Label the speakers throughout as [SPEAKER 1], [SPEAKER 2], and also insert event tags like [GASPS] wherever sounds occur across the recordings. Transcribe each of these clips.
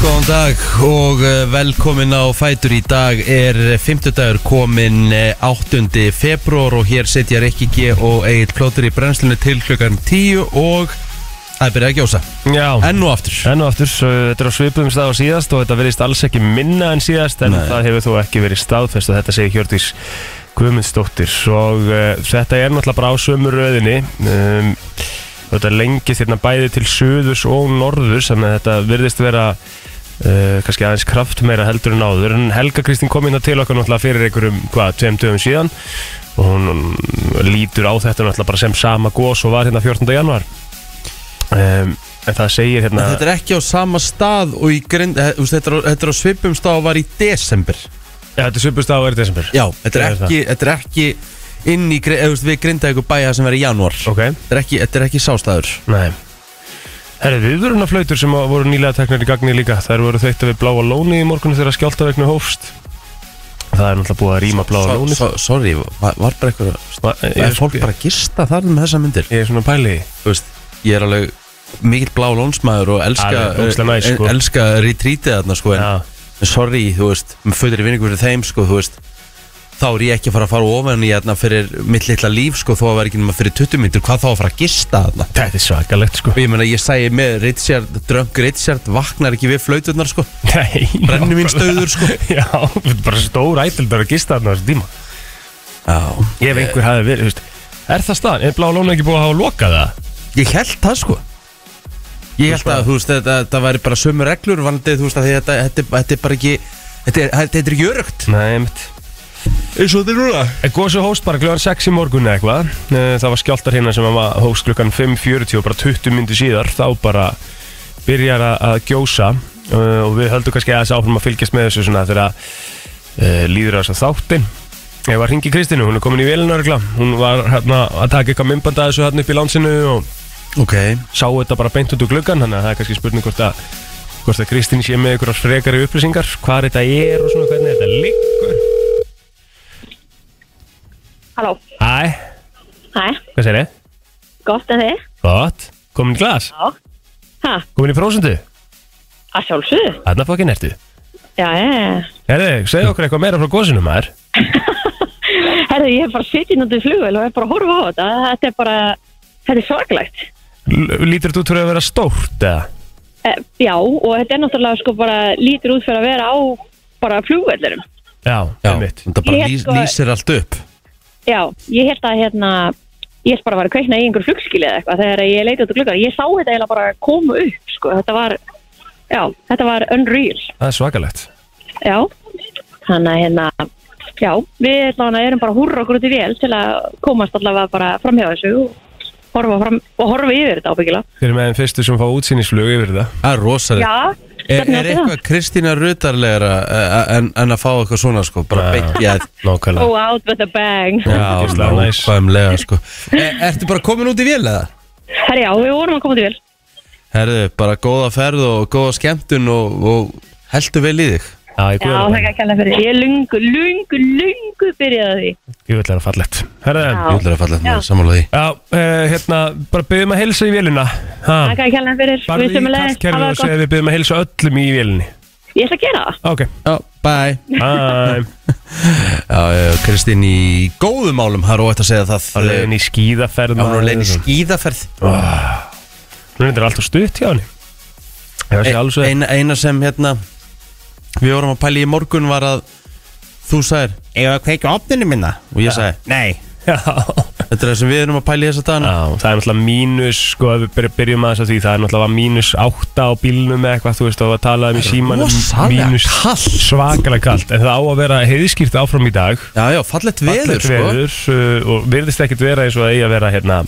[SPEAKER 1] góðan dag og eh, velkomin á Fætur í dag er 50 dagur komin 8. februar og hér setja Rikki G og Egil Plótur í brennslinu til klukkan 10 og það er byrjað að gjósa
[SPEAKER 2] Já,
[SPEAKER 1] enn og aftur
[SPEAKER 2] enn og aftur, svo þetta er á svipum stað á síðast og þetta verðist alls ekki minna en síðast en það hefur þó ekki verið staðfest og þetta segir Hjördís Guðmundsdóttir og uh, þetta er náttúrulega bara á sömu röðinni um, þetta lengist hérna bæði til suðurs og norðurs þannig að þetta verðist vera Uh, kannski aðeins kraft meira heldur en áður en Helga Kristín kom hérna til okkar náttúrulega fyrir einhverjum, hvað, tveim dögum síðan og hún hún lítur á þetta náttúrulega bara sem sama gos og var hérna 14. januar um, en það segir hérna
[SPEAKER 1] Þetta er ekki á sama stað og í grind eh, þú veist, Þetta er á- þetta er á svipum stað og var í desember
[SPEAKER 2] Já, þetta er svipust á er desember
[SPEAKER 1] Já, þetta er
[SPEAKER 2] Það er
[SPEAKER 1] ekki, þetta er ekki inn í, gri- eh, þú veist, við grindaði ykkur bæja sem verið í janúar
[SPEAKER 2] Ok,
[SPEAKER 1] Þetta er ekki, þetta er ekki sástaður
[SPEAKER 2] nei Herri, viðvörunaflautur sem að voru nýlega teknar í gagni líka Þær voru þeytta við bláa lóni í morgun þegar skjáltavegnu hófst Það er náttúrulega búið að rýma bláa
[SPEAKER 1] So-
[SPEAKER 2] lóni
[SPEAKER 1] so- Sorry, var, var bara eitthvað
[SPEAKER 2] Va-
[SPEAKER 1] Er
[SPEAKER 2] Ég,
[SPEAKER 1] fólk bara að gista þar með þessa myndir?
[SPEAKER 2] ég er svona pæli í því.
[SPEAKER 1] Þú veist, ég er alveg mikill blá lónsmaður og elska, e-
[SPEAKER 2] Það er ógeðslega næs, sko.
[SPEAKER 1] elska retrítið þarna sko, en
[SPEAKER 2] Já,
[SPEAKER 1] sorry, þú veist, með fötir í vinningu fyrir þeim sko, þú veist, þá er ég ekki að fara að fara ofan í þarna fyrir mitt litla líf sko, þó að vera ekki nema fyrir 20 myndir, hvað þá að fara að gista þarna?
[SPEAKER 2] þetta er svakalegt sko
[SPEAKER 1] Og ég meina, ég sæði með Richard, drönk Richard, vaknar ekki við flauturnar sko,
[SPEAKER 2] Nei,
[SPEAKER 1] brennum mín
[SPEAKER 2] nákvæmlega.
[SPEAKER 1] stöður sko.
[SPEAKER 2] [LAUGHS] Já, þetta er bara stór ætildar að gista þarna á þessu tíma
[SPEAKER 1] Já, Eh.
[SPEAKER 2] Ég hef einhver hafi verið, þú veist Er það staðan? Er bláa lóni ekki búið að hafa lokað það?
[SPEAKER 1] Ég held það sko Ég held að þú veist þetta, þetta væri bara sömu reglur vandið þú veist að því þetta, þetta, þetta er bara ekki Þetta er, þetta er jörugt
[SPEAKER 2] Nei, einmitt
[SPEAKER 1] Eins og þetta er núna
[SPEAKER 2] Gósi hóst bara kljóðan 6 í morgun eða eitthvað Eh, Það var skjáltar hérna sem var hóst klukkan 5.40 og bara 20 myndir síðar þá bara byrjar að- að gjósa eh, og við höldum kannski aðeins áfram að fylgjast með þessu svona þegar að líður á þess að þáttin Ég var hringi Kristínu, hún er komin í velinargla hún var hérna að taka eitthvað mymband að þessu hérna upp í landsinu og
[SPEAKER 1] Ok
[SPEAKER 2] sá þetta bara beint út úr gluggan þannig að það er kannski spurning hvort að hvort að Kristín sé með ykkur á frekari upplýsingar hvað þetta er og svona hvernig þetta liggur
[SPEAKER 3] Halló,
[SPEAKER 2] Æ,
[SPEAKER 3] hæ,
[SPEAKER 2] hvað segir
[SPEAKER 3] gott en þið?
[SPEAKER 2] Gott, komin í glas
[SPEAKER 3] Já. Hæ,
[SPEAKER 2] Komin í prósundu?
[SPEAKER 3] að sjálfsögðu?
[SPEAKER 2] Þarna fokkin ertu.
[SPEAKER 3] Já, já, já.
[SPEAKER 2] Herðu, segðu okkur eitthvað meira frá gósinu maður.
[SPEAKER 3] Herðu, ég er bara sittin út í flugvel og er bara að horfa á þetta. Þetta er bara, þetta er sorglegt.
[SPEAKER 2] L- Lítur þetta út fyrir að vera stórt eða?
[SPEAKER 3] E, já, og þetta er náttúrulega sko bara lítur út fyrir að vera á bara flugveldurum.
[SPEAKER 2] Já,
[SPEAKER 1] Já,
[SPEAKER 2] einmitt.
[SPEAKER 1] þetta bara
[SPEAKER 3] Ég
[SPEAKER 1] lýs,
[SPEAKER 3] sko-
[SPEAKER 1] lýsir allt upp
[SPEAKER 3] Já, ég held að hérna, ég held bara að vera að kveikna í einhver flugskili eða eitthvað þegar ég leiti út í gluggan. Ég sá þetta eiginlega bara koma upp, sko. Þetta var, já, þetta var unreal.
[SPEAKER 2] Það er svakalegt.
[SPEAKER 3] Já, þannig að hérna, já, við allavega erum bara að húrra okkur út í vél til að komast allavega bara framhjá þessu og horfa, fram, og horfa yfir þetta ábyggilega.
[SPEAKER 2] Við erum með þeim fyrstu sem fá útsýnisflug yfir það.
[SPEAKER 1] Það er rosalega
[SPEAKER 3] Já,
[SPEAKER 1] Er,
[SPEAKER 3] stefnir
[SPEAKER 1] er
[SPEAKER 3] til það.
[SPEAKER 1] eitthvað Kristína Rutarlegra eh, en, en að fá eitthvað svona sko bara
[SPEAKER 2] Já.
[SPEAKER 1] beint í að
[SPEAKER 2] Nákvæmlega.
[SPEAKER 3] Go out with a bang. [LAUGHS]
[SPEAKER 1] Já,
[SPEAKER 2] ógeðslega næs.
[SPEAKER 1] nákvæmlega sko er, Ertu bara komin út í vél eða?
[SPEAKER 3] Herri, já, við vorum að koma út í vél.
[SPEAKER 1] Herðu, bara góða ferð og góða skemmtun og, og heldur vel í þig
[SPEAKER 2] Já, ég
[SPEAKER 3] Já, það er
[SPEAKER 2] guður
[SPEAKER 3] ekki að kella fyrir. Ég er lungu, lungu, lungu byrjaði á því.
[SPEAKER 2] Ég vil vera fallegt. Herðu,
[SPEAKER 3] Já.
[SPEAKER 1] Þú ætlar að falla
[SPEAKER 3] Já.
[SPEAKER 1] þetta sammála því
[SPEAKER 2] já, eh, hérna, bara byggjum að helsa í vélina. Ha,
[SPEAKER 3] Það er ekki að kella fyrir.
[SPEAKER 2] bara
[SPEAKER 3] hérna, Við
[SPEAKER 2] Ah. í
[SPEAKER 3] sem að leiðist.
[SPEAKER 2] kallkerfið og segja við byggjum að helsa öllum í vélinni.
[SPEAKER 3] Ég ætla að gera það.
[SPEAKER 2] Ok,
[SPEAKER 1] Já, bye
[SPEAKER 2] bye.
[SPEAKER 1] [LAUGHS] Já, já, Kristín í góðum málum, það er óætt að segja það eh,
[SPEAKER 2] Það er leiðin í skíðaferð.
[SPEAKER 1] Já, hún er
[SPEAKER 2] maður.
[SPEAKER 1] leiðin í skíðaferð
[SPEAKER 2] Hún er alltaf stutt hjá henni. Ég var sér alls
[SPEAKER 1] Ein, Eina sem hérna Við vorum að pæla í morgun var að Þú sagðir Ég var að kveika opninu minna hérna?" Og ég sagði Nei
[SPEAKER 2] Já.
[SPEAKER 1] Þetta er það sem við erum að pæla í þessa dagana
[SPEAKER 2] Já, það er náttúrulega mínus, sko, ef við byr- byrjum aðeins að því, það er náttúrulega mínus átta á bílnum eða eitthvað, þú veist, og að tala um í símanum
[SPEAKER 1] Rosalega
[SPEAKER 2] mínus
[SPEAKER 1] kalt.
[SPEAKER 2] svakalega kalt, en það á að vera heiðskýrt áfram í dag,
[SPEAKER 1] Já, já, fallegt veður
[SPEAKER 2] Fallegt
[SPEAKER 1] sko
[SPEAKER 2] veður uh, og virðist ekkert vera eins og það eigi að vera hérna,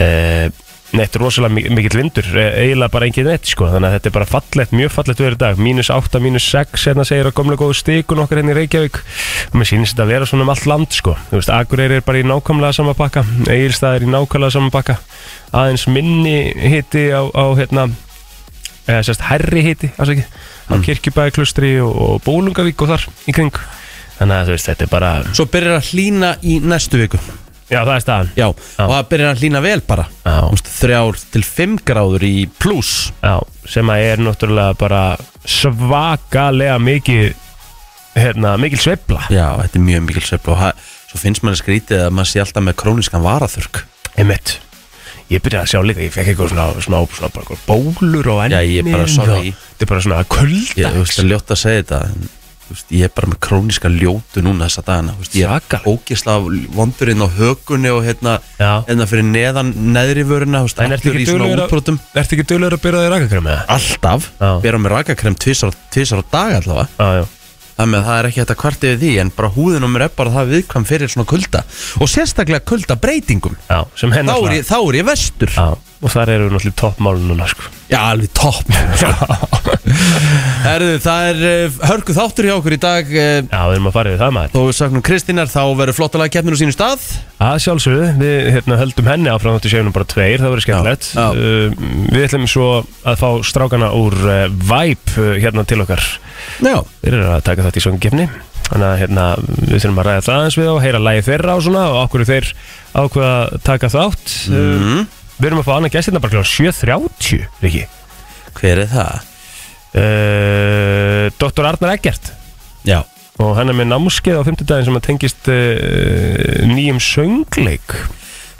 [SPEAKER 2] uh, neitt rosalega mi- mikill vindur, eh, eiginlega bara engin neitt, sko, þannig að þetta er bara fallegt, mjög fallegt veður í dag, mínus átta, mínus sex, hérna segir að komlega góðu stikun okkar hérna í Reykjavík, og mér sýnist þetta að vera svona um allt land, sko, þú veist, Akureyri er bara í nákvæmlega sama pakka, Egilstað er í nákvæmlega sama pakka, aðeins minni hitti á, á hérna, eða sérst herri hiti afsakið, á kirkjubæðiklustri og, og Bólungavík og þar í kring þannig að þú veist þetta er bara
[SPEAKER 1] Svo byrjar að hlýna í næstu viku
[SPEAKER 2] Já, það er staðan
[SPEAKER 1] Já, og það byrjar að hlýna vel bara
[SPEAKER 2] Já.
[SPEAKER 1] Þú veist, Þrjár til fimm gráður í pluss
[SPEAKER 2] Já, sem að er náttúrulega bara svakalega mikið hérna, mikil sveifla
[SPEAKER 1] Já, þetta er mjög mikil sveifla og það- svo finnst mann skrítið að maður sé alltaf með krónískan varaþurk
[SPEAKER 2] einmitt Ég byrjaði að sjá líka, ég fekk eitthvað svona, svona, svona bara eitthvað bólur og ennin
[SPEAKER 1] Já, ég er bara sorry.
[SPEAKER 2] og- Þetta er bara svona
[SPEAKER 1] Ég þú veist
[SPEAKER 2] kuldags
[SPEAKER 1] að ljóta að segja þetta en, þú veist, Ég er bara með króníska ljótu núna þessa dagana þú veist, Ég er
[SPEAKER 2] Svakalegt.
[SPEAKER 1] ógisla vondurinn á hökunni og hérna,
[SPEAKER 2] Já.
[SPEAKER 1] hérna fyrir neðan neðri vöruna þú veist,
[SPEAKER 2] En ertu
[SPEAKER 1] allur
[SPEAKER 2] ekki
[SPEAKER 1] í svona
[SPEAKER 2] duglegur að-
[SPEAKER 1] útbrotum
[SPEAKER 2] Ertu ekki dölur að byrjaði rakakrem eða?
[SPEAKER 1] Alltaf,
[SPEAKER 2] Já.
[SPEAKER 1] bera með rakakrem tvisar, tvisar á dag allavega
[SPEAKER 2] Já, já,
[SPEAKER 1] Þannig að það er ekki hægt að kvarta yfir því en bara húðin á mér er bara það viðkvæm fyrir svona kulda og sérstaklega kulda breytingum
[SPEAKER 2] já, sem
[SPEAKER 1] þá
[SPEAKER 2] hennar
[SPEAKER 1] er, ég, þá er ég vestur
[SPEAKER 2] Já, og þar eru náttúrulega toppmálun núna, sko
[SPEAKER 1] Já, alveg topp
[SPEAKER 2] [LAUGHS] Já,
[SPEAKER 1] Herðu, það er eh, hörku þáttur hjá okkur í dag eh,
[SPEAKER 2] við erum að fara yfir það maður
[SPEAKER 1] Þó við saknum Kristínar, þá verður flottalega keppnin á sínu stað
[SPEAKER 2] Að sjálfsögðu, við hérna, höldum henni áfram þáttu séunum bara tveir, það verður skemmtilegt
[SPEAKER 1] Já, já.
[SPEAKER 2] uh, Við ætlum svo að fá strákana úr uh, Vibe uh, hérna til okkar
[SPEAKER 1] Já,
[SPEAKER 2] Þeir eru að taka þetta í sönggefni Þannig að hérna, við þurfum að ræða það aðeins við og heyra lægi þeirra og svona og okkur þeir ákveða að taka þátt
[SPEAKER 1] Mhm.
[SPEAKER 2] mm. Við erum að fá annað gestirna bara klára 7.30, Riki
[SPEAKER 1] hver er það?
[SPEAKER 2] uh, Dr. Arnar Eggert
[SPEAKER 1] Já,
[SPEAKER 2] og hann er með námskeið á 50 daginn sem að tengist uh, nýjum söngleik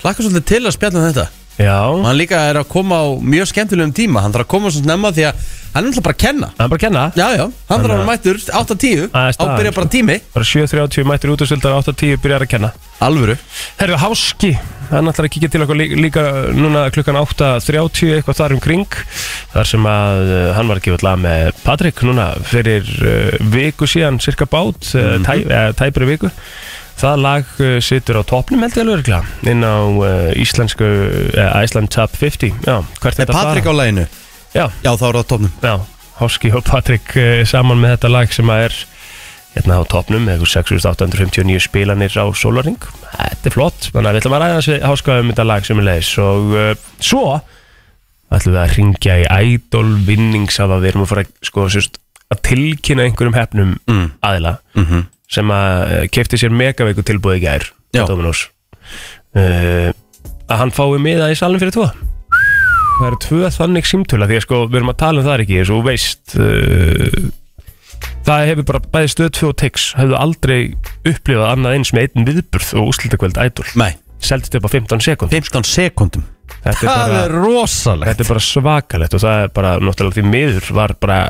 [SPEAKER 1] hlakka svolítið til að spjalla um þetta og
[SPEAKER 2] Já,
[SPEAKER 1] hann líka er að koma á mjög skemmtilegum tíma hann þarf að koma svo snemma því að hann er náttúrulega bara að kenna
[SPEAKER 2] hann er bara að kenna
[SPEAKER 1] Já, já, hann þarf að vera mættur 8-10
[SPEAKER 2] Það er staðan, sko.
[SPEAKER 1] ábyrja bara tími
[SPEAKER 2] bara 7.30 mættir út og sildar 8.10 byrjar að kenna
[SPEAKER 1] Alvöru
[SPEAKER 2] Herðu Háski, hann ætlar að kíkja til okkur lí- líka núna klukkan 8.30 eitthvað þar um kring þar sem að uh, hann var ekki alltaf með Patrik núna fyrir uh, viku síðan, cirka bát mm
[SPEAKER 1] Mhm.
[SPEAKER 2] -hmm. tæ, eh, tæpri viku það lag uh, situr á topnum held ég alveg örugglega, inn á uh, íslensku uh, Iceland Top 50 Já, hvert
[SPEAKER 1] Er
[SPEAKER 2] þetta fara?
[SPEAKER 1] Patrik á læginu?
[SPEAKER 2] Já,
[SPEAKER 1] Já, þá er það á topnum
[SPEAKER 2] já, Háski og Patrik uh, saman með þetta lag sem að er hérna á topnum með einhver 6859 spilanir á Solaring Þetta er flott, þannig að við ætlum að ræða þessi háska um þetta lag sem er leiðis og uh, svo ætlum við að ringja í Idol vinnings að við erum að fara sko, sérst, að tilkynna einhverjum hefnum aðila
[SPEAKER 1] Mm. Mhm.
[SPEAKER 2] sem að uh, kefti sér megaveiku tilbúið í gær
[SPEAKER 1] Já.
[SPEAKER 2] á Dominos uh, að hann fái miða í salin fyrir tvo það eru tvö þannig símtöla því að sko við erum að tala um það ekki eins og þú veist uh, það hefur bara bæði stöð 2 og tex hefðu aldrei upplifað annað eins með einn viðburð og úslitakvöld ædol
[SPEAKER 1] Nei,
[SPEAKER 2] seldist upp á 15 sekund
[SPEAKER 1] 15 sekundum
[SPEAKER 2] þetta er
[SPEAKER 1] Það
[SPEAKER 2] bara,
[SPEAKER 1] er rosalegt
[SPEAKER 2] þetta er bara svakalegt og það er bara náttúrulega því miður var bara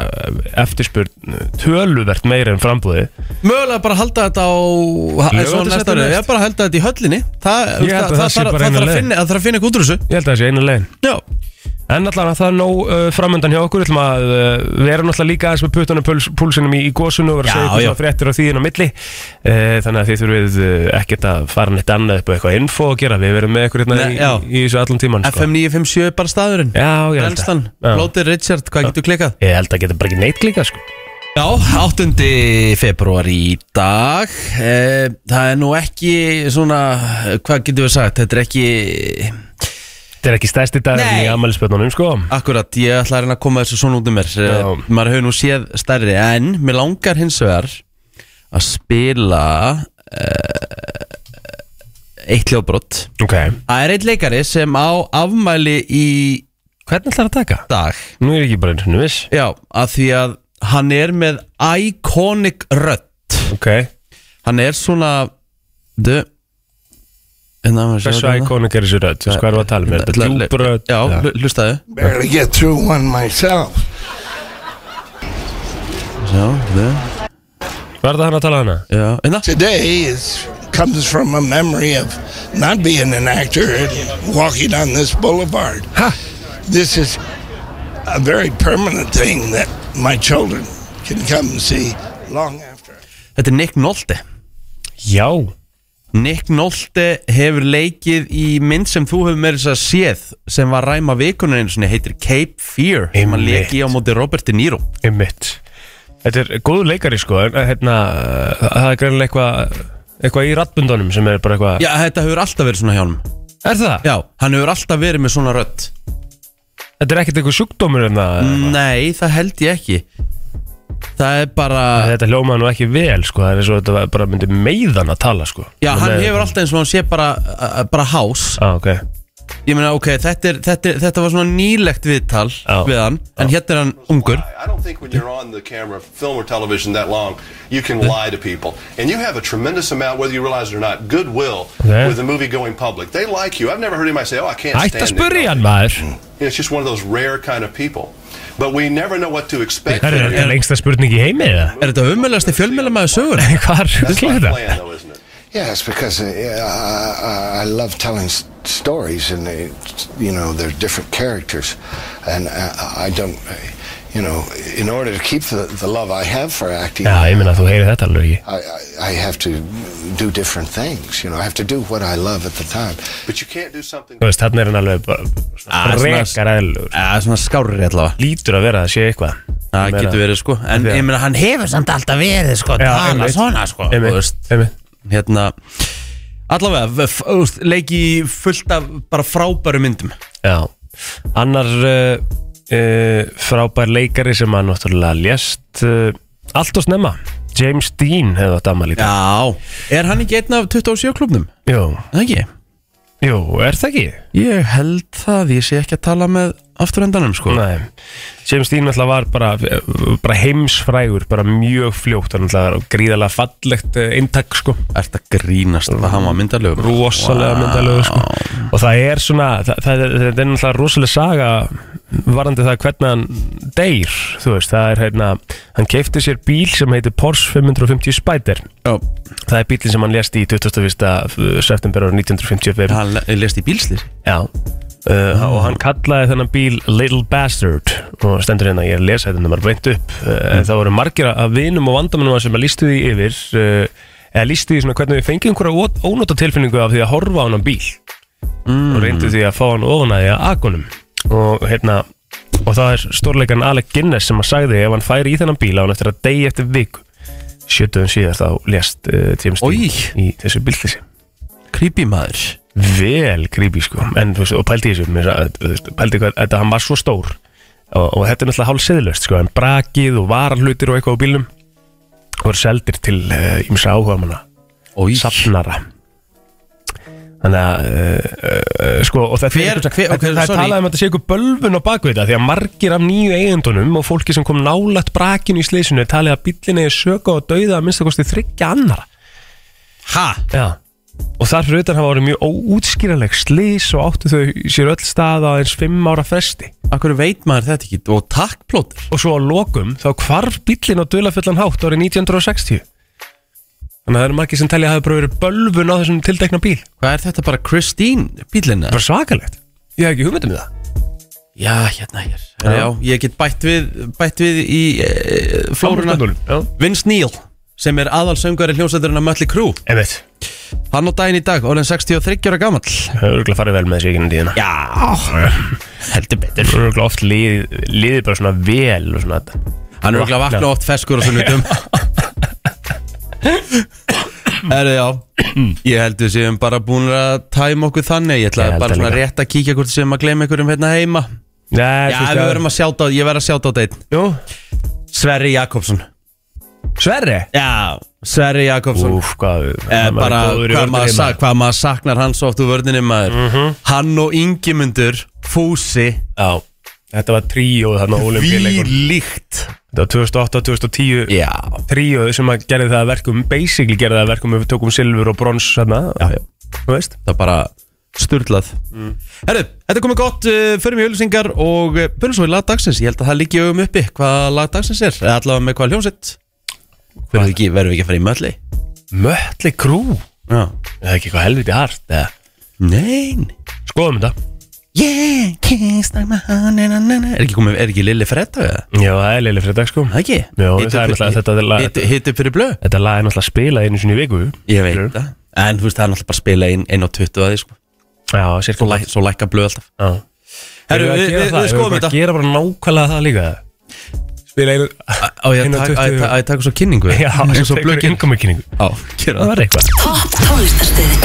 [SPEAKER 2] eftirspurn töluvert meira en frambúði
[SPEAKER 1] Mögulega bara halda þetta á eins og
[SPEAKER 2] Lögðu
[SPEAKER 1] næsta
[SPEAKER 2] þetta
[SPEAKER 1] ári.
[SPEAKER 2] næst.
[SPEAKER 1] Ég er bara að halda þetta í höllinni Það,
[SPEAKER 2] Ég held að
[SPEAKER 1] það,
[SPEAKER 2] það sé
[SPEAKER 1] það,
[SPEAKER 2] bara
[SPEAKER 1] það,
[SPEAKER 2] eina
[SPEAKER 1] þarf að
[SPEAKER 2] leið.
[SPEAKER 1] finna- það þarf að finna eitthvað út úr þessu
[SPEAKER 2] ég held að það sé einu legin
[SPEAKER 1] Já,
[SPEAKER 2] En allavega það er nóg uh, framöndan hjá okkur Við ætlum að uh, vera náttúrulega líka aðeins með puttunum puls, púlsinum í, í gósunum og vera að segja
[SPEAKER 1] Já,
[SPEAKER 2] eitthvað
[SPEAKER 1] já.
[SPEAKER 2] svona fréttir á því inn á milli uh, Þannig að þið þurfið uh, ekkert að fara neitt annað upp á eitthvað info að gera Við verum með ykkur hérna
[SPEAKER 1] Nei,
[SPEAKER 2] í,
[SPEAKER 1] já.
[SPEAKER 2] í, í þessu allan sko. tíman
[SPEAKER 1] FM 957 er bara staðurinn
[SPEAKER 2] Já, ég held
[SPEAKER 1] Brenstan,
[SPEAKER 2] að Já.
[SPEAKER 1] Lóti Richard, hvað getur klikkað?
[SPEAKER 2] Ég held að geta bara ekki neitt líka sko
[SPEAKER 1] Já, 8. februar í dag Eh, Það er nú ekki svona, hvað getur við sagt Þetta er ekki,
[SPEAKER 2] Þetta er ekki stærsti dag í
[SPEAKER 1] Nei.
[SPEAKER 2] amælisbjörnunum sko
[SPEAKER 1] akkurat, ég ætla að reyna að koma þessu svona út um mér Eh,
[SPEAKER 2] Já.
[SPEAKER 1] Maður hefur nú séð stærri En mér langar hins vegar að spila eh, eitt hljóbrott
[SPEAKER 2] Ok
[SPEAKER 1] Það er eitt leikari sem á afmæli í
[SPEAKER 2] Hvernig ætlar að taka?
[SPEAKER 1] dag
[SPEAKER 2] Nú er ég ekki bara einu svona viss
[SPEAKER 1] Já, að því að hann er með iconic rödd
[SPEAKER 2] Ok
[SPEAKER 1] Hann er svona Du hérna,
[SPEAKER 2] Hversu
[SPEAKER 1] Hversu
[SPEAKER 2] íkónik er þessu rödd? Þú veist hvað erum við að tala um? Er þetta djúbrödd?
[SPEAKER 1] Já, hlu- hlustaðu
[SPEAKER 4] barely get through one myself.
[SPEAKER 1] Já, du
[SPEAKER 2] Var það hann að tala um hana?
[SPEAKER 1] Já, hérna
[SPEAKER 4] Today is comes from a memory of not being an actor and walking on this boulevard. This is a very permanent thing that my children can come and see long after.
[SPEAKER 1] Þetta er Nick Nolte
[SPEAKER 2] Já
[SPEAKER 1] Nick Nolte hefur leikið í mynd sem þú hefur meira þess að séð sem var ræma vikunum einu sinni heitir Cape Fear sem hann
[SPEAKER 2] Einmitt.
[SPEAKER 1] leiki á móti Robert De Niro
[SPEAKER 2] Einmitt Þetta er góður leikari sko en eh, hérna, eh, það er greinilega eitthvað eitthvað í rattbundunum sem er bara eitthvað
[SPEAKER 1] Já, þetta hefur alltaf verið svona hjá hann
[SPEAKER 2] Er það?
[SPEAKER 1] Já, hann hefur alltaf verið með svona rödd
[SPEAKER 2] hérna, Þetta er ekkert eitthvað sjúkdómur en það
[SPEAKER 1] Nei, það held ég ekki það er bara
[SPEAKER 2] Þetta hljómaði nú ekki vel sko, það er eins og þetta var- bara myndi meiðan að tala sko
[SPEAKER 1] Já,
[SPEAKER 2] Bara
[SPEAKER 1] hann
[SPEAKER 2] með-
[SPEAKER 1] hefur alltaf eins og hann sé bara, uh, bara hás
[SPEAKER 2] Á, Ah, ok
[SPEAKER 1] Ég meina, ok, þetta, er, þetta, er, þetta var svona nýlegt viðtal
[SPEAKER 2] Já.
[SPEAKER 1] við hann En hérna er hann ungur
[SPEAKER 5] I don't think when you're on the camera, film or television that long, you can lie to people. And you have a tremendous amount, whether you realize it or not, goodwill
[SPEAKER 2] Okay.
[SPEAKER 5] with the movie going public. They like you. I've never heard anybody say, oh, I can't
[SPEAKER 2] Ætti
[SPEAKER 5] stand
[SPEAKER 2] að
[SPEAKER 5] it.
[SPEAKER 2] spurja hann maður
[SPEAKER 5] It's just one of those rare kind of people. But we never know what to expect.
[SPEAKER 2] Það er
[SPEAKER 5] from you.
[SPEAKER 2] þetta er lengsta spurning í heimi eða?
[SPEAKER 1] Er þetta umjöðlegasti fjölmjölamæður sögur?
[SPEAKER 2] [LAUGHS] Hvað er
[SPEAKER 5] That's
[SPEAKER 2] þetta?
[SPEAKER 5] my
[SPEAKER 2] þetta?
[SPEAKER 5] plan, though, isn't it?
[SPEAKER 6] Yeah, it's because uh, I, I- I love telling s- stories, and they, you know they're different characters, and uh, I, I don't, you know, in order to keep the, the love I have for acting,
[SPEAKER 2] Já, ég meina þú heyri þetta alveg ekki
[SPEAKER 6] I, I, I have to do different things. You know, I have to do what I love at the time.
[SPEAKER 5] But you can't do something.
[SPEAKER 2] Þú veist, þarna er hann alveg bara
[SPEAKER 1] Ah,
[SPEAKER 2] svona
[SPEAKER 1] svona-
[SPEAKER 2] frekar eðlugur
[SPEAKER 1] Já, svona skárri allavega
[SPEAKER 2] Lítur að vera að sé eitthvað
[SPEAKER 1] Það
[SPEAKER 2] Meira-
[SPEAKER 1] getur verið, sko En
[SPEAKER 2] Já.
[SPEAKER 1] ég meina, hann hefur samt alltaf verið, sko
[SPEAKER 2] Já,
[SPEAKER 1] Tala
[SPEAKER 2] einmitt.
[SPEAKER 1] svona, sko
[SPEAKER 2] Einmitt,
[SPEAKER 1] þú veist.
[SPEAKER 2] einmitt.
[SPEAKER 1] Hérna Allavega, f- f- þú veist, leiki í fullt af bara frábæru myndum
[SPEAKER 2] Já, annar uh, uh, frábær leikari sem að náttúrulega lést uh, allt og snemma James Dean hefði átt ammali ja.
[SPEAKER 1] Já, er hann ekki einn af 27 klubnum?
[SPEAKER 2] Jú,
[SPEAKER 1] Það ekki?
[SPEAKER 2] jú, er það ekki?
[SPEAKER 1] Ég held það, ég sé ekki að tala með afturöndanum sko
[SPEAKER 2] Nei, James Dean náttúrulega var bara, bara heimsfrægur, bara mjög fljótt hann náttúrulega var gríðarlega fallegt eh, inntak sko
[SPEAKER 1] Ert að grínast hvað hann var myndalögur
[SPEAKER 2] rosalega wow. myndalögu sko. og það er svona það, það, það, það er náttúrulega rosalega saga varandi það hvernig hann deyr þú veist, það er hérna hann keipti sér bíl sem heitir Porsche 550 Spider
[SPEAKER 1] Já,
[SPEAKER 2] það er bílinn sem hann lést í 21. eh, september árið 1955
[SPEAKER 1] hann le- lést í bílslir
[SPEAKER 2] já Uh, og hann kallaði þennan bíl Little Bastard og stendur hérna, ég lesa þetta bara beint upp uh, mm. það voru margir af vinum og vandamennum sem að lístu því yfir uh, eða lístu því svona hvernig við fengið einhverja ó- ónota tilfinningu af því að horfa á hann bíl og reyndu því að fá hann ofan að því að agunum og hérna og það er stórleikan Alec Guinness sem að sagði ef hann færi í þennan bíl á hann eftir að degi eftir viku sjötuðum síðar þá lést uh, James
[SPEAKER 1] Oj.
[SPEAKER 2] Dean í þessu bíllýsi
[SPEAKER 1] Creepy maður
[SPEAKER 2] vel creepy sko en, þú veist, og pældi í þessu mér sagði, þú veist, pældi hvað, þetta hann var svo stór og, og þetta er náttúrulega hálfsiðlust sko en brakið og varalhutir og eitthvað á bílum voru seldir til ímsa uh, áhuga manna
[SPEAKER 1] Ói
[SPEAKER 2] safnara þannig að uh, uh, sko og það, það,
[SPEAKER 1] Hver- hver- ok,
[SPEAKER 2] það, það
[SPEAKER 1] sorry.
[SPEAKER 2] talaði um að þetta sé eitthvað bölvun á bakvið þetta því að margir af nýju eigendunum og fólki sem kom nálætt brakinu í sleysinu talaði að bílinni er söka og dauða að minnstakosti þryggja annara
[SPEAKER 1] Ha?
[SPEAKER 2] Já Og þar fyrir utan hafa voru mjög óútskýraleg slís og áttu þau sér öll stað á eins fimm ára fresti
[SPEAKER 1] Akkur veit maður þetta ekki Og takk plótur
[SPEAKER 2] Og svo á lokum þá hvarf bíllinn á dulafullan hátt árið 1960 Þannig að það eru margir sem talja að hafa bara verið bölvun á þessum tildekna bíl
[SPEAKER 1] Hvað er þetta bara Christine bílina?
[SPEAKER 2] Bara svakalegt Ég hef ekki hugmynd um það
[SPEAKER 1] Já, hérna hér Já, ég get bætt við, bætt við í e, flóruna
[SPEAKER 2] Fórunarnúlum Já
[SPEAKER 1] Vince Neil sem er aðalsöngari hljómsætturinn af Mötli Krú
[SPEAKER 2] Einmitt
[SPEAKER 1] Hann á daginn í dag, orðin 63 ára gamall
[SPEAKER 2] Það hefur Ah. örgulega farið vel með þessu ekki nýðina [LAUGHS]
[SPEAKER 1] Já, heldur betur
[SPEAKER 2] Það eru örgulega oft liðið liði bara svona vel og svona þetta
[SPEAKER 1] Hann er okkur að vakna oft feskur og sunnutum Herðu já Ég held við séum bara búin að tæma okkur þannig Ég ætla
[SPEAKER 2] Ég held
[SPEAKER 1] bara
[SPEAKER 2] það
[SPEAKER 1] svona
[SPEAKER 2] líka.
[SPEAKER 1] rétt að kíkja hvort sem að gleyma einhverjum hérna heima
[SPEAKER 2] Nei,
[SPEAKER 1] Já, við verðum að sjáta á, ég verð að sjáta á þetta
[SPEAKER 2] Jú
[SPEAKER 1] Sverri Jakobsson
[SPEAKER 2] Sverri
[SPEAKER 1] Já, Sverri Jakobsson
[SPEAKER 2] Úf, hvað
[SPEAKER 1] Eh,
[SPEAKER 2] hann var
[SPEAKER 1] bara
[SPEAKER 2] góður í
[SPEAKER 1] hvað maður,
[SPEAKER 2] vörninni, Mhm.
[SPEAKER 1] sa, hvað maður saknar hans oft úr vörninni maður Hann og Ingimundur Fúsi
[SPEAKER 2] Já, [LAUGHS] þetta var tríóð þarna olimpíuleikur
[SPEAKER 1] Vílíkt
[SPEAKER 2] Þetta var 2008-2010 yeah.
[SPEAKER 1] Já
[SPEAKER 2] tríóð sem að gerði það að verkum basically gerði það að verkum ef við tókum silfur og brons þarna
[SPEAKER 1] Já, já.
[SPEAKER 2] Þú veist?
[SPEAKER 1] Það er bara sturlað Herru, þetta er komið gott, uh, förum í auðlýsingar og uh, byrjum svo í lag dagsins Ég held að það líki augum uppi hvað lag dagsins er eða allavega með hvað hljómsett Verðum við ekki, verðum við ekki að fara í mölli?
[SPEAKER 2] Mötli krú
[SPEAKER 1] Já
[SPEAKER 2] Það er ekki eitthvað helviti hart eða.
[SPEAKER 1] Nein
[SPEAKER 2] Skoðum þetta
[SPEAKER 1] Yeah, kiss like my hand na, na, na, na. Er ekki komið, er ekki Lilli Fredda eða?
[SPEAKER 2] Já, það er leilig fyrir dag sko
[SPEAKER 1] Það ekki?
[SPEAKER 2] Já, það er náttúrulega- þetta er lag-
[SPEAKER 1] Hittu, hittu fyrir blöð?
[SPEAKER 2] Þetta lag er náttúrulega spilað einu sinni í viku
[SPEAKER 1] Ég veit það En þú veist, það er náttúrulega bara að spila inn, inn á 20 að því sko
[SPEAKER 2] Já, sérkvæm
[SPEAKER 1] Svo, læk, svo lækka blöð alltaf
[SPEAKER 2] Já
[SPEAKER 1] Herru,
[SPEAKER 2] Erum að
[SPEAKER 1] við,
[SPEAKER 2] gera
[SPEAKER 1] við,
[SPEAKER 2] það?
[SPEAKER 1] við
[SPEAKER 2] Erum
[SPEAKER 1] skoðum
[SPEAKER 2] bara
[SPEAKER 1] þetta
[SPEAKER 2] að gera bara nákvæmlega það líka Spila einu
[SPEAKER 1] Á ég
[SPEAKER 2] inn á
[SPEAKER 1] að taka- á ég
[SPEAKER 2] 20?
[SPEAKER 1] að- á ég að taka svo kynningu
[SPEAKER 2] Já,
[SPEAKER 1] eins og svo
[SPEAKER 2] tekur
[SPEAKER 1] blögginn
[SPEAKER 2] innkomukenningu.
[SPEAKER 1] Já, gera það
[SPEAKER 2] Það var eitthvað
[SPEAKER 7] Topp tónlistarstöðin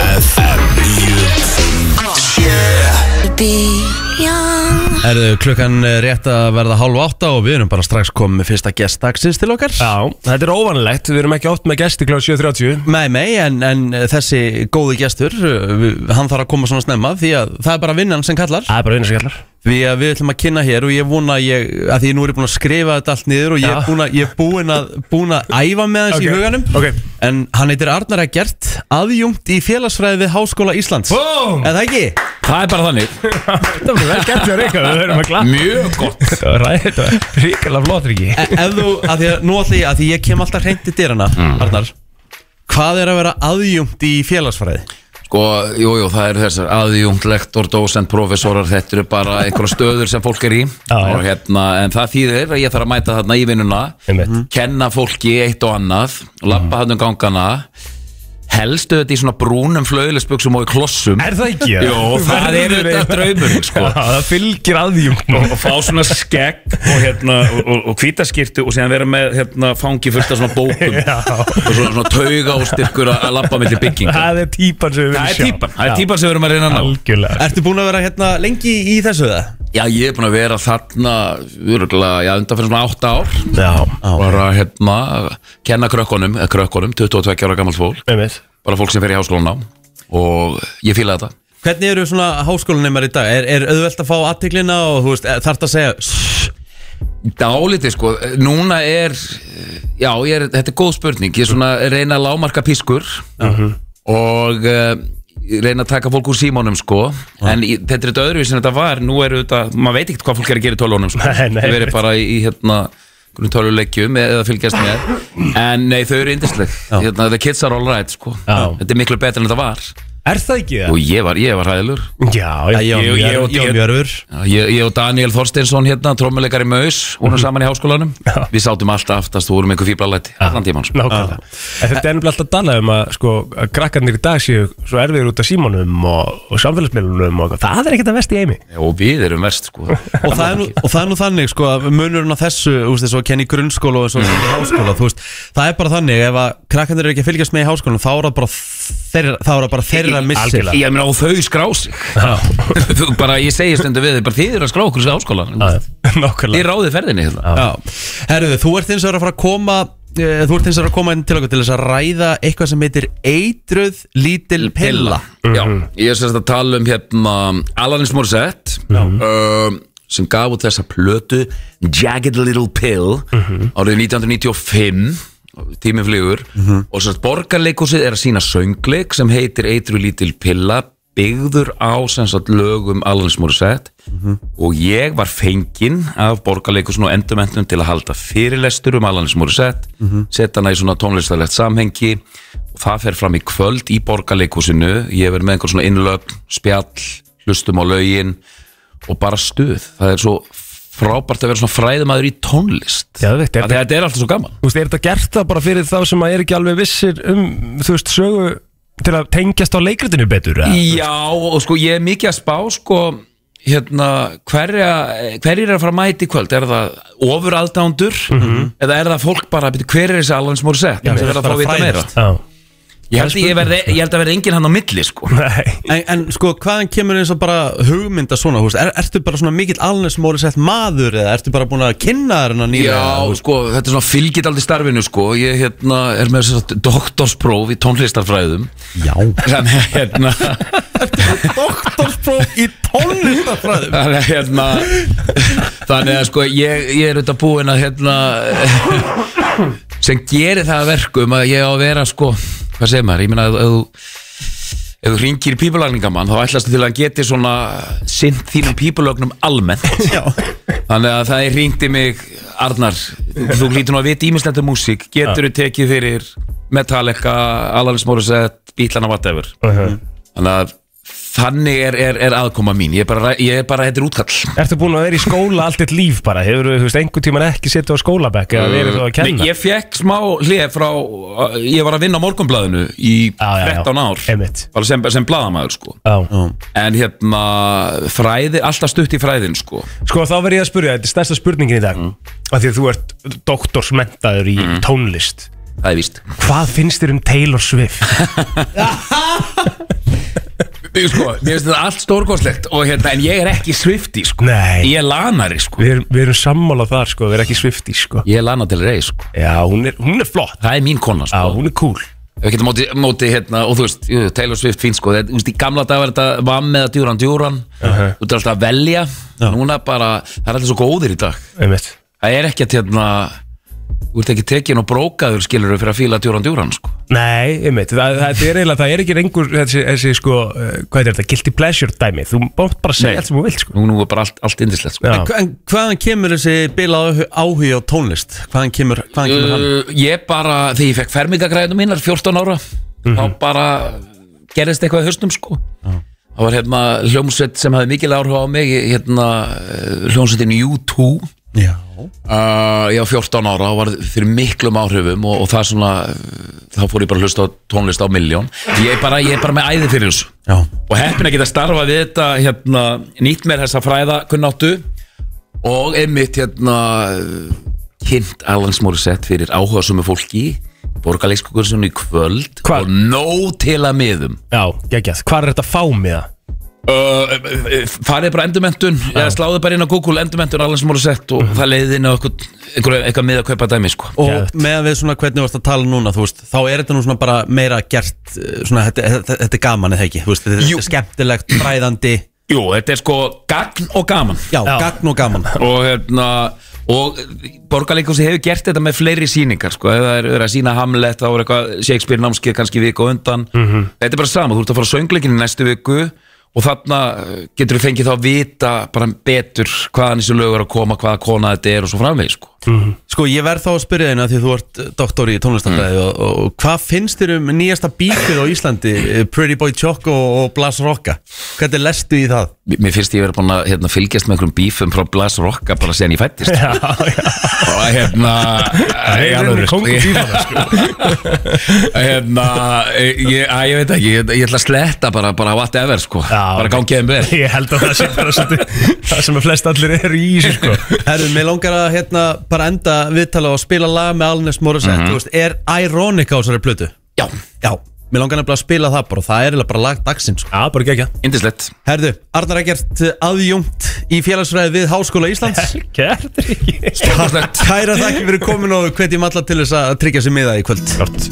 [SPEAKER 1] Erðu klukkan eh, rétt að verða hálf átta og við erum bara strax komið með fyrsta gest dagsins til okkar
[SPEAKER 2] Já, þetta er óvanlegt, við erum ekki oft með gesti kl. 7.30
[SPEAKER 1] Nei, nei, en, en eh, þessi góði gestur, eh, við- hann þarf að koma svona snemma því að það er bara vinnan sem kallar
[SPEAKER 2] Það er bara vinna sem kallar
[SPEAKER 1] Því að við ætlum að kynna hér og ég vona að ég, að því ég nú er ég búin að skrifa þetta allt niður og ég er
[SPEAKER 2] Já.
[SPEAKER 1] búin að, ég er búin að, búin að æfa með hans í
[SPEAKER 2] Ok,
[SPEAKER 1] huganum
[SPEAKER 2] ok.
[SPEAKER 1] En hann heitir Arnar Eggert, aðjungt í félagsfræði við Háskóla Íslands
[SPEAKER 2] Búm!
[SPEAKER 1] Eða ekki?
[SPEAKER 7] Það er bara þannig
[SPEAKER 2] Þetta var vel gert hjá Ríkka, við erum að klappa
[SPEAKER 7] Mjög gott
[SPEAKER 2] Ræði þetta, ríkala flott Ríkki
[SPEAKER 1] E- Ef þú, að því að, nú ætla ég, að því ég kem alltaf hreint í dyrana,
[SPEAKER 7] Mm.
[SPEAKER 1] Arnar Hvað er að vera aðjungt í félagsfræði?
[SPEAKER 7] Sko, jú, jú, það eru þessar aðjungt, lektor, dósent, professorar, þetta eru bara einhverja stöður sem fólk er í
[SPEAKER 2] já.
[SPEAKER 7] og hérna, en það þýðir að ég þarf að mæta þarna í vinnuna
[SPEAKER 2] Einmitt.
[SPEAKER 8] Mhm.
[SPEAKER 2] Mhm.
[SPEAKER 7] kenna fólki eitt og annað lappa þarna um gangana helstu þetta í svona brúnum flöðlisbuksum og í klossum
[SPEAKER 2] Er það ekki?
[SPEAKER 7] Jó, það er þetta draumurinn, sko.
[SPEAKER 2] Já, það fylgir aðjungt
[SPEAKER 8] og fá svona skegg og, hérna, og, og, og hvítaskirtu og síðan vera með hérna, fangi fullt af svona bókum
[SPEAKER 2] [LAUGHS]
[SPEAKER 7] og svona, svona tauga og styrkur að lappa millir bygging
[SPEAKER 2] Það er típan sem við viljum
[SPEAKER 7] Það
[SPEAKER 2] sjá
[SPEAKER 7] er típan, það er
[SPEAKER 2] Já.
[SPEAKER 7] típan sem við erum að reyna að ná
[SPEAKER 2] Algjörlega
[SPEAKER 1] Ertu búin að vera hérna lengi í þessu það?
[SPEAKER 7] Já, ég er búin að vera þarna örgulega, já, undan fyrir svona 8 ár
[SPEAKER 2] Já,
[SPEAKER 7] bara hérna kenna krökkunum, eða krökkunum, 22 ára gamalt fólk
[SPEAKER 2] með mitt
[SPEAKER 7] bara fólk sem fer í háskólanám og ég fýla þetta
[SPEAKER 1] Hvernig eru svona háskólanemar í dag? Er, er auðvelt að fá aðtiklina og þú veist, þarf að segja "Sss,
[SPEAKER 7] Dálítið sko, núna er já, ég er, þetta er góð spurning ég er svona að reyna að lámarka pískur
[SPEAKER 2] Mhm.
[SPEAKER 7] og uh, reyna að taka fólk úr símónum sko en í, þetta er þetta öðruvísin þetta var nú er þetta, maður veit ekkert hvað fólk er að gera í tölvunum sko.
[SPEAKER 2] [LAUGHS] Nei, nei.
[SPEAKER 7] Þau eru bara í, í hérna töluleikjum eða fylgjast með en nei, þau eru yndisleg hérna, the kids are alright sko
[SPEAKER 2] Já.
[SPEAKER 7] þetta er miklu betur en þetta var
[SPEAKER 2] Er það ekki
[SPEAKER 7] og
[SPEAKER 2] það?
[SPEAKER 7] ég var, ég var hæðilur
[SPEAKER 2] Já,
[SPEAKER 1] Já, ég
[SPEAKER 2] ég-
[SPEAKER 1] var
[SPEAKER 2] ég-
[SPEAKER 1] mjög- ég var
[SPEAKER 2] ég-
[SPEAKER 1] mjög örfur
[SPEAKER 7] Já, Ég, ég og Daniel Þorsteinsson hérna, trommuleikari Maus, vorum
[SPEAKER 2] Mhm.
[SPEAKER 7] saman í háskólanum Við sátum alltaf aftast og vorum einhver fíblalæti Allan tímann sko.
[SPEAKER 2] Nákvæmlega En Þetta er ennblant að tala um að sko að krakkarnir í dag séu svo erfiður út af símanum og, og samfélagsmiðlunum og eitthvað. það er ekkert að vesti í heimi
[SPEAKER 7] Og við erum verst sko
[SPEAKER 1] og það, er nú, og það er nú þannig sko að munurinn á þessu, þú veist, þess að kenna í grunnskóla og þess að kenna í háskóla, þú veist það er bara þannig, ef að krakkandir eru ekki að fylgjast með í háskólanum þá er það bara þeirra, þá er það bara þeirra missir
[SPEAKER 2] Algjörlega.
[SPEAKER 7] Ég meina og þau skrá sig [LAUGHS] Þú bara, ég segi stundu við þau bara Þið eru að skrá okkur þessu háskólanum Þið
[SPEAKER 2] [LAUGHS] Nákvæmlega
[SPEAKER 7] ráðið ferðinni hérna
[SPEAKER 1] Já, herruðu, þú ert eins og er að fara að koma eh, Þú ert eins og er að koma inn til okkur til þess að ræða eitthvað sem heitir eitruð lítil pilla
[SPEAKER 7] Já, Mhm. ég er sérst að tala um hérna Alanis Morissette um, sem gaf út þessa plötu Jagged Little Pill
[SPEAKER 1] Mhm.
[SPEAKER 7] árið 1995 tíminn flygur
[SPEAKER 1] Mhm.
[SPEAKER 7] og sérst borgarleikúsið er að sína söngleik sem heitir Eitru Lítil Pilla byggður á sérst lögum Alanis Morissette og ég var fenginn af borgarleikusinu og endurmentunum til að halda fyrirlestur um Alanis Morissette setja hana í svona tónlistarlegt samhengi og það fer fram í kvöld í borgarleikusinu ég verð með einhver svona innlöp, spjall hlustum á lögin og bara stuð, það er svo frábært að vera svona fræðumæður í tónlist
[SPEAKER 2] Geðveikt, er
[SPEAKER 7] Af því að þetta er alltaf svo gaman
[SPEAKER 2] Þú veist, er þetta gert það bara fyrir þá sem að er ekki alveg vissir um, þú veist, sögu til að tengjast á leikritinu betur? eða?
[SPEAKER 7] Já, og sko ég er mikið að spá sko, hérna hverja, hverjir er að fara að mæti í kvöld er það ofuraldándur eða er það fólk bara, byrju, hver er þessi Alanis Morissette
[SPEAKER 1] mér
[SPEAKER 7] sem er
[SPEAKER 1] finnst
[SPEAKER 7] að fá
[SPEAKER 1] bara
[SPEAKER 7] að vita meira
[SPEAKER 1] fræðast.
[SPEAKER 2] Já,
[SPEAKER 7] ég held, að ég, verði, ég held að verði enginn hann á milli sko.
[SPEAKER 2] nei
[SPEAKER 1] En, en sko, hvaðan kemur eins og bara hugmynda svona, þú veist, er, ertu bara svona mikill alnesmóri sett maður eða ertu bara búin að kynna þér hennar nýra?
[SPEAKER 7] Já, sko, þetta er svona fylgit aldrei starfinu sko. ég hérna, er með þess að doktorspróf í tónlistarfræðum
[SPEAKER 1] Já.
[SPEAKER 7] þannig að
[SPEAKER 1] [LAUGHS]
[SPEAKER 7] hérna
[SPEAKER 1] Doktorspróf í tónlistafræðum.
[SPEAKER 7] þannig að hérna þannig að sko ég, ég er auðvitað búinn að hérna sem gerir það að verkum að ég á að vera sko, hvað segir maður, ég meina ef ef þú ef þú ringir í pípulagningamann þá ætlastu til að hann geti svona sint þínum pípulögnum almennt
[SPEAKER 1] Já.
[SPEAKER 7] þannig að það er ringdi mig Arnar, þú, þú hlýtur nú að vita ímislendu músík, getur þú tekið fyrir Metallica, Alanis Morissette Bílana, whatever þannig að þannig er, er, er aðkoma mín, ég er bara, ég er bara þetta er útkall
[SPEAKER 2] Ertu búin að vera í skóla allt eitt líf bara? Hefur þú veist, einhvern tíman ekki setið á skólabekk eða verið þú að kenna?
[SPEAKER 7] Nei, ég fekk smá hlið frá ég var að vinna á morgunblæðinu í
[SPEAKER 2] Já, já, já.
[SPEAKER 7] 13 ár
[SPEAKER 2] Einmitt.
[SPEAKER 7] bara sem, sem bladamæður sko
[SPEAKER 2] Já.
[SPEAKER 7] en hérna fræði, alltaf stutt í fræðin sko
[SPEAKER 2] Sko, þá verð ég að spyrja, þetta er stærsta spurningin í dag mm. að því að þú ert doktorsmentaður í tónlist
[SPEAKER 7] Mm. það er víst [LAUGHS]
[SPEAKER 2] Hvað finnst þér um Taylor Swift?
[SPEAKER 7] Ég, sko, mér finnst þetta allt stórkoslegt og hérna, en ég er ekki svifti sko.
[SPEAKER 2] Nei,
[SPEAKER 7] ég er lanari sko.
[SPEAKER 2] við erum, vi erum sammála þar sko, við erum ekki svifti sko
[SPEAKER 7] ég er lana til rey sko.
[SPEAKER 2] Já, hún er, hún er flott
[SPEAKER 7] það er mín kona
[SPEAKER 2] Já,
[SPEAKER 7] sko.
[SPEAKER 2] hún er cool
[SPEAKER 7] við getum móti, móti hérna, og þú veist, jú, Taylor Swift fín sko, þetta, þú veist, í gamla dag var þetta vamm eða djúran djúran
[SPEAKER 2] Uh-huh.
[SPEAKER 7] þú ert alltaf að velja, núna bara það er alltaf svo góðir í dag
[SPEAKER 2] Einmitt.
[SPEAKER 7] það er ekkert hérna þú ert ekki tekin og brókaður skilur fyrir að fíla djúran djúran sko.
[SPEAKER 2] Nei, einmitt, það, það, er eiginlega, það er ekki rengur þessi, þessi sko, uh, hvað er þetta, guilty pleasure dæmi Þú mátt bara segja allt sem þú vilt sko
[SPEAKER 7] nú, nú er bara allt, allt indislegt sko.
[SPEAKER 2] Já.
[SPEAKER 1] En hva- En hvaðan kemur þessi bilað áhugi á tónlist? Hvaðan kemur, hvaðan kemur hann?
[SPEAKER 7] uh, ég bara, þegar ég fekk fermingagræðinu mínar 14 ára
[SPEAKER 2] Mhm.
[SPEAKER 7] þá bara gerðist eitthvað í höstum sko það var hérna hljómsveit sem hafði mikil áhrif á mig hérna eh, hljómsveitin U2
[SPEAKER 1] Já
[SPEAKER 7] Uh, ég var 14 ára og var fyrir miklum áhrifum og, og það svona uh, þá fór ég bara að hlusta á tónlist á milljón ég er bara, ég er bara með æði fyrir þessu
[SPEAKER 1] Já,
[SPEAKER 7] og heppin að geta starfa við þetta hérna, nýtt mér þessa fræða kunnáttu og einmitt hérna kynnt Alan Morissette fyrir áhuga sumu fólki borgarleikskokursunni í kvöld
[SPEAKER 2] Hvar?
[SPEAKER 7] og nóg til að miðum
[SPEAKER 2] Já, geggjað, hvað er þetta að fá með það?
[SPEAKER 7] uh, farið bara endurmentun eða sláðu bara inn á Google endurmentun Alan Morissette og það leiði inn á einhver, einhver, einhver miða að kaupa dæmi sko.
[SPEAKER 1] Mhm. og
[SPEAKER 2] Geðvegt.
[SPEAKER 1] meðan við svona hvernig þú varst að tala núna þú veist, þá er þetta nú svona bara meira gert eh, svona, þetta, þetta, þetta er gaman eða ekki þú veist, þetta,
[SPEAKER 7] Jú.
[SPEAKER 1] þetta er skemmtilegt, fræðandi já,
[SPEAKER 7] Jú, þetta er sko gagn og gaman
[SPEAKER 2] Já.
[SPEAKER 1] gagn og gaman
[SPEAKER 7] og hérna og borgarleikursi hefur gert þetta með fleiri síningar sko, ef það er verið að sína Hamlet þá er eitthvað Shakespeare námskeið kannski viku á undan
[SPEAKER 1] Mhm.
[SPEAKER 7] þetta er bara sama, þú ert að fara á söngleikinni næstu viku og þarna eh, getur við fengið þá að vita bara betur hvaðan þessi lög er að koma, hvaða kona þetta er og svo framvegis sko.
[SPEAKER 1] sko, ég verð þá að spyrja þeina því þú ert uh, doktor í
[SPEAKER 7] Mm.
[SPEAKER 1] tónlistafræði og, og, og hvað finnst þér um nýjasta bífið á Íslandi eh, Pretty Boy Choco og Blas Rocka hvernig lestu í það?
[SPEAKER 7] Mér- Mér finnst ég verið búin að hérna, fylgjast með einhverjum bífum frá Blas Rocka bara sen ég fættist
[SPEAKER 2] Já, já,
[SPEAKER 7] og hérna
[SPEAKER 2] það er alveg kongubífana sko
[SPEAKER 7] [LAUGHS] hérna, ég, ég, að, ég veit ekki, ég, ég ætla að sletta bara, bara whatever sko,
[SPEAKER 2] Já.
[SPEAKER 7] bara gangið þeim vel
[SPEAKER 2] Ég held að það sé bara svolítið [LAUGHS] það sem að flest allir eru í þessu sko
[SPEAKER 1] [LAUGHS] Herru, mér langar að hérna bara enda viðtala og spila lag með Alnes Morissette
[SPEAKER 2] Mhm.
[SPEAKER 1] Þú veist, er Ironic á þessari plötu?
[SPEAKER 7] Já,
[SPEAKER 1] Já, mér langar nefnilega að spila það bara og það er eiginlega bara lag dagsins sko.
[SPEAKER 2] Já, bara geggjað
[SPEAKER 7] indislegt
[SPEAKER 1] Herðu, Arnar Eggert aðjungt í félagsfræði við Háskóla Íslands
[SPEAKER 2] Gerður ekki
[SPEAKER 7] Stórkostlegt.
[SPEAKER 1] Kæra þakki fyrir komin og hvetjum alla til þess að tryggja sér miða í kvöld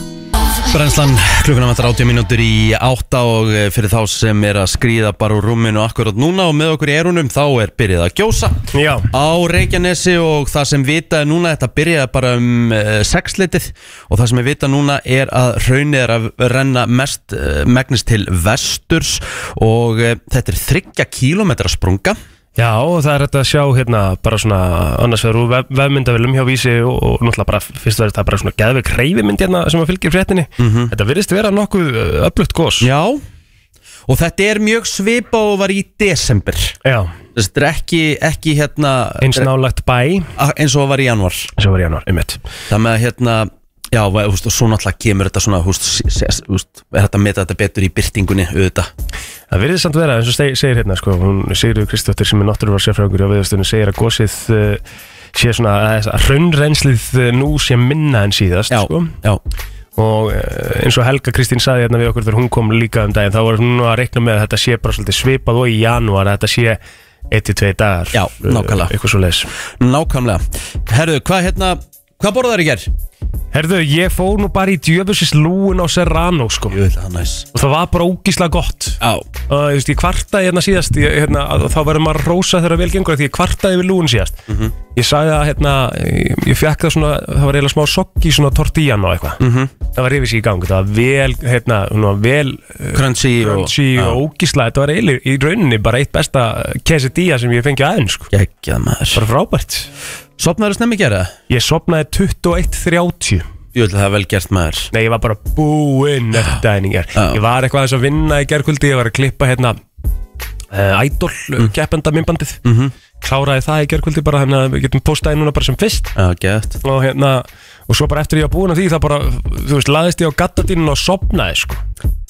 [SPEAKER 1] Brennslan, klukkuna vantar 80 mínútur í átta og eh, fyrir þá sem er að skrýða bara úr rúminu akkurat núna og með okkur í erunum þá er byrjið að gjósa
[SPEAKER 2] Já,
[SPEAKER 1] á Reykjanesi og það sem vita er núna þetta byrjaði bara um uh, sexleitið og það sem við vita núna er að hraunið er að renna mest uh, megnist til vesturs og uh, þetta er þryggja kílometra sprunga
[SPEAKER 2] Já, og það er hægt að sjá hérna bara svona annars vegar úr vef, vefmyndavilum hjá Vísi og, og náttúrulega bara fyrst verður það bara svona geðveik reyfimynd hérna sem að fylgir fréttinni Þetta virðist vera nokkuð uh, öflugt gos
[SPEAKER 1] Já og þetta er mjög svipa og var í desember
[SPEAKER 2] Já,
[SPEAKER 1] Þessi, þetta er ekki, ekki hérna
[SPEAKER 2] eins nálægt bæ
[SPEAKER 1] a- eins og var í januar
[SPEAKER 2] sem var í janúar, einmitt
[SPEAKER 1] það með að hérna já, og þú veist, og svo náttúrulega kemur þetta svona húst, sest, húst, er þetta að meta þetta betur í byrtingunni auðvitað
[SPEAKER 2] Það virðist samt vera, eins og seg, segir hérna sko, hún Sigurður Kristóttir sem er náttúrulega sérfræðingur á viðastunni segir að gosið uh, sé svona að, að raunrenslið eh, nú sé minna en síðast
[SPEAKER 1] já,
[SPEAKER 2] sko.
[SPEAKER 1] já,
[SPEAKER 2] og eh, eins og Helga Kristín saði hérna við okkur þegar hún kom líka um daginn þá var hún að reikna með að þetta sé bara svolítið svipað og í janúar að þetta sé 1-2 dagar
[SPEAKER 1] Já,
[SPEAKER 2] eh,
[SPEAKER 1] nákvæmlega.
[SPEAKER 2] eitthvað svo leis
[SPEAKER 1] nákvæmlega herðu, hvað hérna, hvað borðar í gerð?
[SPEAKER 2] Herðu, ég fór nú bara í djöfusins lúin á Serrano sko
[SPEAKER 1] Jú, það er næs
[SPEAKER 2] og það var bara ógíslega gott
[SPEAKER 1] Já,
[SPEAKER 2] og ég veist, ég kvartaði hérna síðast ég, hérna, að, þá verður maður að rósa þegar vel gengur af því ég kvartaði við lúin síðast
[SPEAKER 1] Mhm.
[SPEAKER 2] ég sagði að hérna, ég, ég fekk það svona það var eiginlega smá sokki, svona tortíjan og eitthvað
[SPEAKER 1] Mhm.
[SPEAKER 2] það var yfir sig í gang, það var vel hérna, hún var vel eh,
[SPEAKER 1] crunchy,
[SPEAKER 2] crunchy og ógísla, þetta var eiginlega í rauninni bara eitt besta quesadilla sem ég fengi aðeins sko.
[SPEAKER 1] Gægjað maður
[SPEAKER 2] bara frábært
[SPEAKER 1] Sopnaður snemmi gera?
[SPEAKER 2] ég sopnaði 21.30
[SPEAKER 1] Jú, það er vel gert maður
[SPEAKER 2] Nei, ég var bara búinn eftir dæningar
[SPEAKER 1] Já.
[SPEAKER 2] Ég var eitthvað aðeins að vinna í gerkvöldi Ég var að klippa hérna uh, Idol
[SPEAKER 1] Mhm.
[SPEAKER 2] mm. keppenda minnbandið Kláraði það í gerkvöldi bara Þannig að við getum postaði núna bara sem fyrst
[SPEAKER 1] Já, gett
[SPEAKER 2] Og hérna Og svo bara eftir ég var búinn af því Það bara, þú veist, laðist ég á gattadínun og sopnaði sko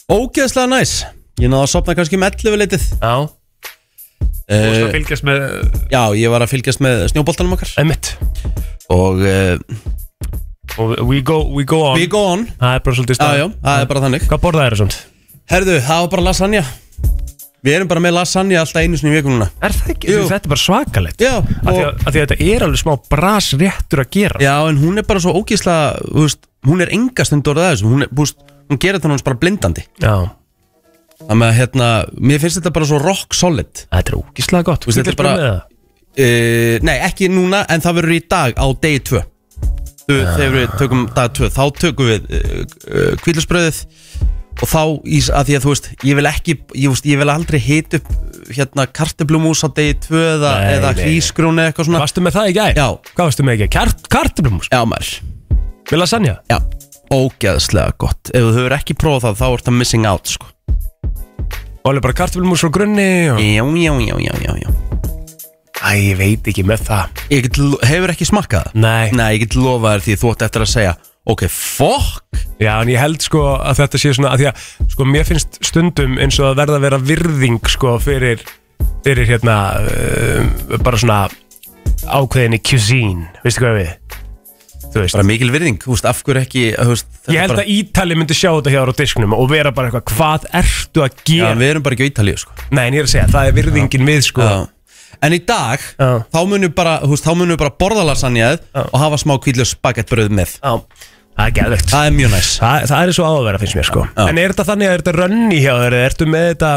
[SPEAKER 1] Ógeðslega næs Ég náða að sopna kannski um 11 litið
[SPEAKER 2] Já Þú veist að
[SPEAKER 1] uh,
[SPEAKER 2] fylgjast með
[SPEAKER 1] Já, ég var að fylgjast með snjóboltanum okkar
[SPEAKER 2] Emmett
[SPEAKER 1] Og uh,
[SPEAKER 2] Og we go, we go on
[SPEAKER 1] we go on
[SPEAKER 2] Það er bara svolítið
[SPEAKER 1] Já,
[SPEAKER 2] stað
[SPEAKER 1] já, það er bara þannig
[SPEAKER 2] Hvað borðaði þér og svona?
[SPEAKER 1] Herðu, það var bara lasagna Við erum bara með lasagna alltaf einu sinni í vikum núna
[SPEAKER 2] Er það ekki?
[SPEAKER 1] Jú.
[SPEAKER 2] Þetta er bara svakalegt
[SPEAKER 1] Já,
[SPEAKER 2] Af því
[SPEAKER 1] og,
[SPEAKER 2] að, að því að þetta er alveg smá brasréttur að gera
[SPEAKER 1] já en hún er bara svo ógísla veist, Hún er engastund orðið að þessu Hún, er, þú veist, hún gerir þannig hún bara blindandi
[SPEAKER 2] Já.
[SPEAKER 1] Þannig að hérna, mér finnst þetta bara svo rock solid
[SPEAKER 2] Þetta er ógislega gott
[SPEAKER 1] Þú veist, þetta er bara- uh, Nei, ekki núna, en það verður í dag á degi 2 Þú, Þegar við tökum dag 2 Þá tökum við uh, uh, kvílusbröðið Og þá, í, að því að þú veist Ég vil ekki, ég, veist, ég vil aldrei hit upp Hérna karteblumús á degi 2 Eða,
[SPEAKER 2] Nei,
[SPEAKER 1] eða
[SPEAKER 2] nei.
[SPEAKER 1] hlýskrún eða eitthvað svona
[SPEAKER 2] Varstu með það í gær?
[SPEAKER 1] Já.
[SPEAKER 2] Hvað varstu með í gær? Kart, kartumrúmus?
[SPEAKER 1] Já, maður
[SPEAKER 2] Með lasagna?
[SPEAKER 1] Já, ógeðslega gott Ef þú hefur ekki prófað það, þá ert það missing out sko.
[SPEAKER 2] Og alveg bara kartumrúmus frá grunni og...
[SPEAKER 1] Já, já, já, já, já, já
[SPEAKER 2] Æ, ég veit ekki með það
[SPEAKER 1] Ég get, lo- hefur ekki smakkað það?
[SPEAKER 2] Nei.
[SPEAKER 1] Nei, ég get lofað þér því þú átt eftir að segja Ok, fuck
[SPEAKER 2] Já, en ég held sko að þetta sé svona að Því að sko mér finnst stundum eins og að verða að vera virðing sko fyrir Fyrir hérna uh, bara svona ákveðinni cuisine Veistu hvað við? Þú veist
[SPEAKER 1] Bara mikil virðing, þú veist, af hverju ekki þú veist, þetta
[SPEAKER 2] Ég held
[SPEAKER 1] bara,
[SPEAKER 2] að Ítali myndi sjá þetta hjá þér á disknum og vera bara eitthvað, hvað ertu að
[SPEAKER 1] Já,
[SPEAKER 2] gera?
[SPEAKER 1] við erum bara ekki á Ítalíu, sko
[SPEAKER 2] Nei, en ég er að segja, það er virðingin við sko
[SPEAKER 1] Já. En í dag,
[SPEAKER 2] Já.
[SPEAKER 1] þá munum bara, þú veist, þá munum við bara borða lasagnaðið
[SPEAKER 2] Já.
[SPEAKER 1] Og hafa smá kvílu spagettbröð með
[SPEAKER 2] Já. Það er geðvögt
[SPEAKER 1] Það er mjög næs
[SPEAKER 2] það, það er svo áverða finnst mér sko
[SPEAKER 1] Já.
[SPEAKER 2] En er þetta þannig að er þetta rönni hjá þér? eða Ertu með þetta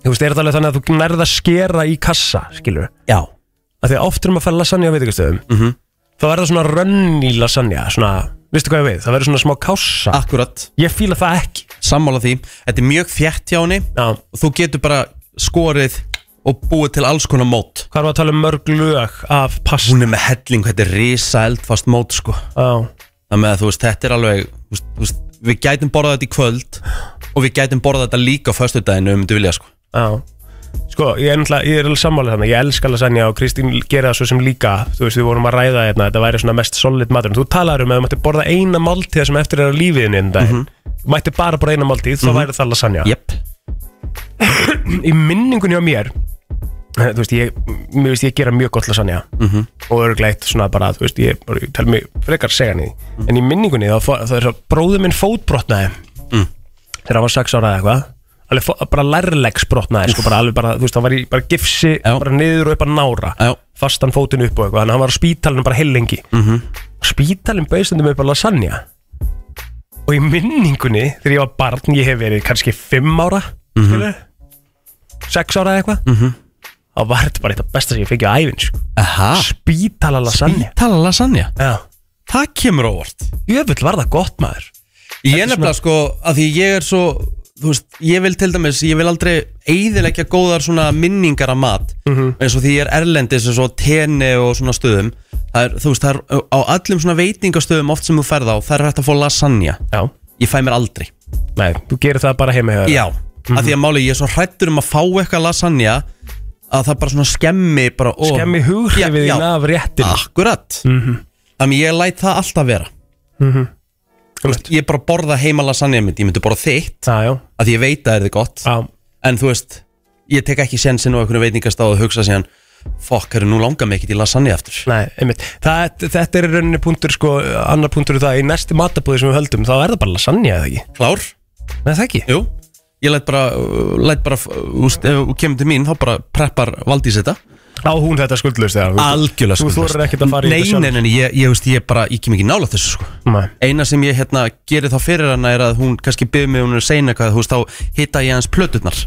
[SPEAKER 2] Þú veist, er þetta alveg þannig að þú nærð að skera í kassa Skilur
[SPEAKER 1] Já, Mhm.
[SPEAKER 2] Af því að oft erum að fara lasagna á veitingastöðum mm -hmm. Þá er það svona rönni lasagna Svona, veistu hvað ég við? Það verður svona smá kássa
[SPEAKER 1] akkurat,
[SPEAKER 2] Ég fíla það ekki
[SPEAKER 1] sammála því Þetta er mjög þjætt hjá henni
[SPEAKER 2] Já
[SPEAKER 1] og þú getur bara skorið og búið til alls konar mót
[SPEAKER 2] Hvað erum við að tala um mörg lög af pasta?
[SPEAKER 1] hún er með helling, þetta er risa eldfast mót sko.
[SPEAKER 2] Já
[SPEAKER 1] það með að þú veist, þetta er alveg þú veist, þú veist, við gætum borðað þetta í kvöld og við gætum borðað þetta líka á föstudaginu um þú vilja sko.
[SPEAKER 2] Já Sko, ég er náttúrulega, ég er alveg sammálið þannig Ég elska lasagna og Kristín gera það svo sem líka Þú veist, við vorum að ræða hérna, þetta væri svona mest solid matur En Þú talar um að þú mætti borða eina máltíð sem eftir er á lífiðin einn dag
[SPEAKER 1] Mhm.
[SPEAKER 2] Þú mætti bara borða eina máltíð, þá væri það lasagna
[SPEAKER 1] yep.
[SPEAKER 2] [CLEARS THROAT] Í minningunni á mér eh, Þú veist, ég, mér veist, ég gera mjög gott lasagna
[SPEAKER 1] Mhm,
[SPEAKER 2] -hmm. Og örgleitt svona bara, þú veist, ég, bara- ég tel mig frekar segja hann í
[SPEAKER 1] Mm.
[SPEAKER 2] því. En í minningunni, þá, fó- þá er svo bróður minn fótbrotnaði
[SPEAKER 1] Mm.
[SPEAKER 2] Þegar hann var sex ára eða eitthvað Alveg fó- bara lærlegsbrotnaði, sko, bara alveg bara, þú veist, hann var í bara gifsi,
[SPEAKER 1] Já.
[SPEAKER 2] bara niður og upp að nára
[SPEAKER 1] Já.
[SPEAKER 2] fastan fótinn upp og eitthvað þannig að hann var á spítalinn bara heilengi mm
[SPEAKER 1] Mhm.
[SPEAKER 2] -hmm. spítalinn bauðstundum upp að lasagna og í minningunni þegar ég var barn, ég hef verið kannski 5 ára mm -hmm. 6 ára eða eitthvað mm -hmm. þá var þetta bara eitthvað besta sem ég fengi á ævin sko.
[SPEAKER 1] Mhm. aha,
[SPEAKER 2] spítala lasagna
[SPEAKER 1] tala lasagna
[SPEAKER 2] Já.
[SPEAKER 1] það kemur óvart
[SPEAKER 2] jöfull var það gott maður
[SPEAKER 1] ég er nefnilega sko, að því ég er svo þú veist, ég vil til dæmis, ég vil aldrei eigðilegja góðar svona minningar af mat
[SPEAKER 2] Mhm.
[SPEAKER 1] eins og því ég er erlendis eins og tenni og svona stöðum það er, þú veist, það er á allum svona veitingastöðum oft sem þú ferð á, það er hægt að fá lasagna
[SPEAKER 2] Já.
[SPEAKER 1] ég fæ mér aldrei
[SPEAKER 2] Nei, þú gerir það bara heima hjá þér.
[SPEAKER 1] Já, af
[SPEAKER 2] Mhm.
[SPEAKER 1] því að máli ég er svo hrættur um að fá eitthvað lasagna að það bara svona skemmi bara, ó,
[SPEAKER 2] skemmi hughrifið
[SPEAKER 1] Já,
[SPEAKER 2] þín
[SPEAKER 1] já.
[SPEAKER 2] af Mhm, réttin
[SPEAKER 1] Akkurat Þannig ég læt það alltaf vera
[SPEAKER 2] mhm.
[SPEAKER 1] Þú veist, Ég bara borða heima lasagna mitt Ég myndi borða þitt
[SPEAKER 2] Já, já,
[SPEAKER 1] af því ég veit að er þið gott
[SPEAKER 2] já,
[SPEAKER 1] En þú veist, ég tek ekki sensin og einhvern veitingastáð og hugsa síðan Fokk, herru, nú langar mig ekkert í lasagna aftur
[SPEAKER 2] nei, einmitt það, Þetta er í rauninni punktur, sko, annar punktur er það í næsti matabúði sem við höldum, þá er það bara lasagna eða ekki
[SPEAKER 1] Klár?
[SPEAKER 2] Nei, það ekki
[SPEAKER 1] Jú Ég læt bara, uh, læt bara, uh, úst, ef þú kemur til mín, þá bara preppar Valdís þetta
[SPEAKER 2] Á hún þetta skuldlaust eða?
[SPEAKER 1] Algjörlega
[SPEAKER 2] Þú
[SPEAKER 1] skuldlaust.
[SPEAKER 2] þorir ekkert að fara í
[SPEAKER 1] Nei,
[SPEAKER 2] þetta
[SPEAKER 1] nei, nei, nei, ég, ég veist, ég bara, ég kem ekki nála þessu sko
[SPEAKER 2] Nei.
[SPEAKER 1] Eina sem ég hérna gerir þá fyrir hana er að hún kannski byggði mig hún er að segja eitthvað, þú veist, þá hitta ég hans plöturnar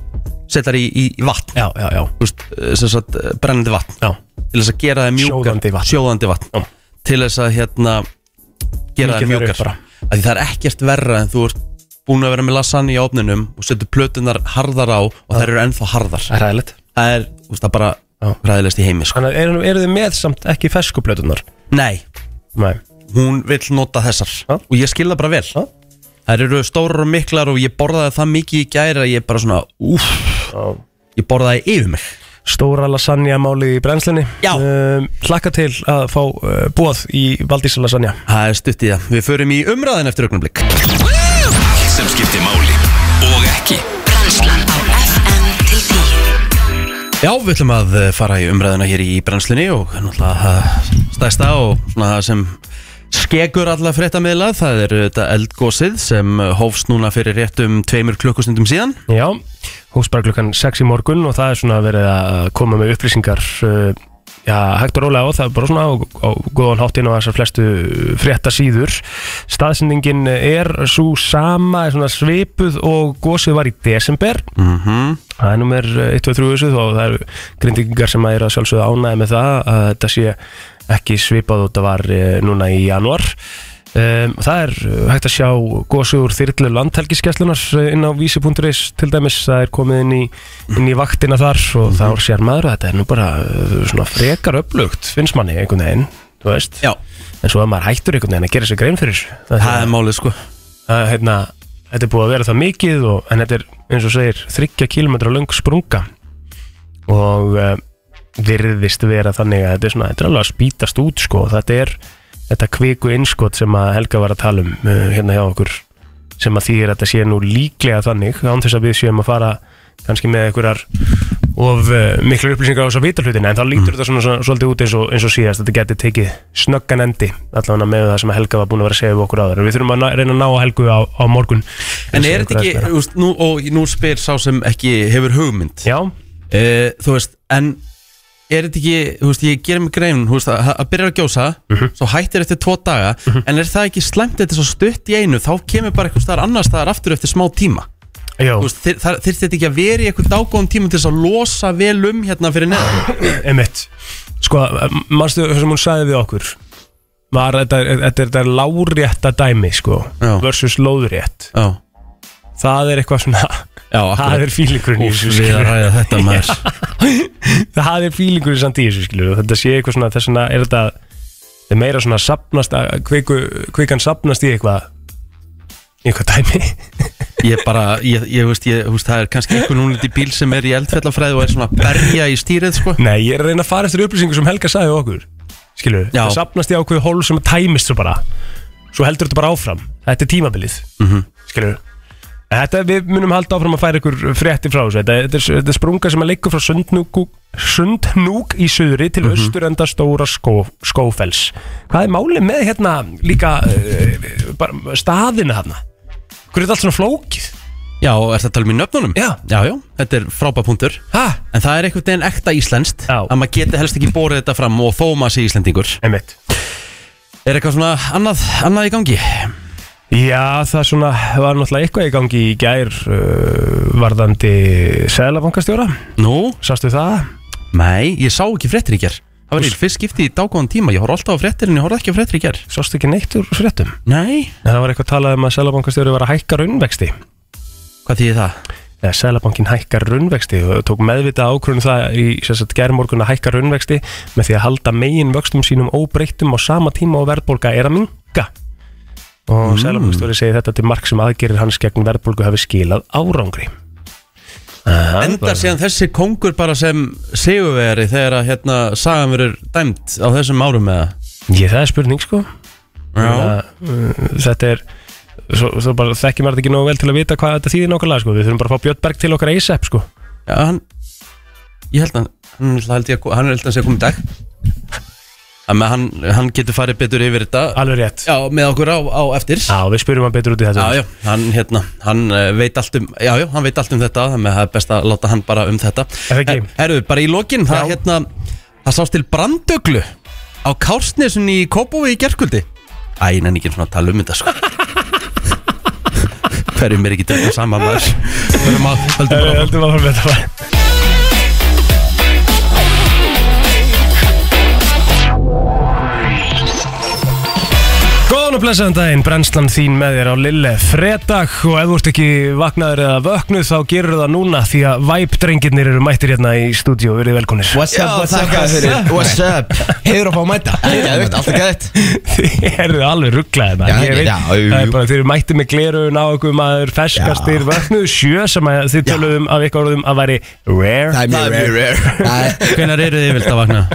[SPEAKER 1] Setar í, í, í vatn,
[SPEAKER 2] Já, já, já,
[SPEAKER 1] þú veist, eh, sem sagt, eh, brennandi vatn
[SPEAKER 2] já.
[SPEAKER 1] Til þess að gera það mjúkar
[SPEAKER 2] Sjóðandi vatn.
[SPEAKER 1] Sjóðandi vatn.
[SPEAKER 2] Já.
[SPEAKER 1] Til þess að hérna gera það
[SPEAKER 2] Mýkja þær upp
[SPEAKER 1] mjúkar
[SPEAKER 2] bara.
[SPEAKER 1] Af Því það er ekkert verra en þú ert búin að vera með lasagna í ofninum og setur plöturnar harðar á og þær eru ennþá harðar
[SPEAKER 2] Það er ræðilegt
[SPEAKER 1] Það er, þú veist, það bara
[SPEAKER 2] Já.
[SPEAKER 1] ræðilegst í heimi sko.
[SPEAKER 2] Þannig eru er þið með samt ekki fersku blötunar?
[SPEAKER 1] Nei,
[SPEAKER 2] Nei
[SPEAKER 1] hún vill nota þessar
[SPEAKER 2] Ha?
[SPEAKER 1] og ég skil það bara vel
[SPEAKER 2] Ha?
[SPEAKER 1] þær eru stórar og miklar og ég borðaði það mikið í gæri að ég bara svona, úff ég borðaði yfir mig
[SPEAKER 2] Stóra lasagna málið í brennslinni
[SPEAKER 1] Já.
[SPEAKER 2] um, Hlakka til að fá uh, bóð í Valdísa lasagna
[SPEAKER 1] það er stutt í það, við förum í umræðin eftir augnablik
[SPEAKER 9] Allt sem skiptir máli og ekki
[SPEAKER 10] Brænslan á FM til 10
[SPEAKER 1] já, við ætlum að eh, fara í umræðina hér í brennslunni og náttúrulega eh, stærsta og svona það sem skegur alla fréttamiðla, það eh, er þetta eldgósið sem eh, hófst núna fyrir réttum tveimur klukkustundum um síðan
[SPEAKER 2] Já hófst bara klukkan 6 í morgun og það er svona verið að koma með upplýsingar uh, já, hægt og rólega á það er bara svona á, á góðan háttinn á þessar flestu frétta síður staðsendingin er svo sama er svona svipuð og gósið var í desember
[SPEAKER 1] Mhm.
[SPEAKER 2] það er eh, nummer 1, 2, 3 þessu og það eru grindingar sem er að sjálfsögða ánæði með það að þetta sé ekki svipað og þetta var eh, núna í januar um, það er eh, hægt að sjá gósugur þyrlu landhelgiskeslunar inn á vísi.is til dæmis það er komið inn í, inn í vaktina þar og þá sér maður að þetta er nú bara eh, svona frekar upplugt finnst manni einhvern veginn þú veist
[SPEAKER 1] Já.
[SPEAKER 2] en svo að maður hættur einhvern veginn að gera sér grein fyrir þessu
[SPEAKER 1] Það er málið sko
[SPEAKER 2] að, hérna, þetta er búið að vera það mikið og, en þetta er eins og segir þryggja kílometra löng sprunga og uh, virðist vera þannig að þetta er svona þetta er alveg að spýtast út sko þetta er þetta kviku innskot sem að Helga var að tala um uh, hérna hjá okkur sem að þýðir að þetta sé nú líklega þannig án þess að við séum að fara kannski með einhverjar of uh, miklu upplýsingar á þess að vita hlutina en þá lítur
[SPEAKER 1] Mm.
[SPEAKER 2] þetta svona, svona svolítið út eins og, eins og síðast þetta geti tekið snöggan endi allavega með það sem að Helga var búin að vera að segja við okkur áður En við þurfum að ná, reyna að ná að Helgu á, á morgun
[SPEAKER 1] En er þetta ekki, þú veist, nú, og nú spyr sá sem ekki hefur hugmynd Eh,
[SPEAKER 2] Já
[SPEAKER 1] Þú veist, en er þetta ekki, þú veist, ég gerir mig grein, þú veist, að, að byrja að gjósa
[SPEAKER 2] Mhm.
[SPEAKER 1] Svo hættir eftir tvo daga En er það ekki slæmt þetta er svo stutt í einu Þá kemur bara eitthvað staðar annars staðar aftur eftir smá tíma
[SPEAKER 2] Já.
[SPEAKER 1] Þú veist, þyr- það- Þyrfti þetta ekki að vera í eitthvað dágóðum tíma Til þess að losa vel um hérna fyrir neðan
[SPEAKER 2] [CLEARS THROAT] Emitt Sko, mannstu það sem hún sagði við okkur var þetta, þetta, þetta er lárétta dæmi sko
[SPEAKER 1] Já.
[SPEAKER 2] versus lóðrétt
[SPEAKER 1] Já
[SPEAKER 2] það er eitthvað svona
[SPEAKER 1] Já,
[SPEAKER 2] [LAUGHS] það er fílingurinn í þessu
[SPEAKER 1] Úf, við að
[SPEAKER 2] skilurðu.
[SPEAKER 1] ræða þetta maður
[SPEAKER 2] [LAUGHS] það er fílingurinn samt í þessu skilur þetta sé eitthvað svona þess vegna er þetta þetta er meira svona sapnast að kviku, kvikan sapnast í eitthvað í eitthvað dæmi
[SPEAKER 1] Ég bara, ég, ég, veist, ég veist, það er kannski einhver núna í bíl sem er í eldfellafræði og er svona að berja í stýrið, sko
[SPEAKER 2] Nei, ég er að reyna að fara eftir upplýsingu sem Helga sagði við okkur skilur,
[SPEAKER 1] Já.
[SPEAKER 2] það sapnast í ákveðu hól sem tæmist svo bara svo heldur þetta bara áfram, þetta er tímabilið
[SPEAKER 1] Mhm.
[SPEAKER 2] skilur En Þetta, við munum halda áfram að færa ykkur frétti frá þessu Þetta, þetta, er, þetta er sprunga sem að leikur frá Sundnúk, Sundnúk í suðri til mm austurenda stóra skó, skófells Hvað er málið með hérna líka uh, bara, staðina hérna? Hver er þetta allt svona flókið?
[SPEAKER 1] Já, er þetta að tala um í nöfnunum?
[SPEAKER 2] Já.
[SPEAKER 1] Já, já, þetta er frábæð punktur
[SPEAKER 2] Ha?
[SPEAKER 1] En það er einhvern veginn ekta íslenskt
[SPEAKER 2] Já.
[SPEAKER 1] að maður geti helst ekki borið þetta fram og þó maður sé íslendingur
[SPEAKER 2] Einmitt
[SPEAKER 1] Er eitthvað svona annað, annað í gangi?
[SPEAKER 2] Já, það svona var náttúrulega eitthvað í gangi í gær uh, varðandi sæðlabankastjóra,
[SPEAKER 1] Nú,
[SPEAKER 2] sástu það?
[SPEAKER 1] nei, ég sá ekki fréttir í ger Það var í fyrst skipti í dágóðan tíma Ég horf alltaf á fréttir en ég horf ekki á fréttir í ger
[SPEAKER 2] Sástu ekki neitt úr fréttum?
[SPEAKER 1] Nei,
[SPEAKER 2] En það var eitthvað talað um að sæðlabankastjóri var að hækka raunvexti
[SPEAKER 1] hvað þýðir það?
[SPEAKER 2] eða Sælabankin hækkar raunvexti og tók meðvita ákvörðun um það í gerðmorgun að hækka raunvexti með því að halda megin vöxtum sínum óbreyttum á sama tíma og verðbólga er að minga og mm. Sælabankistjóri segir þetta til mark sem aðgerir hans gegn verðbólgu hafi skilað árangri Aha,
[SPEAKER 1] Endar síðan þessi kongur bara sem sigurveri þegar að hérna sagan verður dæmt á þessum árum eða?
[SPEAKER 2] Ég, það er spurning sko
[SPEAKER 1] Já,
[SPEAKER 2] Þannig að, uh, Þetta er Svo, svo bara þekkjum maður þetta ekki nógu vel til að vita hvað þetta þýðir nákvæmlega sko. Við þurfum bara að fá Björn Berg til okkar ASAP sko.
[SPEAKER 1] já hann, ég held að hann, hann, held ég, að- hann er held að hann sé að koma í dag Þannig að hann, hann getur farið betur yfir þetta
[SPEAKER 2] Alveg rétt Já,
[SPEAKER 1] Já, með okkur á, á eftir Já,
[SPEAKER 2] við spyrum hann betur út í þetta
[SPEAKER 1] já, hann, hérna, hann eh, veit allt um Já, já, hann veit allt um þetta Þannig að það er best að láta hann bara um þetta
[SPEAKER 2] Er það ekki?
[SPEAKER 1] Eh, Herðu, bara í lokin það,
[SPEAKER 2] Já.
[SPEAKER 1] hérna, það sást til brandöglu Á Kársnesun í Kópói í gerkuldi Æ, en ekki svona að tala um
[SPEAKER 2] [LAUGHS]
[SPEAKER 1] þetta sko Hverjum er ekki þetta saman maður Hverjum að, um höldum
[SPEAKER 2] Við
[SPEAKER 1] bara áfram.
[SPEAKER 2] höldum að fara með þetta Góðan og blessaðan daginn, brennslan þín með þér á Lille fredag og ef þú ert ekki vaknaður eða vöknuð þá gerur það núna því að væpdrengirnir eru mættir hérna í stúdíu og verið velkonir
[SPEAKER 11] What's up, what's up, guys fyrir What's up Hefur að fá að mæta Geðvikt, allt er [LAUGHS] geðvikt
[SPEAKER 2] Þið eru alveg rugglaðið
[SPEAKER 11] Já,
[SPEAKER 2] maður Ég
[SPEAKER 11] já,
[SPEAKER 2] veit,
[SPEAKER 11] já, jú,
[SPEAKER 2] það er
[SPEAKER 11] jú.
[SPEAKER 2] bara þeir eru mættið með glerun á okkur maður ferskastir vöknuðu sjö sem að þið töluðum af ykkur orðum að væri rare
[SPEAKER 11] Það er mjög rare [LAUGHS] Það er-
[SPEAKER 1] Hvenær eru þið vilt að vakna?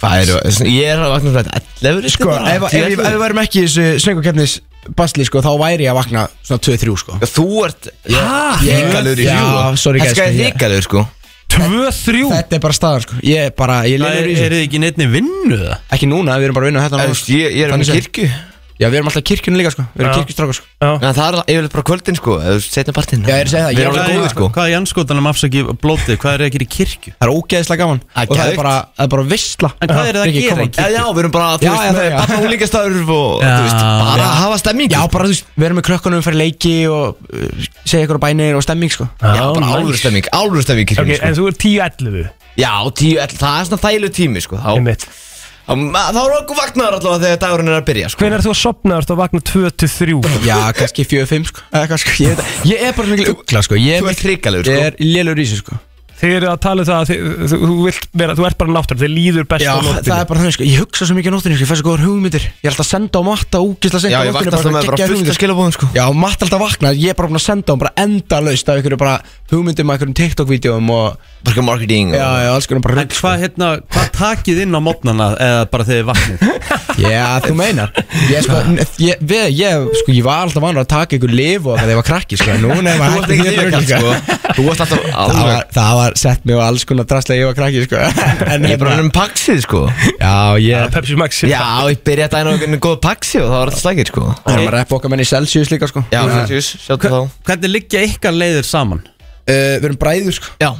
[SPEAKER 11] Hvað eru, svona, ég er að vakna svona 11 Sko, ef, ef, ef, ef við værum ekki í þessu söngukeppnis basli, sko, þá væri ég að vakna svona 2-3, sko
[SPEAKER 12] Þú ert Híkalur í
[SPEAKER 11] Já,
[SPEAKER 12] hjú
[SPEAKER 11] sorry, guys, sko,
[SPEAKER 12] Þetta er
[SPEAKER 11] ég-
[SPEAKER 12] híkalur sko
[SPEAKER 2] Tvö, þrjú
[SPEAKER 11] Þetta er bara staðan, sko Ég er bara, ég
[SPEAKER 1] Það
[SPEAKER 11] leynur í
[SPEAKER 1] er, er
[SPEAKER 11] þessu
[SPEAKER 1] þið ekki neittni vinnu það?
[SPEAKER 11] Ekki núna, við erum bara að vinna hérna
[SPEAKER 12] Æst, ég, ég er með
[SPEAKER 11] Þannig séð.
[SPEAKER 12] kirkju
[SPEAKER 11] Já, við erum alltaf kirkjunum líka sko Við erum
[SPEAKER 12] Já.
[SPEAKER 11] kirkjustrákar sko
[SPEAKER 2] Já.
[SPEAKER 12] En það er yfirleitt bara kvöldin sko Eða setna partinn
[SPEAKER 11] Já, ég er að segja það,
[SPEAKER 12] Við erum
[SPEAKER 11] ég-
[SPEAKER 12] alveg góðir sko
[SPEAKER 1] Hvað er Janskotanum afsaki blótið? Hvað er það að gera í kirkju?
[SPEAKER 11] Það er ógeðislega gaman Og það er bara, það er bara vissla
[SPEAKER 1] En hvað eru það að gera í kirkju?
[SPEAKER 12] Já, við erum bara, þú
[SPEAKER 11] Já,
[SPEAKER 12] veist,
[SPEAKER 11] já,
[SPEAKER 12] með
[SPEAKER 11] já.
[SPEAKER 12] barna og líkastarf og,
[SPEAKER 11] Já,
[SPEAKER 12] þú veist, bara
[SPEAKER 11] Ah, já.
[SPEAKER 12] að hafa stemmingu
[SPEAKER 11] Já, bara þú veist, við erum með krökkunum fyrir leiki og uh, segja ykkur á bænir og stemming sko
[SPEAKER 12] Já, bara álfur stemming, álfur stemming í
[SPEAKER 2] Ok,
[SPEAKER 12] kirkjunni
[SPEAKER 2] en þú er 10-11
[SPEAKER 12] sko Já, tíu, ell- það er svona þægileg tími sko Þá,
[SPEAKER 2] Einmitt.
[SPEAKER 12] þá, ma- þá er okkur vaknaður allavega þegar dagurinn er að byrja sko
[SPEAKER 2] Hvenær þú að sopna, ertu að vakna 2-3
[SPEAKER 11] Já, kannski 4-5 sko Eða eitthvað sko, ég, veit það. ég er bara svona mikil ugla sko Ég
[SPEAKER 12] Þú ert hrikalegur
[SPEAKER 11] Ég
[SPEAKER 12] sko
[SPEAKER 11] er lélur í þessu sko
[SPEAKER 2] Þið eru að tala um það að þið, þú, þú, vilt vera, þú ert bara náttúrulega, þið líður best
[SPEAKER 11] Já,
[SPEAKER 2] á nóttinni
[SPEAKER 11] það er bara þannig sko, ég hugsa svo mikið á nóttinu sko, ég fæ svo góðar hugmyndir Ég er alltaf að senda á matta og úkisla sent
[SPEAKER 12] Já,
[SPEAKER 11] á
[SPEAKER 12] ég vakna
[SPEAKER 11] nóttinu
[SPEAKER 12] alltaf með
[SPEAKER 11] geggjaðar
[SPEAKER 12] bara fullt
[SPEAKER 11] hugmyndir.
[SPEAKER 12] að skilabóðum sko
[SPEAKER 11] Já, matta alltaf vakna, ég er bara búin að senda á hann bara endalaust af ykkur bara hugmyndum af ykkur TikTok-vídeóum og
[SPEAKER 12] Bara marketing
[SPEAKER 11] Já,
[SPEAKER 12] og
[SPEAKER 11] já, alls konar bara sko.
[SPEAKER 1] En hvað hérna, hvað takið inn á mótnana eða bara þegar þið vaknið?
[SPEAKER 11] [LAUGHS] Já, þú meinar Ég, sko, ég, við, ég, sko, ég var alltaf vanur að taka ykkur lif og þegar ég var krakki sko. Núna er
[SPEAKER 12] Þú
[SPEAKER 11] maður
[SPEAKER 12] varst ekki
[SPEAKER 11] því
[SPEAKER 12] yfirkall
[SPEAKER 11] sko.
[SPEAKER 12] sko Þú varst alltaf
[SPEAKER 11] það, var,
[SPEAKER 12] alveg
[SPEAKER 11] það var sett mig á alls konar drastlega ég var krakki sko. [LAUGHS] en,
[SPEAKER 12] Ég er bara hennum paksið sko
[SPEAKER 11] Já,
[SPEAKER 2] Það er
[SPEAKER 11] ég
[SPEAKER 2] Pepsi Max
[SPEAKER 12] Já, ég byrjaði daginn á einhvern góð paksi og það var alltaf slækir sko
[SPEAKER 11] Það var að reppa okkar menn í Celsius líka sko.
[SPEAKER 12] Já,
[SPEAKER 11] Þannig að-
[SPEAKER 12] Celsius, sjáttu þá
[SPEAKER 1] Hvernig liggja ykkar leiðir saman?
[SPEAKER 11] uh, Við erum bræður sko.
[SPEAKER 12] Já,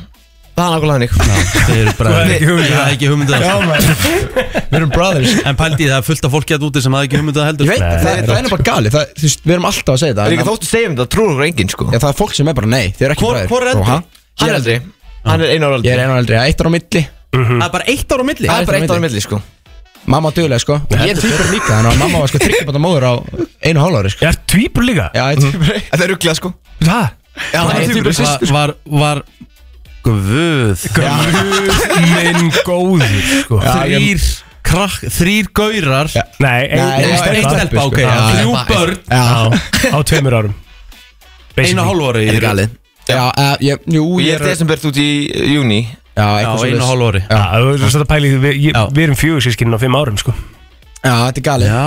[SPEAKER 12] það er nákvæmlega þannig
[SPEAKER 1] Þið eru bara,
[SPEAKER 2] Þú
[SPEAKER 12] [LAUGHS]
[SPEAKER 2] hefur ekki hugmynd um
[SPEAKER 1] það er ekki hugmyndið það
[SPEAKER 11] Við erum brothers
[SPEAKER 1] En pældi ég, það er fullt af fólki að úti sem hafi ekki hugmyndið að
[SPEAKER 11] Ég
[SPEAKER 1] heldur sko.
[SPEAKER 11] veit,
[SPEAKER 1] Nei.
[SPEAKER 11] það, það, það er bara gali það, þú veist, Við erum alltaf að segja
[SPEAKER 12] Það er ekki
[SPEAKER 11] það
[SPEAKER 12] þóttu segjum þetta, trúur okkur enginn sko
[SPEAKER 11] Já, Það er fólk sem er bara nei, þið eru ekki
[SPEAKER 1] Hvor-
[SPEAKER 11] bræður
[SPEAKER 1] hvor er eldri?
[SPEAKER 11] Og hann-
[SPEAKER 12] Hann er eldri, hann er einu ára
[SPEAKER 11] Ég
[SPEAKER 12] eldri
[SPEAKER 11] er einan aldrei, eitt ára á milli
[SPEAKER 1] Það er bara eitt ár á milli
[SPEAKER 12] Það er bara
[SPEAKER 11] á
[SPEAKER 12] eitt ára milli sko
[SPEAKER 11] Mamma duglega sko Og ég er tvíbur líka Þannig að mamma var sko þryggjabata móður á einu hálfari sko
[SPEAKER 2] Ég er tvípur líka
[SPEAKER 11] Já, ég er tvíbur
[SPEAKER 12] Mhm. Það er rugglega sko
[SPEAKER 2] Það?
[SPEAKER 12] Já, það er sko. tvíbur
[SPEAKER 1] Var, var, var Guð
[SPEAKER 2] Guð minn góður sko
[SPEAKER 1] Þrýr krakk, þrýr gaurar
[SPEAKER 11] Já.
[SPEAKER 2] Nei, ein,
[SPEAKER 11] Nei,
[SPEAKER 2] ein
[SPEAKER 11] já,
[SPEAKER 2] stelpa.
[SPEAKER 1] Eitt
[SPEAKER 12] sko.
[SPEAKER 1] stelpa, ok,
[SPEAKER 11] Já,
[SPEAKER 1] þrjú
[SPEAKER 12] já.
[SPEAKER 1] börn
[SPEAKER 11] Já,
[SPEAKER 2] Á tveimur árum
[SPEAKER 1] Einu hálfóri
[SPEAKER 12] Þetta er galið
[SPEAKER 11] já, eh, ég, jú,
[SPEAKER 12] Og ég
[SPEAKER 11] ég
[SPEAKER 12] er desember út í júni
[SPEAKER 11] Já,
[SPEAKER 1] Já,
[SPEAKER 11] eitthvað
[SPEAKER 1] einu
[SPEAKER 11] svoleiðis.
[SPEAKER 1] hálfóri
[SPEAKER 2] Já, þú veist að pæli, við, ég,
[SPEAKER 1] Já.
[SPEAKER 2] við erum fjögur sískinn á fimm árum sko
[SPEAKER 11] Já, þetta er galið
[SPEAKER 1] Já,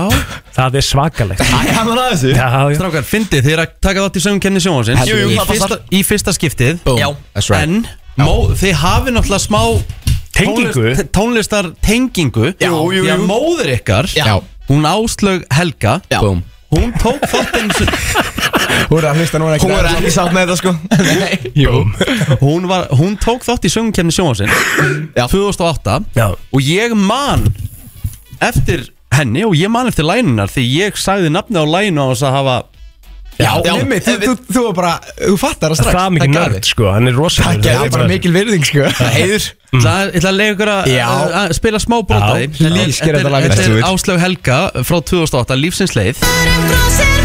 [SPEAKER 2] Það er svakalegt
[SPEAKER 12] Það er hann að þessu
[SPEAKER 2] Já, já
[SPEAKER 1] strákar, fyndið, þið er að taka þátt í sögumkenni sjónvansins
[SPEAKER 11] Jú, jú,
[SPEAKER 1] í,
[SPEAKER 12] það passar.
[SPEAKER 1] fyrsta- í fyrsta skiptið
[SPEAKER 11] Boom,
[SPEAKER 12] Já.
[SPEAKER 11] that's right
[SPEAKER 1] En mó, þið hafi náttúrulega smá
[SPEAKER 2] Tengingu?
[SPEAKER 1] tónlist, Tónlistar tengingu
[SPEAKER 12] Já, jú, jú.
[SPEAKER 1] Því að móðir ykkar
[SPEAKER 12] Já.
[SPEAKER 1] Hún áslög Helga
[SPEAKER 12] Já.
[SPEAKER 11] Búm
[SPEAKER 1] Hún tók þáttinn
[SPEAKER 11] Hún er að hlusta núna ekki
[SPEAKER 12] Hún er ekki sátt með þetta sko
[SPEAKER 11] Jú
[SPEAKER 1] hún, var, hún tók þátt í sögumkenni sjónvansins
[SPEAKER 12] Já.
[SPEAKER 1] 2008
[SPEAKER 2] Já,
[SPEAKER 1] Og ég man Eftir henni og ég man eftir lænunar Því ég sagði nafni á lænu á þess að hafa
[SPEAKER 11] Já,
[SPEAKER 12] Já.
[SPEAKER 11] Mimmi, þú, þú, þú er bara, þú fattar það
[SPEAKER 2] það
[SPEAKER 11] strax
[SPEAKER 2] er mikið nörd sko, hann er
[SPEAKER 11] Það
[SPEAKER 2] rosalega
[SPEAKER 11] gerði bara mikil virðing sko
[SPEAKER 12] Heiður
[SPEAKER 1] Ég ætla- ég ætla að leiða ykkur að-
[SPEAKER 11] Já.
[SPEAKER 1] að að spila smá brota
[SPEAKER 2] Já,
[SPEAKER 1] í. Þetta er-
[SPEAKER 11] please, gerðu þetta lag.
[SPEAKER 1] Þetta
[SPEAKER 11] Let's do
[SPEAKER 1] er
[SPEAKER 11] it.
[SPEAKER 1] Áslaug Helga frá 2008, Lífsins leið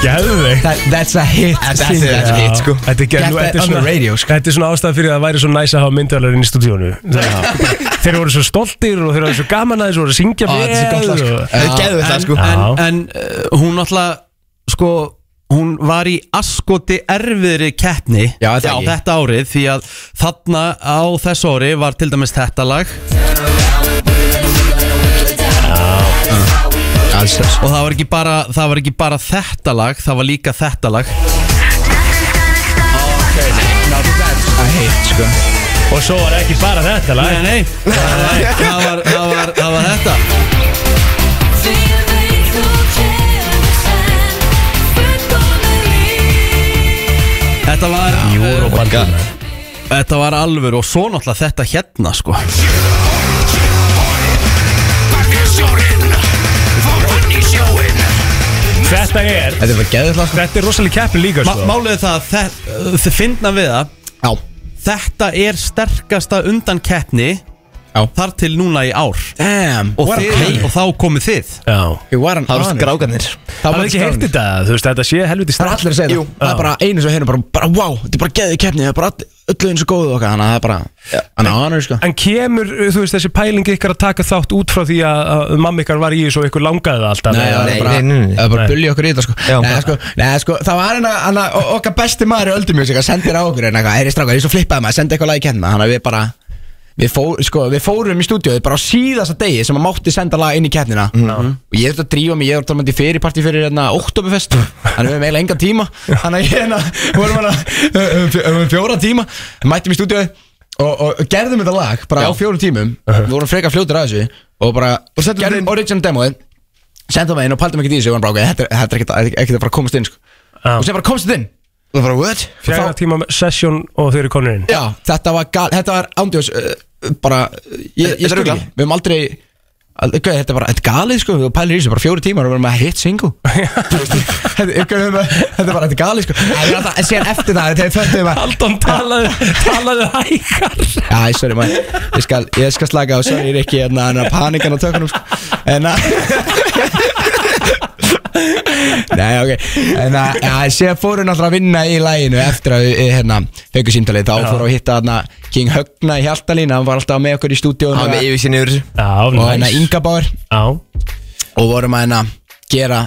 [SPEAKER 2] Gæðu þig
[SPEAKER 11] That, That's a hit That's
[SPEAKER 12] it, that's a hit, sko.
[SPEAKER 2] Þetta er
[SPEAKER 11] Get
[SPEAKER 2] gæðu
[SPEAKER 11] that
[SPEAKER 2] Þetta er
[SPEAKER 11] on the
[SPEAKER 2] svona
[SPEAKER 11] radio, sko.
[SPEAKER 2] Þetta er svona ástæð fyrir að það væri svo næs að hafa myndavælur inn í stúdíónu Þeir voru svo stoltir og þeir voru svo gaman að þessu voru að syngja
[SPEAKER 11] Á, þetta er svo gott lag,
[SPEAKER 2] vel
[SPEAKER 11] sko.
[SPEAKER 2] og-
[SPEAKER 12] Þau gerðu þetta sko
[SPEAKER 1] En,
[SPEAKER 2] Já.
[SPEAKER 1] en uh, hún alltaf sko, hún var í askoti erfiðri keppni
[SPEAKER 11] Já, það ekki.
[SPEAKER 1] þetta árið því að þarna á þessu ári var til dæmis þetta lag
[SPEAKER 11] Alls þess
[SPEAKER 1] og það var ekki bara, það var ekki bara þetta lag það var líka þetta lag
[SPEAKER 11] A hit sko
[SPEAKER 2] Og svo var ekki bara þetta lag
[SPEAKER 1] Nei, nei, það var, það var, það var, það var þetta Þetta var uh,
[SPEAKER 2] Júróbandið
[SPEAKER 1] Þetta var alvöru og svo náttúrulega þetta hérna sko
[SPEAKER 2] Þetta er
[SPEAKER 11] Þetta er bara geðið hlað sko
[SPEAKER 2] Þetta er rosalega keppni líka
[SPEAKER 1] Ma,
[SPEAKER 2] sko
[SPEAKER 1] Málið er það að þe- uh, þið finna við það
[SPEAKER 11] Já
[SPEAKER 1] Þetta er sterkasta undan keppni
[SPEAKER 11] Já.
[SPEAKER 1] Þar til núna í ár
[SPEAKER 11] Damn
[SPEAKER 1] Og, þið, og þá komið þið
[SPEAKER 2] Já
[SPEAKER 11] Ég var hann
[SPEAKER 12] Það voru skrákanir
[SPEAKER 11] Það
[SPEAKER 2] Það er ekki heyrt þetta, þú veist, þetta sé
[SPEAKER 11] Það
[SPEAKER 2] helviti
[SPEAKER 11] er
[SPEAKER 2] starf
[SPEAKER 11] allir að segja
[SPEAKER 12] Jú.
[SPEAKER 11] það Það er bara einu sem hérna bara, bara wow, þetta er bara geðið keppni Það er bara all- öllu eins og góðu okkar Þannig að það er bara, hann er honor sko
[SPEAKER 2] En kemur, uh, þú veist, þessi pæling ykkar að taka þátt út frá því að, að mamma ykkar var í þessu og ykkur langaði það alltaf
[SPEAKER 11] Nei, það
[SPEAKER 12] nei,
[SPEAKER 11] er bara,
[SPEAKER 12] nei, nei, nei.
[SPEAKER 11] það er bara
[SPEAKER 2] Nei.
[SPEAKER 11] að bulja okkur í þetta sko
[SPEAKER 12] Já.
[SPEAKER 11] Nei, sko, nei, sko það var hérna, hann að- o- okkar besti maður í öldumjöks Sendir á okkur, en eitthvað, er ég strákar, ég er svo flippaði maður Sendi eitthvað lagi keppna, þannig að við bara Við, fór, sko, við fórum í stúdíóið bara á síðasta degi sem að mátti senda lag inn í keppnina
[SPEAKER 1] Mm.
[SPEAKER 11] Mhm. og ég þurfti að drífa mig, ég var talandi fyrirparti fyrir hérna Oktoberfest þannig við hefum eiginlega engan tíma þannig að ég hérna, vorum hérna uh, uh, fjó- um fjóra tíma, mættum í stúdíóið og, og gerðum þetta lag bara á fjórum tímum,
[SPEAKER 2] Uh-huh.
[SPEAKER 11] við vorum freka fljótur að þessu og bara, og gerðum original demoið senda mig inn og paldum ekkert í þessu og hann bara, ok, þetta er- þetta er ekkert- ekkert að fara að komast inn sko. og sem bara komst þetta inn og það bara, what?
[SPEAKER 2] Fjara tíma session og þau eru konur inn
[SPEAKER 11] Já, þetta var gal, þetta var ándjós uh, bara, uh, ég, ég
[SPEAKER 2] Þetta er
[SPEAKER 11] skil
[SPEAKER 2] ruglað.
[SPEAKER 11] ekki, við höfum aldrei al- gauð, þetta er bara, þetta er galið sko, þú pælir í þessu bara fjóri tímar og við erum að hit single Þú veist, þetta er gauð, við höfum að- þetta er bara, þetta er galið sko en ég er alltaf, en síðan eftir það, þegar föttum við
[SPEAKER 2] Aldon talaði, talaði hægar
[SPEAKER 11] Já, ég sorry maður, ég skal, ég skal slaka á, sorry Rikki, hérna, hann er panikan á tökunum sko. en að Nei, ok En að, að sé að fóru náttúrulega að vinna í læginu Eftir að við, hérna, fengu síndalið Þá
[SPEAKER 12] Já.
[SPEAKER 11] fóru að hitta hérna King Högna í Hjaltalín Hann var alltaf með okkur í stúdíónu
[SPEAKER 12] Hann var með yfirsýn yfir þessu.
[SPEAKER 2] Já,
[SPEAKER 11] Og hérna Inga Bár
[SPEAKER 2] Já
[SPEAKER 11] Og vorum að hérna gera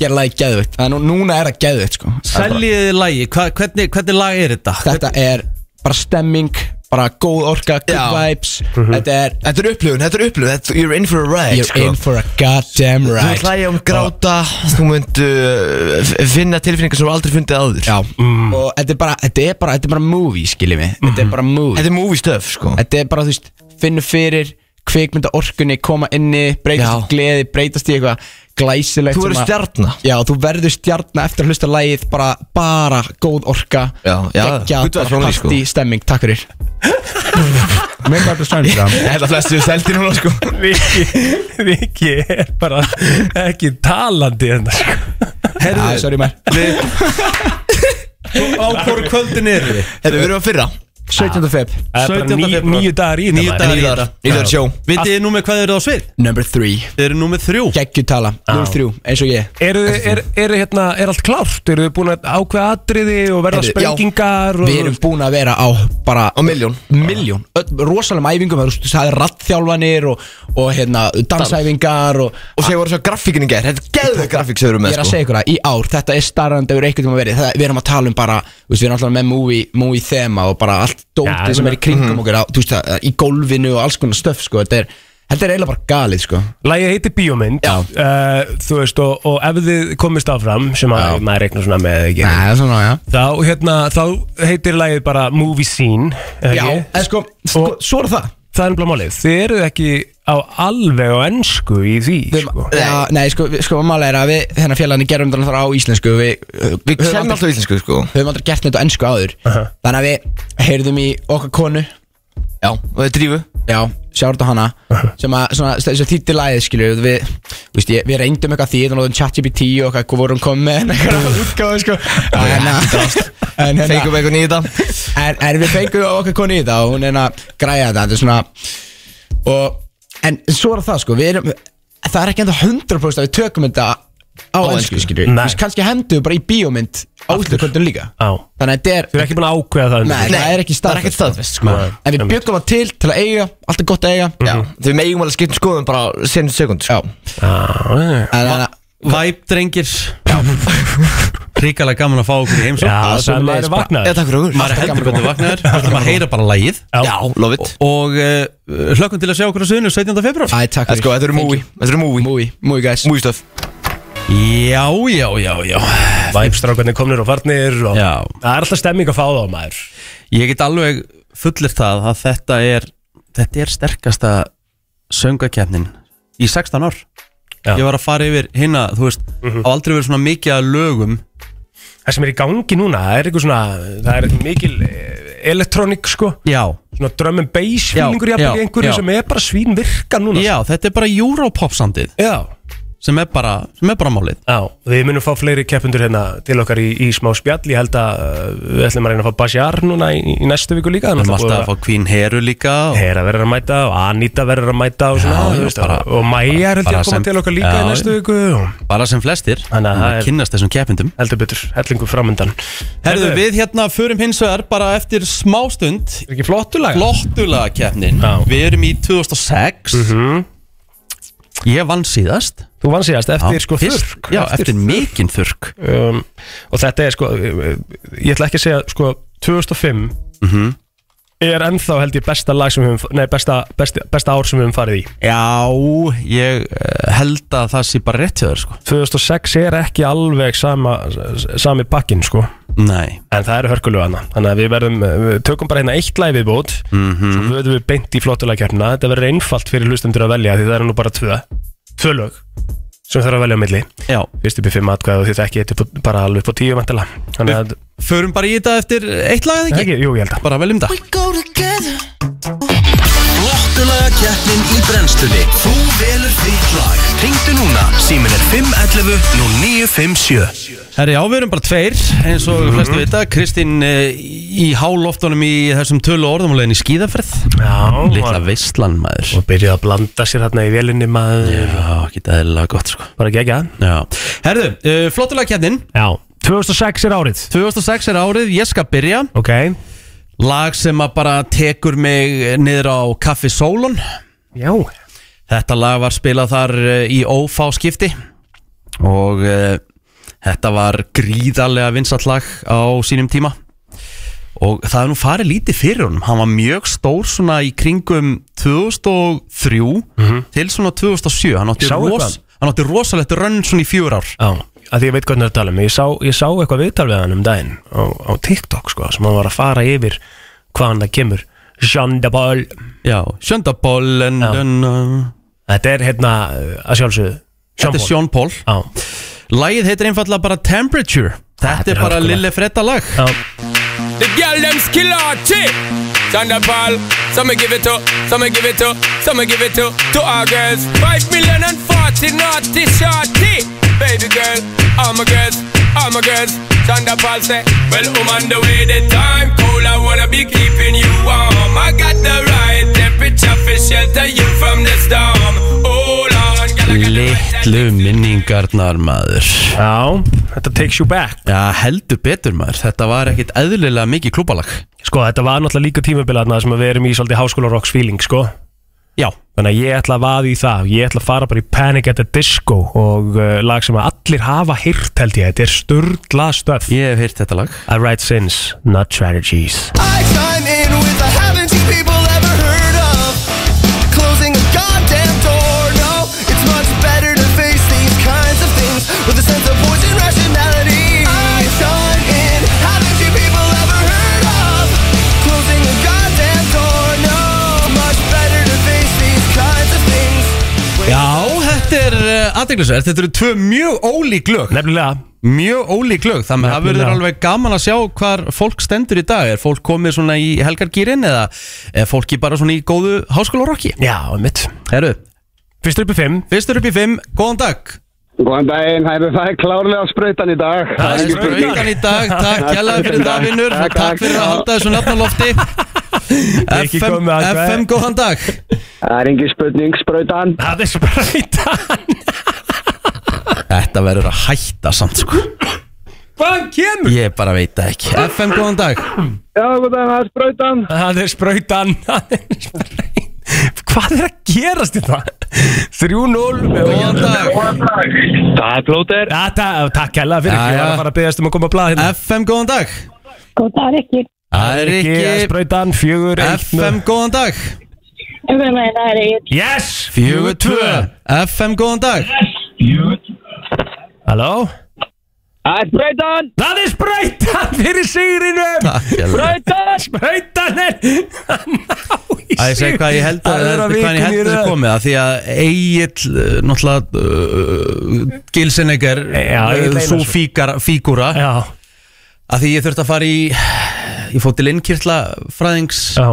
[SPEAKER 11] Gera lagi geðvitt Þannig að nú- núna er það geðvitt sko Það er bara-
[SPEAKER 1] Seljiði lagi, hva, hvernig, hvernig lag er þetta?
[SPEAKER 11] Þetta er bara stemming Bara góð orka, good vibes Þetta er
[SPEAKER 12] Þetta er upplifun, þetta er upplifun þetta- You're in for a ride sko.
[SPEAKER 11] You're in for a goddamn
[SPEAKER 12] Þú
[SPEAKER 11] ride
[SPEAKER 12] munt hlæja um gráta, þú munt uh, f- finna tilfinningar sem þú aldrei fundið áður
[SPEAKER 11] Já, og þetta er bara, þetta er bara, þetta er bara movie, skiljið mig Þetta er bara movie
[SPEAKER 12] Mhm. Þetta er movie stuff, sko
[SPEAKER 11] Þetta er bara, þú veist, finnur fyrir kvikmynda orkunni, koma inni, breytast í gleði, breytast í eitthvað glæsilegt
[SPEAKER 12] Þú
[SPEAKER 11] sem
[SPEAKER 12] verður
[SPEAKER 11] að-
[SPEAKER 12] stjarna.
[SPEAKER 11] Já, þú verður stjarna eftir að hlusta lagið, bara, bara góð orka
[SPEAKER 12] Já, já,
[SPEAKER 11] Gekkja,
[SPEAKER 12] good vibes
[SPEAKER 11] bara
[SPEAKER 12] only, sko.
[SPEAKER 11] partí, stemming, takk fyrir Mér gæti að
[SPEAKER 12] Ég
[SPEAKER 11] [LAUGHS] stjórna
[SPEAKER 12] held að flestu við seldi núna, sko
[SPEAKER 2] [LAUGHS] Viki, Viki er bara ekki talandi hérna sko.
[SPEAKER 11] Herðu, ja, sorry mér [LAUGHS]
[SPEAKER 1] Á hvort kvöldin eru við?
[SPEAKER 12] Þetta verður að fyrra
[SPEAKER 11] 17. feb
[SPEAKER 2] Það er bara
[SPEAKER 1] 17.
[SPEAKER 2] ní,
[SPEAKER 1] febrúar.
[SPEAKER 2] níu dagar í
[SPEAKER 1] Níu dagar í
[SPEAKER 12] Níu
[SPEAKER 1] þetta
[SPEAKER 12] dagar. Níu dagar sjó.
[SPEAKER 1] Vitið þið nú með hvað þið eru á svið?
[SPEAKER 11] Number 3
[SPEAKER 1] Þið eru nú með þrjú
[SPEAKER 11] Geggjutala, 0-3, eins og ég
[SPEAKER 2] Er, er, er, hérna, er allt klárt? Eru þið búin að ákveða atriði og verða
[SPEAKER 11] Heyrðu, já.
[SPEAKER 2] spengingar? og-
[SPEAKER 11] Við erum búin að vera á bara
[SPEAKER 12] Á miljón
[SPEAKER 11] miljón, rosalega æfingum þú veist, það er rattþjálfanir og, og hérna, dansæfingar og,
[SPEAKER 12] Og séu voru svo grafíkinni ger, þetta er geðveg grafík sem við erum
[SPEAKER 11] ég
[SPEAKER 12] með,
[SPEAKER 11] er að
[SPEAKER 12] sko
[SPEAKER 11] segja ykkur það, í ár, þetta er starrandi yfir eitthvað tíma verið, það, við erum að tala um bara þú veist, við erum alltaf með movie, movie þema og bara allt
[SPEAKER 2] Já, ég
[SPEAKER 11] dótið sem er í
[SPEAKER 2] meina-
[SPEAKER 11] kringum
[SPEAKER 12] Mhm.
[SPEAKER 11] okkur á, þú veist, það, í gólfinu og alls konar stöf, sko, þetta er þetta er eiginlega bara galið, sko
[SPEAKER 2] Lægið heitir Bíómynd
[SPEAKER 11] Já.
[SPEAKER 2] uh, Þú veist og, og ef þið komist áfram sem að maður reiknar svona með eða ekki
[SPEAKER 11] Nei, svona, já
[SPEAKER 2] þá, hérna, þá heitir lægið bara Movie Scene eða
[SPEAKER 11] Já,
[SPEAKER 2] ekki?
[SPEAKER 11] en sko, sko, svo er það
[SPEAKER 2] Það er nefnilega málið Þið eruð ekki á alveg á ennsku í því sko.
[SPEAKER 11] Já, nei, sko, við- sko, málega er að við, hérna félagni gerum þetta náttúrulega á íslensku Við,
[SPEAKER 12] Við
[SPEAKER 11] höfum aldrei-
[SPEAKER 12] kennum alltaf íslensku, sko
[SPEAKER 11] Við höfum aldrei gert neitt á ennsku áður Þannig að við heyrðum í okkar konu
[SPEAKER 12] Já, og þetta er drífu
[SPEAKER 11] Já, sjáur þetta hana Sem að, svona, þess að þýtti lagið, skilur Við, þú veist, ég, við reyndum eitthvað því Þannig að við ChatGPT og eitthvað Hvað vorum komið með en eitthvað útgáðu, sko En að En
[SPEAKER 12] Feikum
[SPEAKER 11] hérna
[SPEAKER 12] eitthvað nýta
[SPEAKER 11] En, en við fengum okkar konu í þetta Og hún er hérna að græja þetta Þetta er svona Og En svo er það, sko Við erum Það er ekki enda 100% að við tökum þetta á ennsku,
[SPEAKER 12] ensku.
[SPEAKER 11] skilur
[SPEAKER 2] Nei.
[SPEAKER 11] við kannski hendum við bara í bíómynd á útlökundum líka
[SPEAKER 2] Já.
[SPEAKER 11] þannig að þetta er
[SPEAKER 2] Þið eru ekki búin að ákveða það
[SPEAKER 11] Nei, það er ekki
[SPEAKER 12] það er
[SPEAKER 11] staðfest
[SPEAKER 12] ekkert staðfest, sko
[SPEAKER 2] Nei.
[SPEAKER 11] En við byggum það til til að eiga, allt er gott að eiga
[SPEAKER 12] Já, þau megum alveg skiptum skoðum bara senu sekund, sko
[SPEAKER 11] Mhm. Já,
[SPEAKER 2] Já,
[SPEAKER 11] en þannig að
[SPEAKER 1] Ah, Væp drengir [LAUGHS] Ríkalega gaman að fá okkur í heimsók
[SPEAKER 2] já
[SPEAKER 11] sömuleiðis
[SPEAKER 2] sem maður er
[SPEAKER 11] bara.
[SPEAKER 12] Já,
[SPEAKER 2] vaknaður
[SPEAKER 12] takk fyrir okkur
[SPEAKER 1] Maður er heldur betur
[SPEAKER 11] [LAUGHS]
[SPEAKER 1] vaknaður Maður heyra bara lagið
[SPEAKER 12] Já, love it
[SPEAKER 1] Og eh, hlökkum til að sjá okkur á suðinu 17. februar
[SPEAKER 11] Æ, takk
[SPEAKER 12] Let's go, þetta eru movie Þetta eru movie
[SPEAKER 11] Múi, múi guys
[SPEAKER 12] Movie stuff
[SPEAKER 1] Já, já, já, já
[SPEAKER 2] Væpstrákarnir komnir og farnir og
[SPEAKER 1] Já.
[SPEAKER 2] Það er alltaf stemming að fá þá maður
[SPEAKER 1] Ég get alveg fullir það að þetta er Þetta er sterkasta söngakefnin Í 16 ár
[SPEAKER 2] Já.
[SPEAKER 1] Ég var að fara yfir hinna, þú veist Á aldrei verið svona mikið að lögum
[SPEAKER 2] Mhm. Það sem er í gangi núna, það er eitthvað svona Það er mikil elektrónik sko
[SPEAKER 1] Já,
[SPEAKER 2] Svona drum and bass fílingur
[SPEAKER 1] Já,
[SPEAKER 2] jafnvel
[SPEAKER 1] já,
[SPEAKER 2] einhverju
[SPEAKER 1] já.
[SPEAKER 2] sem er bara svín virka núna
[SPEAKER 1] já, þetta er bara Europop samtið
[SPEAKER 2] Já,
[SPEAKER 1] sem er bara, sem er bara málið
[SPEAKER 2] já, við munum fá fleiri keppundur hérna til okkar í, í smá spjall Ég held að uh, við ætlum að reyna að fá Bashar núna í, í næstu viku líka
[SPEAKER 1] Við erum alltaf að fá Queen Heru líka og
[SPEAKER 2] Hera verður að mæta og Anita verður að mæta og, svona,
[SPEAKER 1] Já,
[SPEAKER 2] já,
[SPEAKER 1] já,
[SPEAKER 2] veist,
[SPEAKER 1] bara-
[SPEAKER 2] og Maja er held ég
[SPEAKER 1] bara
[SPEAKER 2] að koma
[SPEAKER 1] sem-
[SPEAKER 2] til okkar líka
[SPEAKER 1] Já,
[SPEAKER 2] í næstu viku og
[SPEAKER 1] bara sem flestir
[SPEAKER 2] Þannig að
[SPEAKER 1] Þannig
[SPEAKER 2] það
[SPEAKER 1] að
[SPEAKER 2] er-
[SPEAKER 1] kynnast þessum keppindum
[SPEAKER 2] heldur betur, hellingu framöndan
[SPEAKER 1] Herðu, við hérna förum hins vegar bara eftir smástund
[SPEAKER 2] Er ekki flottulega?
[SPEAKER 1] Flottulega keppnin
[SPEAKER 2] Já.
[SPEAKER 1] Við erum í 2006 Ég vann síðast
[SPEAKER 2] Þú vann síðast eftir
[SPEAKER 1] Já,
[SPEAKER 2] sko
[SPEAKER 1] fyrst-
[SPEAKER 2] þurrk
[SPEAKER 1] Já, eftir, mikinn þurrk
[SPEAKER 2] um, Og þetta er sko, ég ætla ekki að segja sko 2005 er ennþá held ég besta lag sem við höfum Nei, besta, besta, besta ár sem við höfum farið í
[SPEAKER 1] Já, ég eh, held að það sé bara rétt hjá þér sko
[SPEAKER 2] 2006 er ekki alveg sama, sami pakkin sko
[SPEAKER 1] Nei
[SPEAKER 2] En það eru hörkulegu hana Þannig að við verðum, við tökum bara hérna eitt læg við bót Svo
[SPEAKER 1] Mhm. Mm.
[SPEAKER 2] verðum við beint í flottulækjarna Þetta verður einfalt fyrir hlustendur að velja Því það eru nú bara tvö, tvö lög Sem þarf að velja á milli
[SPEAKER 1] Já
[SPEAKER 2] Fyrst upp í fimm atkvæð og þetta ekki eitt upp, á- bara alveg upp á tíu mentala Þannig að
[SPEAKER 1] Förum bara í þetta eftir eitt lag eða um
[SPEAKER 2] ekki? Jú, ég held að
[SPEAKER 1] Bara veljum það
[SPEAKER 10] Go together Flottulega keppnin í brennstunni Þú velur þitt lag
[SPEAKER 9] Ringdu núna, símin er 511 0957
[SPEAKER 1] Herri, já, við erum bara tveir, eins og mm flestu vita Kristín eh, í háloftunum í þessum tölu orðumulegin í skíðaferð
[SPEAKER 2] Já
[SPEAKER 1] Lilla veistlan maður
[SPEAKER 2] Og byrjaði að blanda sér hérna í velinni maður
[SPEAKER 1] Já, ekki það er gott sko
[SPEAKER 2] Bara gegja
[SPEAKER 1] Já Herðu, uh, flottulega keppnin
[SPEAKER 2] Já 2006 er árið
[SPEAKER 1] 2006 er árið, ég skal byrja
[SPEAKER 2] Ok
[SPEAKER 1] Lag sem að bara tekur mig niður á Kaffi Sólon
[SPEAKER 2] Já
[SPEAKER 1] Þetta lag var spilað þar eh, í ófá skipti Og uh, þetta var gríðarlega vinsall lag á sínum tíma Og það er nú farið lítið fyrir honum Hann var mjög stór svona í kringum 2003
[SPEAKER 2] Mhm.
[SPEAKER 1] til svona 2007 Hann átti,
[SPEAKER 2] Sá
[SPEAKER 1] ros,
[SPEAKER 2] eitthvað?
[SPEAKER 1] hann átti rosalegt rönn svona í fjör ár
[SPEAKER 2] Já, að því ég veit hvernig það er að tala um ég sá, ég sá eitthvað viðtal við hann um daginn á, á TikTok sko, sem hann var að fara yfir hvaðan það kemur Sjöndabol
[SPEAKER 1] Já, Sjöndabol uh,
[SPEAKER 2] Þetta er hérna uh, að sjálfsögðu
[SPEAKER 1] Þetta er Sean Paul
[SPEAKER 2] Já.
[SPEAKER 1] Lagið heitir einfallega bara Temperature Þetta,
[SPEAKER 2] er
[SPEAKER 1] er bara
[SPEAKER 2] hörkulegt.
[SPEAKER 1] Lille Fredda lag
[SPEAKER 2] Já.
[SPEAKER 13] The girl them skill out, chick. Thunder ball. Some me give it to, some me give it to, some me give it to, to our girls. Five million and forty naughty shorty. Baby girl, all my girls, all my girls. Thunder ball say, well, I'm on the way, the time cold. I wanna be keeping you warm. I got the right temperature for shelter you from the storm. Hold on, girl.
[SPEAKER 1] Littlu minningarnar maður
[SPEAKER 2] Já, þetta takes you back
[SPEAKER 1] Já, heldur betur maður Þetta var ekkit eðlilega mikið klúbalag
[SPEAKER 2] Sko, þetta var náttúrulega líka tímabilaðna sem að við erum í svolítið háskóla rocks feeling, sko
[SPEAKER 1] Já
[SPEAKER 2] Þannig að ég ætla að vaða í það Ég ætla að fara bara í Panic at the Disco og uh, lag sem að allir hafa hýrt held ég Þetta er sturdla stöf
[SPEAKER 1] Ég hef hýrt þetta lag
[SPEAKER 2] I write sins, not
[SPEAKER 1] [LAUGHS]
[SPEAKER 2] strategies
[SPEAKER 10] I chime in with I haven't you people ever heard of Closing a goddamn door, no It's much better to face these kinds of things With a sense of voice and rationality I chime in, haven't you people ever heard of Closing a goddamn door, no It's much better to face these kinds of things
[SPEAKER 1] Já, þetta er uh, aðdeglisverð Þetta eru tvö mjög ólík lög
[SPEAKER 2] Nefnilega
[SPEAKER 1] Mjög ólík lög Þannig að það verður
[SPEAKER 2] Nefnilega.
[SPEAKER 1] alveg gaman að sjá hvar fólk stendur í dag Er fólk komið svona í helgargýrin Eða er fólki bara svona í góðu háskólarokki
[SPEAKER 2] Já, mitt
[SPEAKER 1] Herru
[SPEAKER 2] Fyrstur upp í fimm
[SPEAKER 1] Fyrstur upp í fimm, góðan dag
[SPEAKER 14] Góðan daginn, herru, það er klárlega sprautan í dag
[SPEAKER 1] Það er
[SPEAKER 14] engin spurning.
[SPEAKER 1] sprautan í dag, takk kjærlega fyrir það vinnur og takk fyrir að halda þessu [LAUGHS] nafnalofti
[SPEAKER 14] Ekki
[SPEAKER 1] FM,
[SPEAKER 14] komið að hvað-
[SPEAKER 1] FM góðan dag
[SPEAKER 14] Það er engin spurning, sprautan
[SPEAKER 2] Það er sprautan
[SPEAKER 1] Þetta verður að hætta samt sko
[SPEAKER 2] Hvaðan kemur?
[SPEAKER 1] Ég bara veit það ekki FM góðan dag
[SPEAKER 14] Já, góðan, það er sprautan
[SPEAKER 2] Það er sprautan Það er sprautan Hvað er að gerast í það? 3-0 Góðan
[SPEAKER 1] dag
[SPEAKER 2] Það er plóter Takk hella fyrir
[SPEAKER 1] Já,
[SPEAKER 2] Ég var
[SPEAKER 1] já.
[SPEAKER 2] að fara að byggast um að koma að blaða hérna
[SPEAKER 1] FM góðan dag
[SPEAKER 3] Góð dag, Rikki.
[SPEAKER 1] Það er ekki
[SPEAKER 2] Sprautan, fjögur
[SPEAKER 1] FM góðan dag
[SPEAKER 3] Um að meina, það er ég.
[SPEAKER 2] Yes
[SPEAKER 1] Fjögur tvö FM góðan dag
[SPEAKER 2] Halló
[SPEAKER 14] Það er sprautan
[SPEAKER 2] Það er sprautan fyrir sigrinum Sprautan Sprautan er
[SPEAKER 1] Að ég segi hvað ég held að,
[SPEAKER 2] Aðra
[SPEAKER 1] að, hvað ég
[SPEAKER 2] vikan í
[SPEAKER 1] held að
[SPEAKER 2] röð.
[SPEAKER 1] þessu komið að því að Egil, náttúrulega uh, Gilsenegger
[SPEAKER 2] Egill
[SPEAKER 1] uh, svo
[SPEAKER 2] Einarsson.
[SPEAKER 1] fíkara, fígúra
[SPEAKER 2] Já.
[SPEAKER 1] að því ég þurfti að fara í ég fótt til innkirtla fræðings
[SPEAKER 2] Já.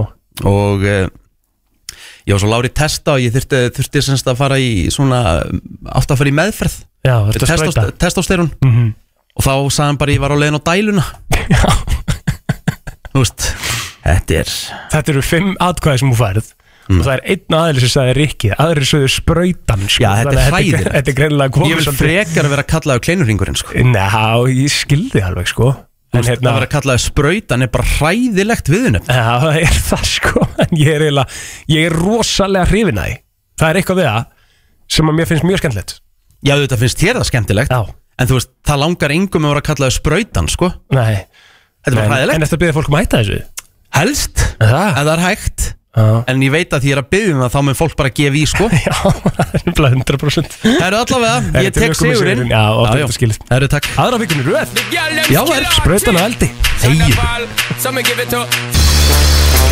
[SPEAKER 1] og uh, ég var svo lári testa og ég þurfti, þurfti semst að fara í svona átt að fara í meðferð
[SPEAKER 2] Já, ertu að
[SPEAKER 1] Testóst-
[SPEAKER 2] sprauta?
[SPEAKER 1] testósterón
[SPEAKER 2] Mhm.
[SPEAKER 1] og þá sagði hann bara ég var á leiðin á dæluna Þú veist, þetta er Mm.
[SPEAKER 2] Þetta eru fimm atkvæði sem hún færð og það er einn aðeins sem sagði Rikki aðri sögðu sprautan sko. Já,
[SPEAKER 1] þetta er hræðir
[SPEAKER 2] Þetta er greinlega komið
[SPEAKER 1] Ég vil
[SPEAKER 2] svolítið-
[SPEAKER 1] frekar að vera kallaður kleinurringurinn sko.
[SPEAKER 2] Ná, ég skildi alveg sko En
[SPEAKER 1] hérna,
[SPEAKER 2] hérna
[SPEAKER 1] að vera kallaður sprautan er bara hræðilegt viðunum
[SPEAKER 2] Já, það er það sko [LAUGHS] En ég er eiginlega Ég er rosalega hrifin að því Það er eitthvað við það Sem að mér finnst mjög skemmtilegt
[SPEAKER 1] Já, þetta finnst þér það skemmtilegt
[SPEAKER 2] Já.
[SPEAKER 1] En þú veist, það langar engum að vera kallaður sprautan sko.
[SPEAKER 2] Nei
[SPEAKER 1] Þetta er bara
[SPEAKER 2] En-
[SPEAKER 1] hræðilegt
[SPEAKER 2] En eftir að byrja fólk um að hætta þessu
[SPEAKER 1] Helst, það. en það er hægt En ég veit að því ég er að byggja um það Þá mun fólk bara gefa í
[SPEAKER 2] [LAUGHS]
[SPEAKER 1] sko Já, það er bara 100% Það eru allavega,
[SPEAKER 2] Eru
[SPEAKER 1] ég tek
[SPEAKER 2] tilökum með
[SPEAKER 1] sigurinn
[SPEAKER 2] sigurinn. Já, og þetta
[SPEAKER 1] skilist Það eru takk Aðra vikunni röð Já, það er sprautan að eldi Þegir
[SPEAKER 13] Some give it up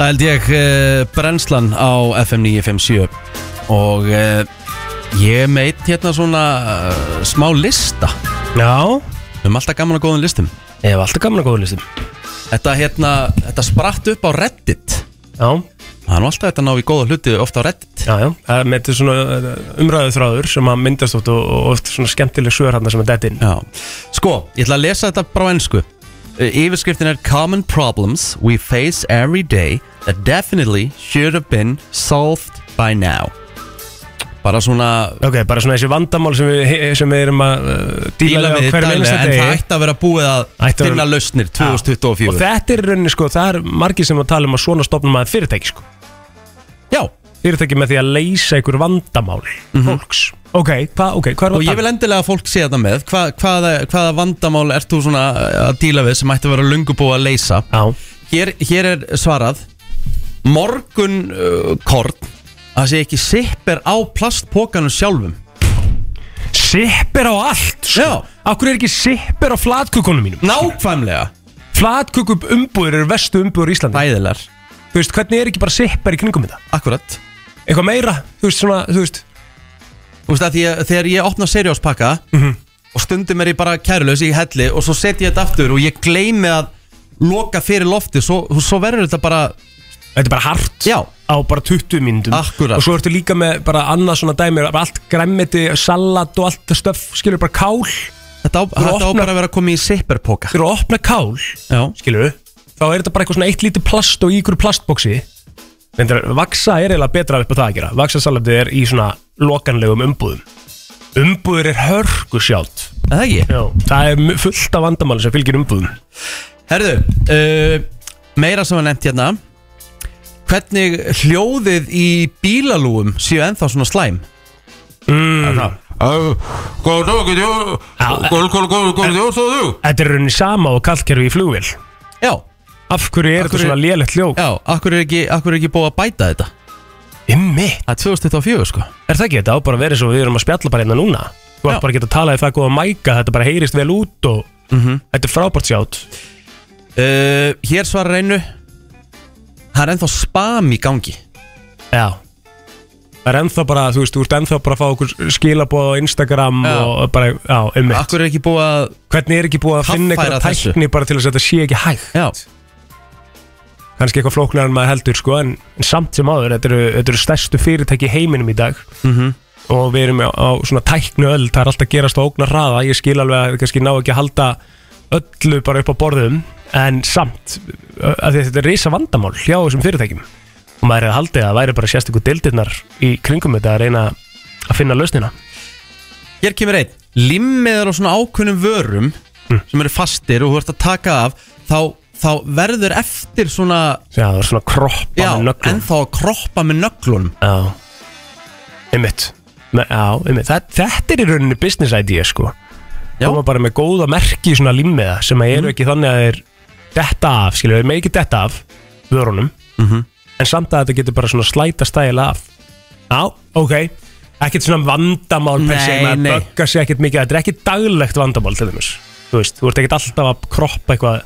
[SPEAKER 1] Það held ég uh, brennslan á FM 957 og uh, ég meit hérna svona uh, smá lista Já Við höfum alltaf gaman að góðum listum Við höfum alltaf gaman að góðum listum Þetta hérna, þetta spratt upp á Reddit Já Það er nú alltaf þetta ná í góða hluti ofta á Reddit
[SPEAKER 2] Já, já, það er með þetta svona umræðu þráður sem að myndast oft og, og oft svona skemmtileg sögur hann sem að dead in
[SPEAKER 1] Já, sko, ég ætla að lesa þetta bara á ennsku Yfirskriftin er Common problems we face every day that definitely should have been solved by now Bara svona
[SPEAKER 2] Ok, bara svona þessi vandamál sem við, sem við erum að uh, díla
[SPEAKER 1] díla
[SPEAKER 2] við á
[SPEAKER 1] við
[SPEAKER 2] hverjum
[SPEAKER 1] daglega
[SPEAKER 2] einasta
[SPEAKER 1] en það
[SPEAKER 2] degi
[SPEAKER 1] ætti að vera búið að
[SPEAKER 2] Ætti að vera-
[SPEAKER 1] finna lausnir 2024
[SPEAKER 2] Og þetta er í rauninni sko, það er margir sem að tala um að svona stopnum maður fyrirtæki sko
[SPEAKER 1] Já
[SPEAKER 2] Fyrirtæki með því að leysa einhver vandamál fólks Mhm. Ok, hvað okay, hva er
[SPEAKER 1] og ég vil endilega að fólk sé þetta með Hva, hvaða, hvaða vandamál ert þú svona að díla við sem ætti að vera löngu búið að leysa hér, hér er svarað morgun uh, korn að sé ekki sippir á plastpókanum sjálfum
[SPEAKER 2] Sippir á allt sko. Já Akkur er ekki sippir á flatkökunum mínum
[SPEAKER 1] Nákvæmlega
[SPEAKER 2] Flatköku umbúður eru vestu umbúður í Íslandi
[SPEAKER 1] Æðilar
[SPEAKER 2] Þú veist, hvernig er ekki bara sippir í kringum þetta?
[SPEAKER 1] Akkurat
[SPEAKER 2] Eitthvað meira, þú veist svona, þú veist
[SPEAKER 1] Þú veist að því að þegar ég opna seriáspakka
[SPEAKER 2] Mhm.
[SPEAKER 1] og stundum er ég bara kærulaus í helli og svo setjum ég þetta aftur og ég gleymi að loka fyrir lofti svo, svo verður þetta bara
[SPEAKER 2] Þetta er bara hart
[SPEAKER 1] Já
[SPEAKER 2] Á bara 20 myndum
[SPEAKER 1] Akkurat
[SPEAKER 2] Og svo ertu líka með bara annað svona dæmi bara Allt græmmiti, salat og allt stöf Skilur bara kál
[SPEAKER 1] Þetta á, þetta á bara að vera að koma í sipperpoka
[SPEAKER 2] Þegar þú opna kál
[SPEAKER 1] Já.
[SPEAKER 2] Skilur Þá er þetta bara eitthvað svona eitt lítið plast og í ykkur plastboksi Reyndar, Vaksa er eiginlega betra upp á það að gera Vaksa salatið er í svona lokanlegum umbúðum Umbúður er hörgu sjátt
[SPEAKER 1] Það ekki?
[SPEAKER 2] Já, það er mu- fullt af vandamáli sem fylgir umbúðum
[SPEAKER 1] Herðu, uh, meira sem var nefnt hérna Hvernig hljóðið í bílalúum séu ennþá svona slæm?
[SPEAKER 2] Mm.
[SPEAKER 1] Góð dag, get ég
[SPEAKER 2] Góð, góð, góð, góð, góð, þú Þetta er raunin sama og kallkerfi í flugvél
[SPEAKER 1] Já
[SPEAKER 2] Af hverju er þetta svona lélegt ljók?
[SPEAKER 1] Já, af hverju er ekki, af hverju er ekki búið að bæta þetta?
[SPEAKER 2] Immi
[SPEAKER 1] Það er 2024 sko
[SPEAKER 2] Er það ekki þetta á bara að vera eins og við erum að spjalla bara hérna núna Þú ert bara að geta að tala í það góða mæka Þetta bara heyrist vel út og Þetta er frábært sjátt
[SPEAKER 1] Mhm. uh, Hér svarar einu Það er ennþá spam í gangi
[SPEAKER 2] Já Það er ennþá bara, þú veist, þú ert ennþá bara að fá okkur skilabóð á Instagram
[SPEAKER 1] Já.
[SPEAKER 2] og bara, já, um
[SPEAKER 1] Akkur er ekki búið að
[SPEAKER 2] Hvernig er ekki búið að finna
[SPEAKER 1] Haffæra
[SPEAKER 2] eitthvað
[SPEAKER 1] þessu.
[SPEAKER 2] tækni bara til þess að þetta sé ekki hægt
[SPEAKER 1] Já
[SPEAKER 2] Kannski eitthvað flóknar en maður heldur, sko En, en samt sem áður, þetta eru, þetta eru stærstu fyrirtæki í heiminum í dag
[SPEAKER 1] Mhm.
[SPEAKER 2] og við erum á, á svona tæknuöld það er alltaf að gerast á ógnar hraða ég skil alveg að þeir kannski ná ekki að halda öllu bara upp á borðum en samt, ö, af því að þetta er reysa vandamál hjá þessum fyrirtækjum og maður er að haldi að það væri bara sérstakku deildirnar í kringum þetta að reyna að finna lausnina
[SPEAKER 1] Hér kemur einn Limmiðar á svona ákunnum vörum
[SPEAKER 2] Mm.
[SPEAKER 1] sem eru fastir og þú ert að taka af þá, þá verður eftir svona
[SPEAKER 2] Já, það er svona kroppa
[SPEAKER 1] Já, ennþá að kroppa með nöglunum
[SPEAKER 2] Já Einmitt Me, Já, einmitt það, Þetta er í rauninni business idea sko Já Mhm. Koma bara með góða merki í svona límiða sem að eru ekki þannig að þeir detta af, skilja, þeir með ekki detta af vörunum
[SPEAKER 1] Mhm.
[SPEAKER 2] en samt að þetta getur bara svona slæta stæla af Já, ok Ekkert svona vandamál per se
[SPEAKER 1] Nei,
[SPEAKER 2] maður
[SPEAKER 1] nei.
[SPEAKER 2] böggar sig ekkert mikið, þetta er ekki daglegt vandamál til þeimis, þú veist, þú ert ekkert alltaf að kroppa eitthvað,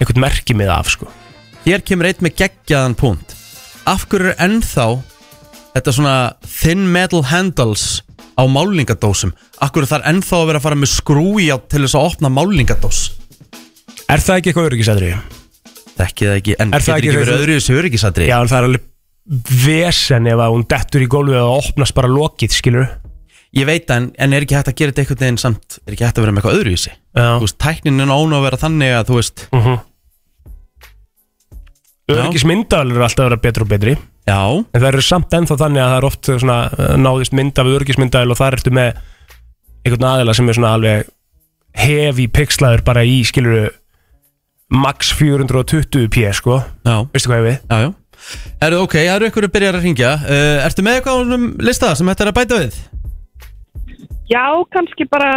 [SPEAKER 2] eitthvað merki með af sko
[SPEAKER 1] Hér kemur einn með geggjaðan punkt Af hverju er ennþá þetta svona thin metal handles á málingadósum Af hverju þarf ennþá að vera að fara með skrúi á til þess að opna málingadós
[SPEAKER 2] Er það ekki eitthvað öryggisadriði?
[SPEAKER 1] Þekki það ekki, en
[SPEAKER 2] Er það
[SPEAKER 1] getur
[SPEAKER 2] ekki
[SPEAKER 1] ekki verið
[SPEAKER 2] þessi-
[SPEAKER 1] öðru í þessu öryggisadri
[SPEAKER 2] Já, en það er alveg vesen ef að hún dettur í gólfið og opnast bara lokið, skilur
[SPEAKER 1] Ég veit það, en, en er ekki hægt að gera þetta einhvern veginn samt Er ekki hægt að vera með eitthvað öðru í þessi Þú veist, tæknin er án að vera þannig að þú veist
[SPEAKER 2] uh -huh. Öryggismyndavel eru alltaf að vera betri og betri
[SPEAKER 1] Já
[SPEAKER 2] En það eru samt ennþá þannig að það er oft svona, eh, náðist mynda við öryggismyndavel og þar ertu með einhvern aðila sem er svona alveg hefi pixlaður bara í, skilur max 420p sko
[SPEAKER 1] Já.
[SPEAKER 2] Veistu hvað ég við?
[SPEAKER 1] Já, já Erðu ok, það eru ykkur að byrja að ringja uh, Ertu með eitthvað á þessum lista sem þetta er að bæta við?
[SPEAKER 3] Já, kannski bara,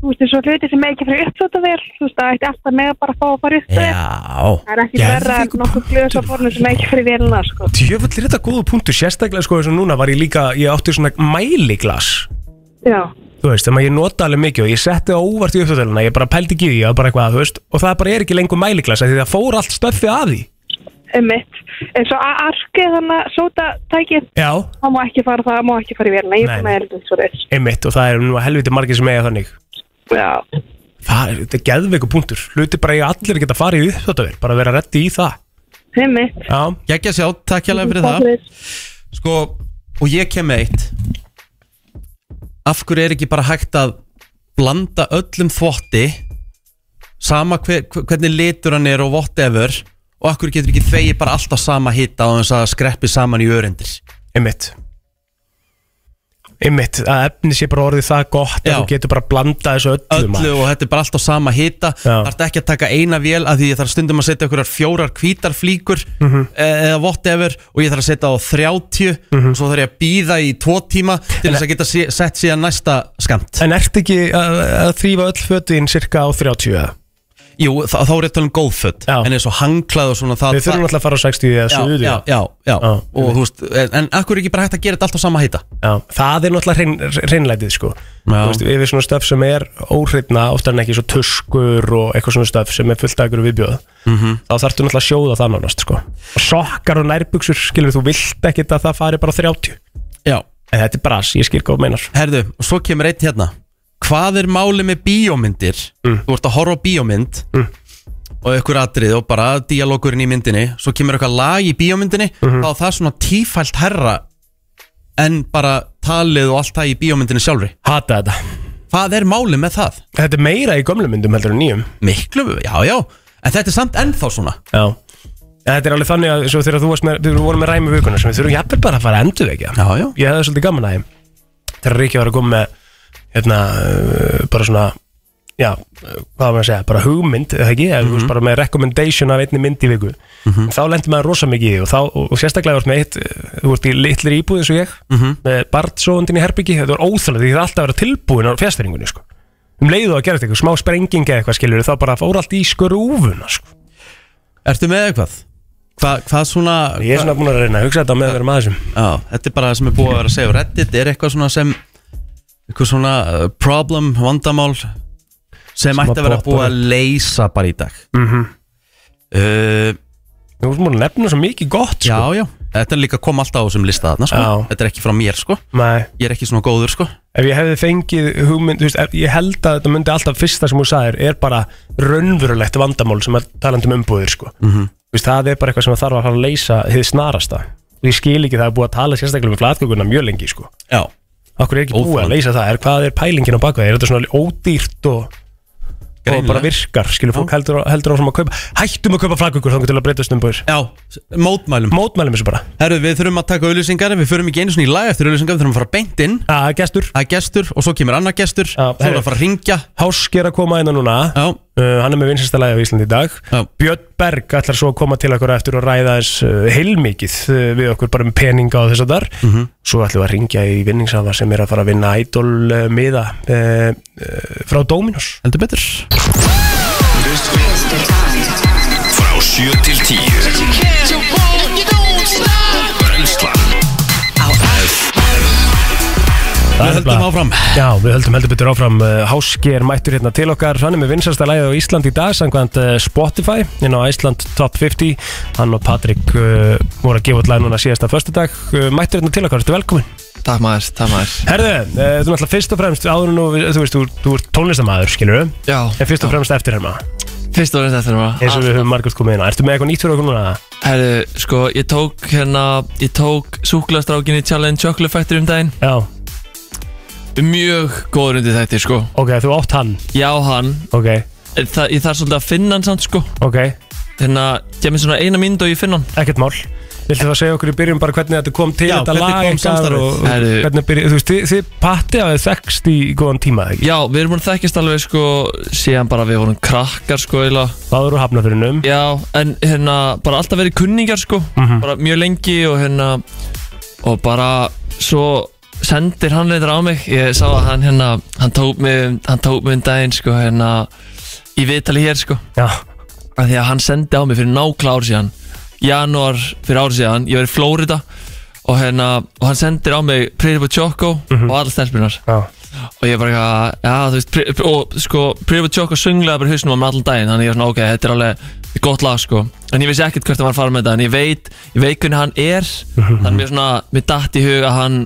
[SPEAKER 3] þú veist, eins og hluti sem er ekki fyrir uppsötavél, þú veist, það ætti alltaf með að bara fá að fara uppsötavél.
[SPEAKER 1] Já
[SPEAKER 3] Það er ekki
[SPEAKER 2] Geðveikur
[SPEAKER 3] verra en nokkuð glöðs á borðinu sem er ekki fyrir vélina, sko.
[SPEAKER 2] Djöfull er þetta góðu punktur, sérstaklega sko eins og núna var ég líka, ég átti svona mæliglas
[SPEAKER 3] Já.
[SPEAKER 2] Þú veist, þannig að ég nota alveg mikið og ég setti það óvart í uppþáttelina, ég bara pældi ekki í því, ég var bara eitthvað, þú veist, og það bara er ekki lengur mæliglas af því það fór allt stöffi að því.
[SPEAKER 3] Emmitt. Eins og að arkið þannig að sóta tækið,
[SPEAKER 2] Já.
[SPEAKER 3] það má ekki fara það, það má ekki fara í vélina, ég er
[SPEAKER 2] Nei,
[SPEAKER 3] búin að erða eins og þess.
[SPEAKER 2] Einmitt, og það er nú helviti margir sem eiga þannig.
[SPEAKER 3] Já.
[SPEAKER 2] Það er, þetta er geðveiku punktur, hluti bara eiga allir að geta farið í uppþáttavél, bara vera reddi í það.
[SPEAKER 3] Emmitt.
[SPEAKER 2] Já.
[SPEAKER 1] Gækja sjá, takk hérlega fyrir
[SPEAKER 3] Takk
[SPEAKER 1] það Sko, og ég kem með eitt Af hverju er ekki bara hægt að blanda öllum þvotti sama hver, hver- hvernig litur hann er og whatever og af hverju getur ekki þegi bara alltaf sama hita og þess að það skreppi saman í örendir
[SPEAKER 2] Einmitt Einmitt, að efni sé bara orðið það gott að
[SPEAKER 1] Já.
[SPEAKER 2] þú getur bara að blanda þessu öllu,
[SPEAKER 1] öllu og þetta er bara alltaf sama hita þarf ekki að taka eina vél af því ég þarf stundum að setja einhverjar fjórar hvítar flíkur
[SPEAKER 2] Mhm.
[SPEAKER 1] e- eða whatever og ég þarf að setja á 30 svo þarf ég að býða í tvo tíma til þess að geta sé, sett síðan næsta skamt
[SPEAKER 2] e- En ert ekki að, að þrýfa öll fötin cirka á 30 eða?
[SPEAKER 1] Jú, þá, þá er ég að tala um góðföt en eins og hanglað og svona það
[SPEAKER 2] Við þurfum alltaf að fara á 60 eða 70
[SPEAKER 1] já, já, já, já. og þú veist, en, en akkur er ekki bara hægt að gera þetta alltaf sama hita
[SPEAKER 2] Já, það er náttúrulega hrein, hreinlætið sko Þú veist, yfir svona stöf sem er óhreinna oftar en ekki svo tuskur og eitthvað svona stöf sem er fullt aðgur viðbjóð
[SPEAKER 1] Mhm.
[SPEAKER 2] þá þarftu náttúrulega að sjóða það nánast sko og sokkar og nærbuksur, skilur þú vilt ekkit að það fari bara á 30
[SPEAKER 1] Já
[SPEAKER 2] En þetta er bras, ég skil góð meinar
[SPEAKER 1] Herðu, og svo kemur einn hérna Hvað er máli með bíómyndir?
[SPEAKER 2] Mm.
[SPEAKER 1] Þú ert að horfa á bíómynd og ykkur atrið og bara dialogurinn í myndinni svo kemur eitthvað lag í bíómyndinni
[SPEAKER 2] Mhm.
[SPEAKER 1] þá er það svona tífælt herra en bara talið og allt það í bíómyndinni sjálfri
[SPEAKER 2] Hata þetta
[SPEAKER 1] Hvað er máli með það?
[SPEAKER 2] Þetta er meira í gömlu myndum heldur en nýjum
[SPEAKER 1] Miklu, já, já En þetta er samt ennþá svona
[SPEAKER 2] Já En Þetta er alveg þannig að svo þegar þú varst með, þegar við vorum með ræmi vikuna sem við þurfum jafnvel bara að fara að endur ekki
[SPEAKER 1] Já, já
[SPEAKER 2] Ég hefði svolítið gaman að þeim Þegar Ríkja var að koma með hérna, uh, bara svona já, uh, hvað á maður að segja, bara hugmynd eða ekki, eða þú
[SPEAKER 1] Mhm.
[SPEAKER 2] veist bara með recommendation af einni mynd í viku, þá lendur maður rosa mikið í því og, þá, og, og sérstaklega vart með eitt uh, þú vart í litlir íbúð eins og ég
[SPEAKER 1] Mhm.
[SPEAKER 2] með barnsóðundin í herbyggi, þetta var óþjóðlega því það er alltaf að vera tilbúin á fjastæringunni sko. um leiðu að gera eitthvað, smá sprenging eða eitthvað skilur þá bara fór allt í skrúfuna sko.
[SPEAKER 1] Ertu með eitthvað? Hva, hvað svona
[SPEAKER 2] Ég er svona búin að reyna að hugsa þetta með að vera maður sem
[SPEAKER 1] Já, þetta er bara það sem er búið að vera að segja á Reddit er eitthvað svona sem eitthvað svona uh, problem, vandamál sem,
[SPEAKER 2] Sem
[SPEAKER 1] ætti
[SPEAKER 2] að
[SPEAKER 1] að vera
[SPEAKER 2] poppa
[SPEAKER 1] búið
[SPEAKER 2] upp.
[SPEAKER 1] að leysa bara í dag
[SPEAKER 2] Mhm.
[SPEAKER 1] uh,
[SPEAKER 2] Þú erum múin að nefna svo mikið gott sko.
[SPEAKER 1] Já, já, þetta er líka kom alltaf á þessum lista þarna sko.
[SPEAKER 2] Já.
[SPEAKER 1] Þetta er ekki frá mér sko
[SPEAKER 2] Nei.
[SPEAKER 1] Ég er ekki svona góður sko
[SPEAKER 2] Ef ég hefði fengið hugmynd, þú veist, ef- ég held að þetta myndi alltaf fyrsta sem þú sagðir er bara raunverulegt vandamál sem er talandi um umbúðir, sko.
[SPEAKER 1] Mhm.
[SPEAKER 2] Þú veist, það er bara eitthvað sem þarf að fara að leysa hið snarasta. Og ég skil ekki það er búið að tala sérstaklega um flatkökuna mjög lengi, sko.
[SPEAKER 1] Já.
[SPEAKER 2] Akkur er ekki búið að leysa það, er hvað er pælingin á bakveð, er þetta svona ódýrt og, og
[SPEAKER 1] Greinilega.
[SPEAKER 2] bara virkar, skilur fólk heldur, heldur áfram að kaupa, hættum að kaupa flatkökur þangar til að breytast umbúðir.
[SPEAKER 1] Já, mótmælum
[SPEAKER 2] Mótmælum þessu bara
[SPEAKER 1] Herru, við þurfum að taka auðlýsingar Við förum ekki einu svona í lag eftir auðlýsingar Við þurfum að fara beint inn
[SPEAKER 2] Að gestur
[SPEAKER 1] Að gestur Og svo kemur annar gestur Já, Þú erum að fara að ringja
[SPEAKER 2] Hásk er að koma inn á núna
[SPEAKER 1] uh,
[SPEAKER 2] Hann er með vinsasta lagi á Íslandi í dag Já. Björn Berg ætlar svo að koma til okkur eftir og ræða þess uh, heilmikið uh, við okkur bara með peninga og þess að þar
[SPEAKER 1] Mhm.
[SPEAKER 2] Svo ætlum við að ringja í vinningsafa sem er að fara að vinna Idol uh, miða uh, uh, frá Dominos
[SPEAKER 1] Heldur betur
[SPEAKER 9] Frá 7 til 10 Brenslan Á
[SPEAKER 2] Við höldum áfram Já, við höldum heldur betur áfram Uh, Háski er mættur hérna til okkar Hann er með vinsasta lagið á Ísland í dag Samkvæmt uh, Spotify inn á Ísland Top 50 Hann og Patrik uh, voru að gefa út lag núna síðasta föstudag uh, Mættur hérna til okkar, ertu velkomin
[SPEAKER 12] Takk maður, takk maður
[SPEAKER 2] Herðu, uh, þú náttúrulega fyrst og fremst áður nú, þú veist, þú, þú ert tónlistamæður, skilur við
[SPEAKER 12] Já
[SPEAKER 2] En fyrst og fremst eftir hérna
[SPEAKER 12] Fyrst og fremst eftir hérna
[SPEAKER 2] Eins og við höfum margult komið inn á Ertu með eitthvað nýtt fyrir okkur núna?
[SPEAKER 12] Herru, sko, ég tók hérna Ég tók súkulastrákinni Challenge Chocolate Factory um daginn
[SPEAKER 2] Já
[SPEAKER 12] Mjög góður undir þetta, sko
[SPEAKER 2] Ok, þú átt hann
[SPEAKER 12] Já, hann
[SPEAKER 2] Ok
[SPEAKER 12] Þa, Ég þarf svolítið að finna hann samt, sko
[SPEAKER 2] Ok
[SPEAKER 12] Hérna, ég með svona eina mynd og ég finn hann
[SPEAKER 2] Ekkert mál Viltu þá segja okkur í byrjun bara hvernig þetta kom til
[SPEAKER 12] Já,
[SPEAKER 2] þetta
[SPEAKER 12] hvernig
[SPEAKER 2] lag
[SPEAKER 12] kom
[SPEAKER 2] ykkar
[SPEAKER 12] samstarfið?
[SPEAKER 2] og,
[SPEAKER 12] Herru.
[SPEAKER 2] og hvernig byrja, þú veist, þið, þið patti að þið þekkst í góðan tíma eða ekki?
[SPEAKER 12] Já, við erum búin að þekkjast alveg sko síðan bara við vorum krakkar sko eiginlega.
[SPEAKER 2] Báður og hafnafyrinum
[SPEAKER 12] Já, en hérna bara alltaf verið kunningar sko
[SPEAKER 2] Mhm.
[SPEAKER 12] bara mjög lengi og hérna og bara svo sendir hann reyndar á mig ég sá að hann hérna, hann tók mig hann tók mig um daginn sko hérna í viðtali hér sko
[SPEAKER 2] Já
[SPEAKER 12] að því að hann sendi á mig fyrir nákla ár síðan janúar fyrir ár síðan ég var í Flórida og hérna og hann sendir á mig Pretty Boy Choco og alla stelpunar
[SPEAKER 2] Já
[SPEAKER 12] og ég bara eitthvað, já þú veist Pre- og sko Pretty Boy Choco sunglaði bara í hausnum á mig allan daginn þannig ég var svona ok, þetta er alveg gott lag sko en ég vissi ekkert hvert hann var að fara með þetta en ég veit, ég veit hvernig hann er þannig mér svona, mér datt í hug að hann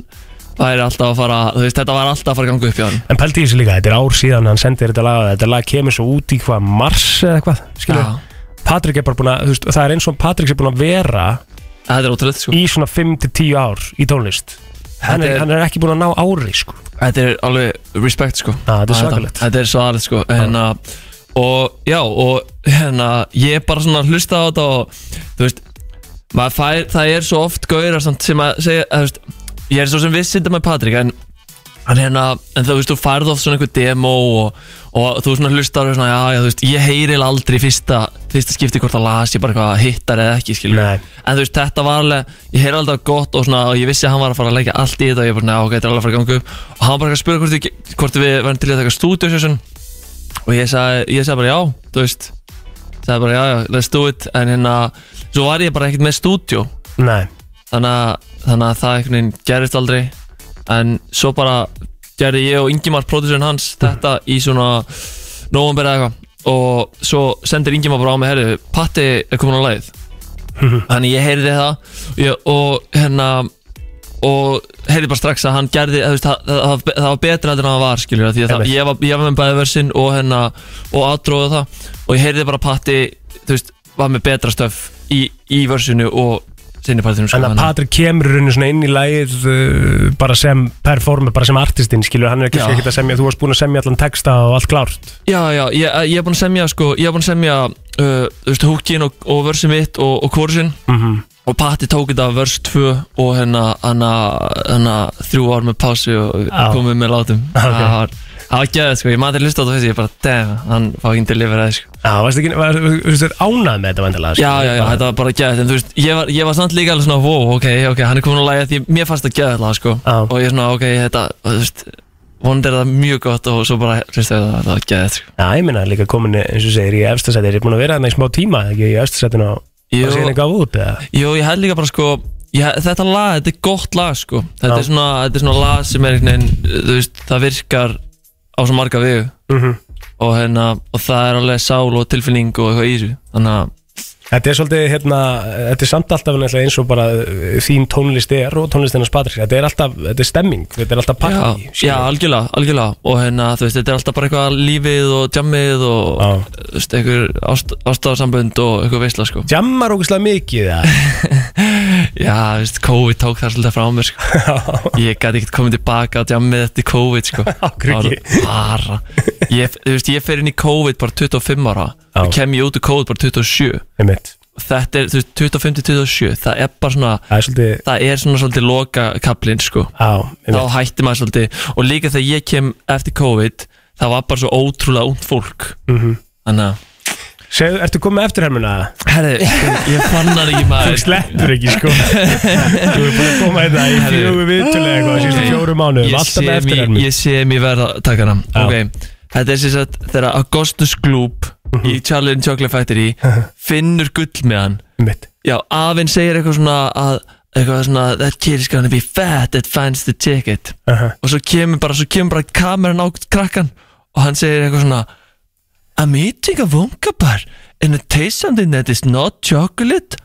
[SPEAKER 12] væri alltaf að fara þú veist þetta var alltaf að fara að ganga upp hjá hann
[SPEAKER 2] En pælti í þessu líka, þetta er ár síðan hann sendir þetta lag Þetta lag kemur svo út í hvað mars eða eitthvað Skilur
[SPEAKER 12] Já.
[SPEAKER 2] Patrik er bara búin að, þú veist, það er eins og Patrik er búin að vera
[SPEAKER 12] Þetta er ótrúlega sko
[SPEAKER 2] Í svona 5-10 ár í tónlist Hann
[SPEAKER 12] Þetta
[SPEAKER 2] er,
[SPEAKER 12] er-
[SPEAKER 2] hann er ekki búin að ná ári sko
[SPEAKER 12] Þetta er alveg respect sko
[SPEAKER 2] Já, þetta er
[SPEAKER 12] Á
[SPEAKER 2] svakalegt.
[SPEAKER 12] Þetta er svakalegt sko hérna, Og já, og hérna Ég er bara svona að hlusta á þetta og Þú veist maður fær, Það er svo oft gaurar samt sem að segja að, þú veist, Ég er svo sem viss þetta með Patrik En En, hérna, en þú veist, þú færð oft svona einhver demo og, og þú svona hlustar og svona, já, já, þú veist, ég heyri eiginlega aldrei í fyrsta, fyrsta skipti hvort það las, ég bara hvað hittar eða ekki, skilur. Nei. En þú veist, þetta var alveg, ég heyri alltaf gott og svona, og ég vissi að hann var að fara að leggja allt í þetta og ég bara, já, ok, þetta er alveg að fara að ganga upp. Og hann bara að spura hvort, við- hvort við verðum til í að taka stúdíosessun og ég sagði, ég sagði bara, já, þú veist, sagði bara, já, já, let's do it, en hérna, svo var ég bara ekkert með stúdíó
[SPEAKER 2] Nei
[SPEAKER 12] þannig að, þannig að það einhvern veginn gerist aldrei en svo bara gerði ég og Ingimar pródúsörinn hans þetta í svona november eða eitthvað og svo sendir Ingimar bara á mig herri, Patti er komin á lagið þannig ég heyrði það ég, og hérna og heyrði bara strax að hann gerði þú veist, það, það, það, það var betra heldur en það var skilur því að það,
[SPEAKER 2] Einmitt.
[SPEAKER 12] ég, var, ég var með bæði versin og hérna og aðdróða það og ég heyrði bara Patti þú veist var með betra stöf í, í versinu og sinni partinu sko,
[SPEAKER 2] En að Patrik kemur í rauninu svona inn í lagið uh, bara sem performer, bara sem artistinn skilur, hann er ekki
[SPEAKER 12] Já.
[SPEAKER 2] ekki að semja, þú varst búin að semja allan texta og allt klárt
[SPEAKER 12] Já, já, ég, ég er búinn að semja sko, ég er búinn að semja uh, þú veist, húkin og, og versin mitt og, og kórusin
[SPEAKER 2] Mhm.
[SPEAKER 12] og Patti tók þetta vers 2 og hérna, hérna, hérna þrjú ár með pásu og
[SPEAKER 2] Já.
[SPEAKER 12] komið með látum
[SPEAKER 2] Ok.
[SPEAKER 12] það var, það var gæðið sko, ég maður til að hlusta á þetta fyrst, ég bara, damn, hann fá ekki til að lifa það sko
[SPEAKER 2] Já, sko, varst ekki, var, þú veist, ánægð með þetta vendilega
[SPEAKER 12] Já, já, já, þetta var bara gæðið En þú veist, ég var, ég var samt líka alveg svona Wow, ok, ok, hann er komin að lægja því Mér fannst það gæðið alveg, sko Og ég svona, ok, þetta, þú veist Vondir það mjög gott og svo bara Hristu það, það var gæðið, sko
[SPEAKER 2] Já, ég minna líka komin, eins og segir, í efstasæti Ég er búin að vera þarna í smá tíma, ekki, í efstasætinu á
[SPEAKER 12] Jú.
[SPEAKER 2] Og síðan ég gaf út, eða
[SPEAKER 12] Jú, ég held líka bara, sko ég, Þetta lag, þetta er gott lag, sko Þetta, er svona, þetta er svona lag sem er einhvern veginn Þú veist, það virkar á svo marga vegu
[SPEAKER 2] Mhm.
[SPEAKER 12] og, hérna, og það er alveg sál og tilfinning og eitthvað í þessu Þannig að
[SPEAKER 2] Þetta er svolítið, hérna, þetta er samt alltaf náttúrulega eins og bara uh, þín tónlist er og tónlistinans Patrik Þetta er alltaf, þetta er stemming, þetta er alltaf partí
[SPEAKER 12] já, já, algjörlega, algjörlega og hérna, þú veist, þetta er alltaf bara eitthvað lífið og jammið og þú veist, einhver ást, ástafsambönd og eitthvað veistla, sko
[SPEAKER 2] Jammar ógustlega mikið, það
[SPEAKER 12] [LAUGHS] Já, þú veist, COVID tók þar svolítið frá
[SPEAKER 2] [LAUGHS]
[SPEAKER 12] mér, sko Ég gæti ekkert komið tilbaka á jammið eftir
[SPEAKER 2] [LAUGHS]
[SPEAKER 12] COVID, sko
[SPEAKER 2] krukki.
[SPEAKER 12] Það var Bara, ég, þú veist, ég fer inn í COVID bara 25 ára og kem ég út úr COVID bara 27
[SPEAKER 2] Einmitt.
[SPEAKER 12] Þetta er, þú veist, 25-27 það er bara svona
[SPEAKER 2] Það er svolítið
[SPEAKER 12] það er svona svolítið loka kaplinn sko
[SPEAKER 2] á,
[SPEAKER 12] þá hætti maður svolítið og líka þegar ég kem eftir COVID það var bara svo ótrúlega ungt fólk
[SPEAKER 2] Mhm.
[SPEAKER 12] þannig að
[SPEAKER 2] Segðu, ertu komið eftir hermuna?
[SPEAKER 12] Herri, ég fann hann ekki maður
[SPEAKER 2] Þú sleppur ekki, sko Þú er búin að koma þetta í
[SPEAKER 12] Herri.
[SPEAKER 2] fjögur viðtölu eitthvað, síðustu fjóru mánuðum,
[SPEAKER 12] Ég
[SPEAKER 2] alltaf með
[SPEAKER 12] sé
[SPEAKER 2] eftir
[SPEAKER 12] mig- Ég sé mér verða að taka hana Ok, þetta er sem sagt þegar Augustus Gloop í
[SPEAKER 2] Mhm.
[SPEAKER 12] Charlie and Chocolate Factory finnur gull með hann
[SPEAKER 2] Mitt.
[SPEAKER 12] Já, afinn segir eitthvað svona að eitthvað svona, that kid is gonna be fat that finds the ticket
[SPEAKER 2] Aha.
[SPEAKER 12] og svo kemur bara, svo kemur bara kameran á krakkan og hann segir eitthvað svona I'm eating a Wonka bar and it tastes something that is not chocolate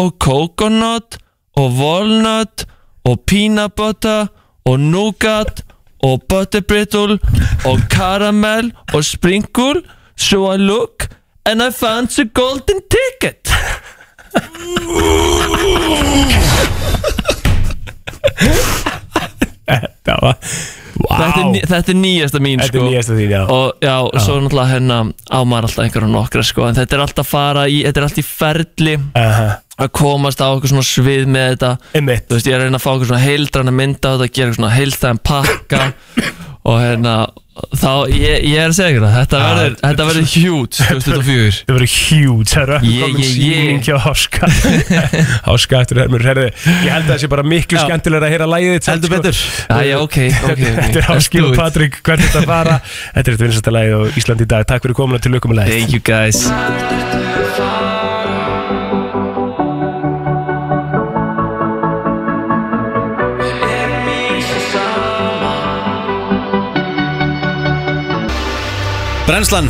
[SPEAKER 12] og coconut og walnut og peanut butter og nougat og butter brittle og caramel og sprinkle so I look and I found the golden ticket
[SPEAKER 2] Þetta var
[SPEAKER 12] þetta, er, ní- þetta er nýjasta mín
[SPEAKER 2] Þetta er
[SPEAKER 12] sko.
[SPEAKER 2] nýjasta þín, já.
[SPEAKER 12] Og já, svo náttúrulega hérna á maður alltaf einhverjum nokkra sko. En þetta er alltaf fara í, þetta er alltaf í ferli
[SPEAKER 2] Aha.
[SPEAKER 12] að komast á eitthvað svona svið með þetta
[SPEAKER 2] Einmitt.
[SPEAKER 12] Þú veist, ég er að reyna að fá eitthvað svona heildræna mynda á þetta, gera eitthvað svona heildræn pakka
[SPEAKER 2] [COUGHS]
[SPEAKER 12] og hérna þá, ég, ég er að segja ykkur það, þetta verður þetta verður huge 2004
[SPEAKER 2] Þetta verður huge, það verður
[SPEAKER 12] Ég-
[SPEAKER 2] komin
[SPEAKER 12] ég- ég-
[SPEAKER 2] síning hjá Háska Háska eftir hermur, herðu Ég held að það sé bara miklu
[SPEAKER 12] Já.
[SPEAKER 2] skemmtilega að heyra lægið þitt Heldur betur
[SPEAKER 12] Æja, ok, ok, ok.
[SPEAKER 2] Þetta er
[SPEAKER 12] Let's
[SPEAKER 2] Háski
[SPEAKER 12] do
[SPEAKER 2] og
[SPEAKER 12] it.
[SPEAKER 2] Patrik, hvernig þetta
[SPEAKER 12] [LAUGHS]
[SPEAKER 2] fara Þetta er þetta vinsasta lægið á Íslandi í dag Takk fyrir komuna til lökum að lægið
[SPEAKER 12] Thank you guys
[SPEAKER 1] Brennslan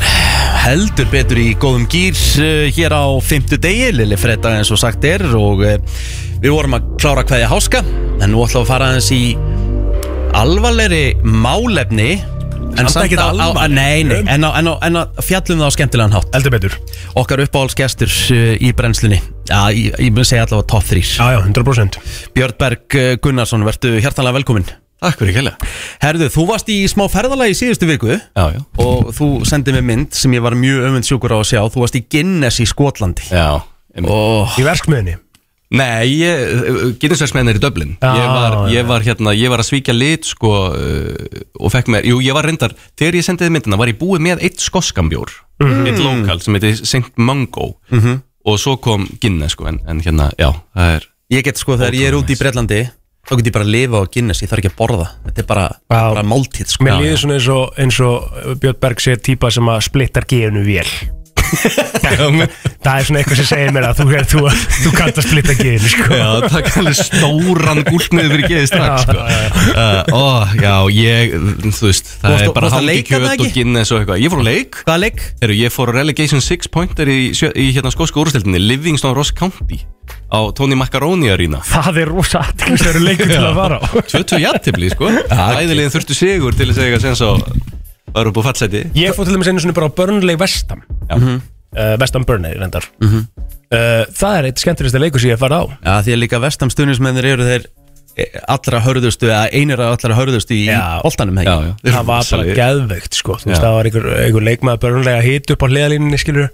[SPEAKER 1] heldur betur í góðum gýr uh, hér á fymtu degi, lili fredda eins og sagt er og uh, við vorum að klára hverja háska en nú ætlum við að fara aðeins í alvarlegri málefni en
[SPEAKER 2] Samt ekkert
[SPEAKER 1] á, á,
[SPEAKER 2] alvarleg.
[SPEAKER 1] nei, nei, en, á, en, á, en á fjallum það á skemmtilegan hátt
[SPEAKER 2] Heldur betur
[SPEAKER 1] Okkar uppáhaldsgestur uh, í brennslunni Já, ég, ég mun segja allavega top 3
[SPEAKER 2] Já, já, 100%
[SPEAKER 1] Björn Berg uh, Gunnarsson, verðu hjartanlega velkominn Takk fyrir kella Herðu, þú varst í smá ferðalagi í síðustu viku Já, já Og þú sendið mér mynd sem ég var mjög öfund sjúkur á að sjá Þú varst í Guinness í Skotlandi
[SPEAKER 15] Já
[SPEAKER 1] oh.
[SPEAKER 2] Í verskmiðinni
[SPEAKER 15] Nei, ég, Guinness-versmiðan er í Dublin
[SPEAKER 2] Já,
[SPEAKER 15] ég, var,
[SPEAKER 2] já.
[SPEAKER 15] ég, var, hérna, ég var að svíkja lit sko, uh, og fekk mér, jú ég var reyndar þegar ég sendiði myndina var ég búið með eitt skoskanbjór
[SPEAKER 2] Mhm.
[SPEAKER 15] eitt lokal sem heitir St. Mungo
[SPEAKER 1] Mhm.
[SPEAKER 15] og svo kom Guinness sko, en, en hérna, já, það er
[SPEAKER 1] Ég get sko þegar ég er úti í Breitlandi Þá get ég bara að lifa á Guinness, ég þarf ekki að borða Þetta er bara, bara máltíð sko
[SPEAKER 2] Mér líður svona eins og, eins og Björn Berg sé típa sem að splittar gefinu
[SPEAKER 15] [LAUGHS]
[SPEAKER 2] vel Það er svona eitthvað sem segir mér að þú, er- þú, þú kannt að splitta gefinu sko.
[SPEAKER 15] Já, takk alveg stóran gúlknið fyrir geðið strax sko. uh, ó, Já, ég, þú veist
[SPEAKER 1] Þú
[SPEAKER 15] Það
[SPEAKER 1] varst-
[SPEAKER 15] er bara
[SPEAKER 1] varst að
[SPEAKER 15] hangi
[SPEAKER 1] leika það
[SPEAKER 15] kjöt
[SPEAKER 1] ekki?
[SPEAKER 15] og Guinness og eitthvað Ég fór á leik
[SPEAKER 1] Hvaða leik?
[SPEAKER 15] Heru, ég fór á Relegation 6 pointer í, sjö- í hérna skósku úrstildinni Livingston Ross County á Tony Macaroni Arena
[SPEAKER 2] Það er rosa aðtilsveru leikur til að
[SPEAKER 15] [LAUGHS]
[SPEAKER 2] fara á
[SPEAKER 15] 20 jættibli, [LAUGHS] sko Æðilegin þurftu sigur til þess að eiga sens á var upp á fatsæti
[SPEAKER 2] Ég fór til dæmis einu svona bara á Burnley Vestam
[SPEAKER 15] Mhm.
[SPEAKER 2] uh, Vestam Burnley reyndar uh, Það er eitt skemmtilegsta leikur sem ég hef farið á
[SPEAKER 1] Já, því að líka vestamstunismennir eru þeir eh, allra hörðustu eða einir af allra hörðustu í boltanum já, já.
[SPEAKER 2] Það var bara geðveikt sko Þú veist, það var einhver, einhver leikmaður börnlega hit upp á hliðalínunni skilur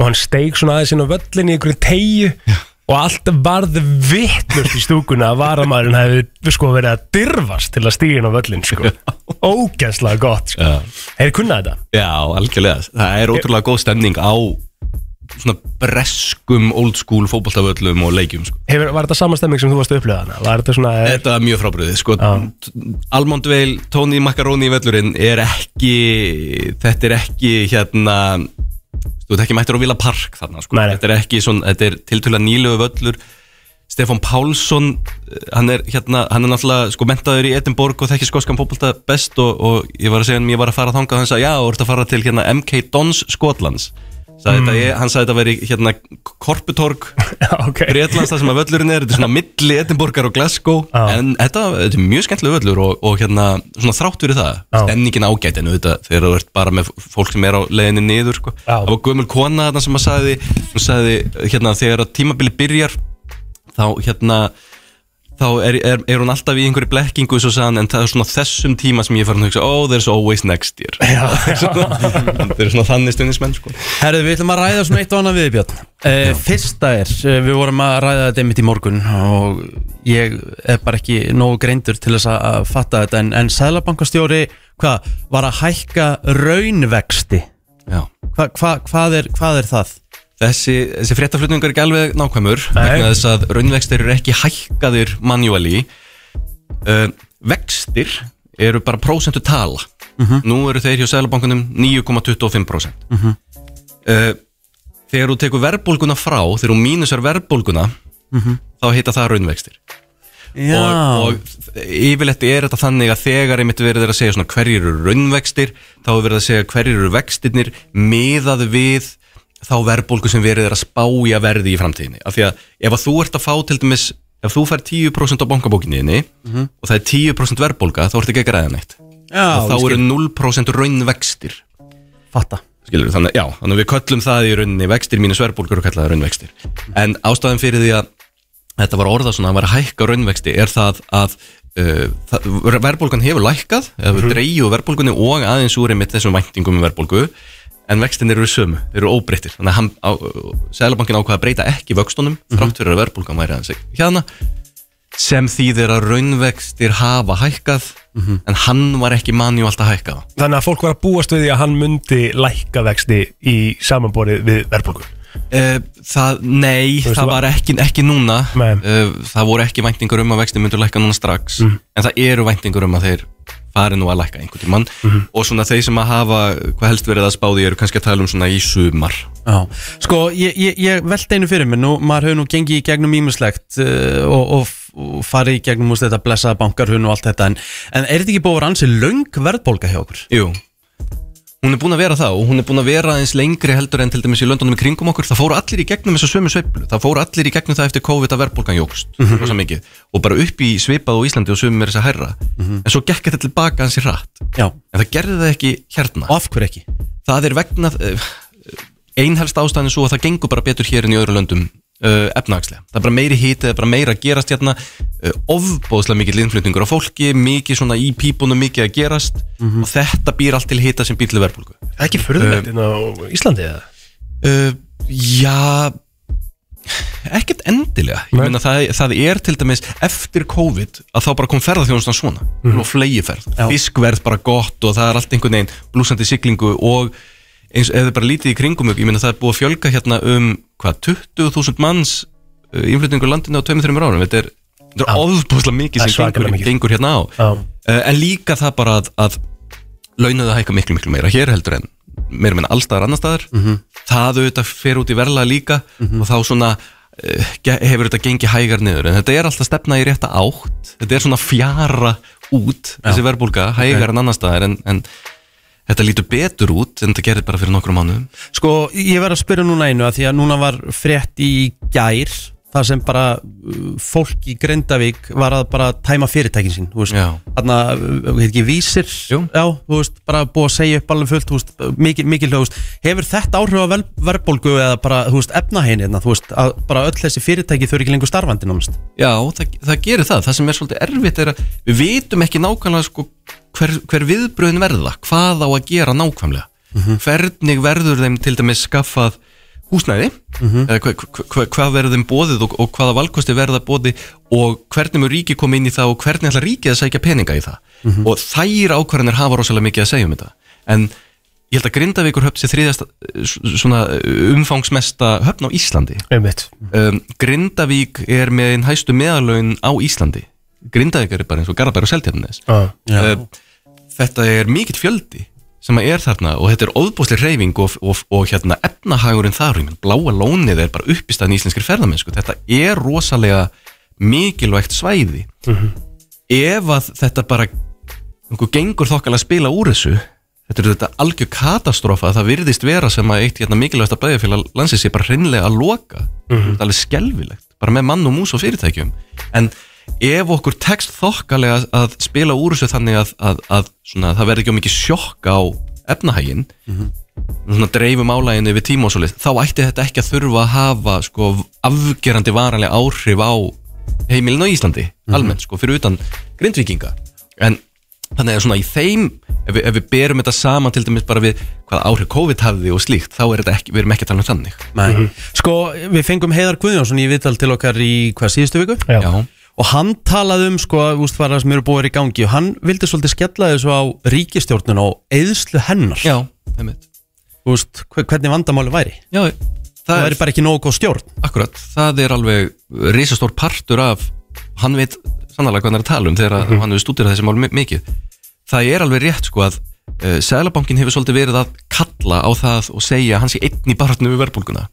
[SPEAKER 2] og hann steig svona aðeins inn á völlinni í einhverju tegju og allt varð vittlust í stúkuna að varamæðurinn hefði sko verið að dirfast til að stíga inn á völlin sko Ógæslega gott sko
[SPEAKER 15] Já.
[SPEAKER 2] Hefur kunnað þetta?
[SPEAKER 15] Já, algjörlega Það er ótrúlega góð stemning á svona breskum old school fótboltavöllum og leikjum sko.
[SPEAKER 2] Hefur, var þetta samastemming sem þú varst að upplega hana? Var þetta svona eh,
[SPEAKER 15] Þetta er mjög frábriðið sko. Almond Veil, Tony Macaroni í völlurinn er ekki þetta er ekki hérna þú veit ekki mættur á Vila Park þarna sko. þetta er ekki svona, þetta er tiltöla nýlegu völlur Stefan Pálsson eh, hann er hérna, hann er náttúrulega sko mentaður í Edinborg og þekkir skoskan fótbolta best og, og ég var að segja hann, ég var að fara þangað og hann sagði, já, þú ert að fara til hérna MK Dons Skotlands sagði
[SPEAKER 2] Mm.
[SPEAKER 15] þetta, ég, hann sagði þetta veri hérna Korputorg
[SPEAKER 2] okay.
[SPEAKER 15] Breitlands þar sem að völlurinn er, þetta er svona milli Edinborgar og Glasgow, en þetta, þetta er mjög skemmtileg völlur og, og hérna svona þrátt fyrir það,
[SPEAKER 2] Já.
[SPEAKER 15] stemningin ágætt en auðvitað þegar þú ert bara með fólk sem er á leiðinni niður, sko. það var gömul kona þarna sem að sagði, hún sagði hérna þegar að tímabili byrjar þá hérna þá er, er, er hún alltaf í einhverju blekkingu svo sagðan, en það er svona á þessum tíma sem ég er farin að hugsa oh there's always next year [LAUGHS] það er svona þannig stundismenn sko.
[SPEAKER 1] Herðu, við ætlum að ræða svona eitt og annað við þig, Björn uh, Fyrsta er, uh, við vorum að ræða þetta einmitt í morgun og ég er bara ekki nógu greindur til þess að- að fatta þetta en, en sæðlabankastjóri, hvað, var að hækka raunvexti
[SPEAKER 15] Já
[SPEAKER 1] hva, hva, hvað, er, hvað er það?
[SPEAKER 15] þessi, þessi fréttaflutningur er ekki alveg nákvæmur
[SPEAKER 1] Nei.
[SPEAKER 15] vegna þess að raunvextir eru ekki hækkaðir manually uh, vextir eru bara prósentu tala
[SPEAKER 7] Mhm.
[SPEAKER 15] nú eru þeir hjá Sælabankunum 9,25%
[SPEAKER 7] Mhm.
[SPEAKER 15] uh, þegar þú tekur verðbólguna frá þegar þú mínusar verðbólguna
[SPEAKER 7] Mhm.
[SPEAKER 15] þá heita það raunvextir og, og yfirleitt er þetta þannig að þegar einmitt verið er að segja svona hverjir eru raunvextir þá er verið að segja hverjir eru vextirnir miðað við þá verðbólgu sem verið er að spája verði í framtíðinni af því að ef að þú ert að fá til dæmis ef þú fær 10% á bankabókinniðinni
[SPEAKER 1] Mhm.
[SPEAKER 15] og það er 10% verðbólga þá ertu ekki að græða neitt
[SPEAKER 1] Já,
[SPEAKER 15] og þá
[SPEAKER 1] ég skil.
[SPEAKER 15] eru 0% raunvextir
[SPEAKER 1] Fatta
[SPEAKER 15] skilur þannig, já, þannig að við köllum það í rauninni vextir mínus verðbólgur og kalla það raunvextir en ástæðan fyrir því að þetta var orðað svona að vera hækka raunvexti er það að uh, það, verðbólgan hefur lækkað, mm -hmm.
[SPEAKER 7] Mhm.
[SPEAKER 15] dreigju verðbólgunni og aðeins úr einmitt þessum væntingum um verðbólgu en vextin eru sömu, þeir eru óbreyttir þannig að hann, á, Sælabankin ákvaða að breyta ekki vöxtunum þrátt fyrir að verðbólgan væri aðeins hérna sem þýðir að raunvextir hafa hækkað en hann var ekki manjú alltaf að hækka það
[SPEAKER 2] Þannig að fólk var að búast við því að hann myndi lækka vexti í samanborið við verðbólgu
[SPEAKER 15] Uh, það, nei,
[SPEAKER 2] Þú veist,
[SPEAKER 15] það
[SPEAKER 2] va-
[SPEAKER 15] var ekki, ekki núna uh, Það voru ekki væntingur um að vexti myndur lækka núna strax
[SPEAKER 2] Mhm.
[SPEAKER 15] En það eru væntingur um að þeir fari nú að lækka einhvern tímann
[SPEAKER 1] Mhm.
[SPEAKER 15] Og svona þeir sem að hafa, hvað helst verið að spáði eru kannski að tala um svona í sumar
[SPEAKER 1] Já, sko, ég, ég, ég veldi einu fyrir mér nú, maður hefur nú gengið í gegnum ímislegt uh, og, og, f- og farið í gegnum úst, þetta blessaða bankarhun og allt þetta en, en er þetta ekki búið að vera ansi löng verðbólga hjá okkur?
[SPEAKER 15] Jú Hún er búin að vera það og hún er búin að vera eins lengri heldur en til dæmis í löndunum í kringum okkur Það fóru allir í gegnum þessa sömu sveiflu Það fóru allir í gegnum það eftir COVID að verðbólgan jókst
[SPEAKER 1] Mhm.
[SPEAKER 15] rosa mikið. Og bara upp í svipað á Íslandi og sömum er þess að hærra En svo gekk þetta tilbaka hans í hratt
[SPEAKER 1] Mhm. Já.
[SPEAKER 15] En það gerði það ekki hérna
[SPEAKER 1] Og af hverju ekki?
[SPEAKER 15] Það er vegna einhelst ástæðan er svo að það gengur bara betur hér en í öðru löndum Uh, efnagslega. Það er bara meiri hiti, það er bara meira að gerast hérna, uh, ofbóðslega mikill innflutningur á fólki, mikið svona í pípunum mikið að gerast
[SPEAKER 1] Mhm.
[SPEAKER 15] og þetta býr allt til hita sem býr til verðbólgu
[SPEAKER 2] Það er ekki
[SPEAKER 15] Eh.
[SPEAKER 2] furðulegdin á Íslandi eða?
[SPEAKER 15] Uh, já ekkert endilega ég meina það, það er til dæmis eftir COVID að þá bara kom ferðarþjónustan svona
[SPEAKER 2] Mhm.
[SPEAKER 15] og flegiferð, fiskverð bara gott og það er allt einhvern veginn blúsandi siglingu og eins ef þið bara lítið í kringum ykkur, ég meina það er búið að fjölga hérna um hvað 20.000 manns uh, innflutningur í landinu á 2-3 árum þetta er, þetta er ofbúslega mikið
[SPEAKER 2] Það er
[SPEAKER 15] sem gengur,
[SPEAKER 2] svakalega mikið.
[SPEAKER 15] gengur hérna á
[SPEAKER 2] Já.
[SPEAKER 15] uh, en líka það bara að, að launaðu hækka miklu miklu meira hér heldur en meira meina allstaðar annarstaðar mm -hmm. það auðvitað fer út í verla líka og þá svona uh, ge- hefur þetta gengið hægar niður en þetta er alltaf stefna í rétta átt þetta er svona fjara út þessi verðbólga, hægar en annarstaðar en, en þetta lítur betur út en þetta gerir bara fyrir nokkrum mánuðum
[SPEAKER 1] Sko, ég verð að spyrja núna einu að því að núna var frétt í gær þar sem bara uh, fólk í Grindavík var að bara tæma fyrirtækin sín þú veist. þarna, uh, heit ekki vísir Jú. já, þú veist, bara búið að segja upp alveg fullt, þú veist, mikil, mikil þú veist, hefur þetta áhrif á vel- verðbólgu eða bara, þú veist, efnahein hérna, þú veist, að bara öll þessi fyrirtæki þau eru ekki lengur starfandi námast
[SPEAKER 15] Já, það, það gerir það. Það sem er svolítið erfitt er að við vitum ekki nákvæmlega sko, hver, hver viðbröðin verða, hvað á að gera nákvæmlega. Hvernig verður þeim til dæmis skaffað húsnæði,
[SPEAKER 1] Mhm.
[SPEAKER 15] eða hva, hva, hva, hvað verður þeim bóðið og, og hvaða valkosti verða bóðið og hvernig mjög ríki koma inn í það og hvernig ætlar ríkið að sækja peninga í það. Og þær ákvarðanir hafa rosalega mikið að segja um þetta. En ég held að Grindavíkur höfn sé þriðast svona uh, umfangsmesta höfn á Íslandi
[SPEAKER 2] Einmitt.
[SPEAKER 15] um, Grindavík er með einn hæstu meðalögin á Íslandi Grindavík er bara eins og Garabær og Seltjarnes
[SPEAKER 2] Já.
[SPEAKER 15] uh, Þetta er mikill fjöldi sem að er þarna og þetta er óðbúslega reyfing og, og, og hérna efnahagurinn þar ég meina, bláa lónið er bara uppistaðin í íslenskri ferðamennsku þetta er rosalega mikilvægt svæði
[SPEAKER 2] Mhm.
[SPEAKER 15] ef að þetta bara einhver gengur þokkala að spila úr þessu þetta er þetta algjör katastrófa að það virðist vera sem að eitt hérna, mikilvægasta bæðafélag landsins sé bara hreinlega að loka
[SPEAKER 2] Mhm.
[SPEAKER 15] þetta er alveg skelvilegt, bara með mann og mús og fyrirtækjum en ef okkur tekst þokkalega að spila úr þessu þannig að, að, að svona, það verði ekki á mikið sjokk á efnahægin svona dreifum álæginu yfir tíma og svo þá ætti þetta ekki að þurfa að hafa sko, afgerandi varanlega áhrif á heimilin á Íslandi almennt, sko, fyrir utan grindvíkinga en þannig að svona í þeim ef við, ef við berum þetta saman til dæmis bara við hvað áhrif COVID hafði og slíkt þá er þetta ekki, við erum ekki að tala um þannig
[SPEAKER 1] Nei. Sko, við fengum Heiðar Guðjónsson í viðtal til okkar í hvað síðustu viku
[SPEAKER 2] Já.
[SPEAKER 1] og hann talaði um sko, ústfæra sem eru búið í gangi og hann vildi svolítið skella þessu á ríkistjórnun og eðslu hennar
[SPEAKER 15] Já, einmitt
[SPEAKER 1] Úst, hvernig vandamáli væri
[SPEAKER 15] Já, það,
[SPEAKER 1] það væri bara ekki nógu góð stjórn
[SPEAKER 15] Akkurat, það er alveg risastór partur af hann veit sannlega hvað hann er að tala um þegar mm hann hefur stúdirað þessi mál mi- mikið það er alveg rétt sko að uh, Sælabankin hefur svolítið verið að kalla á það og segja að hann sé einn í baráttunum við verðbólguna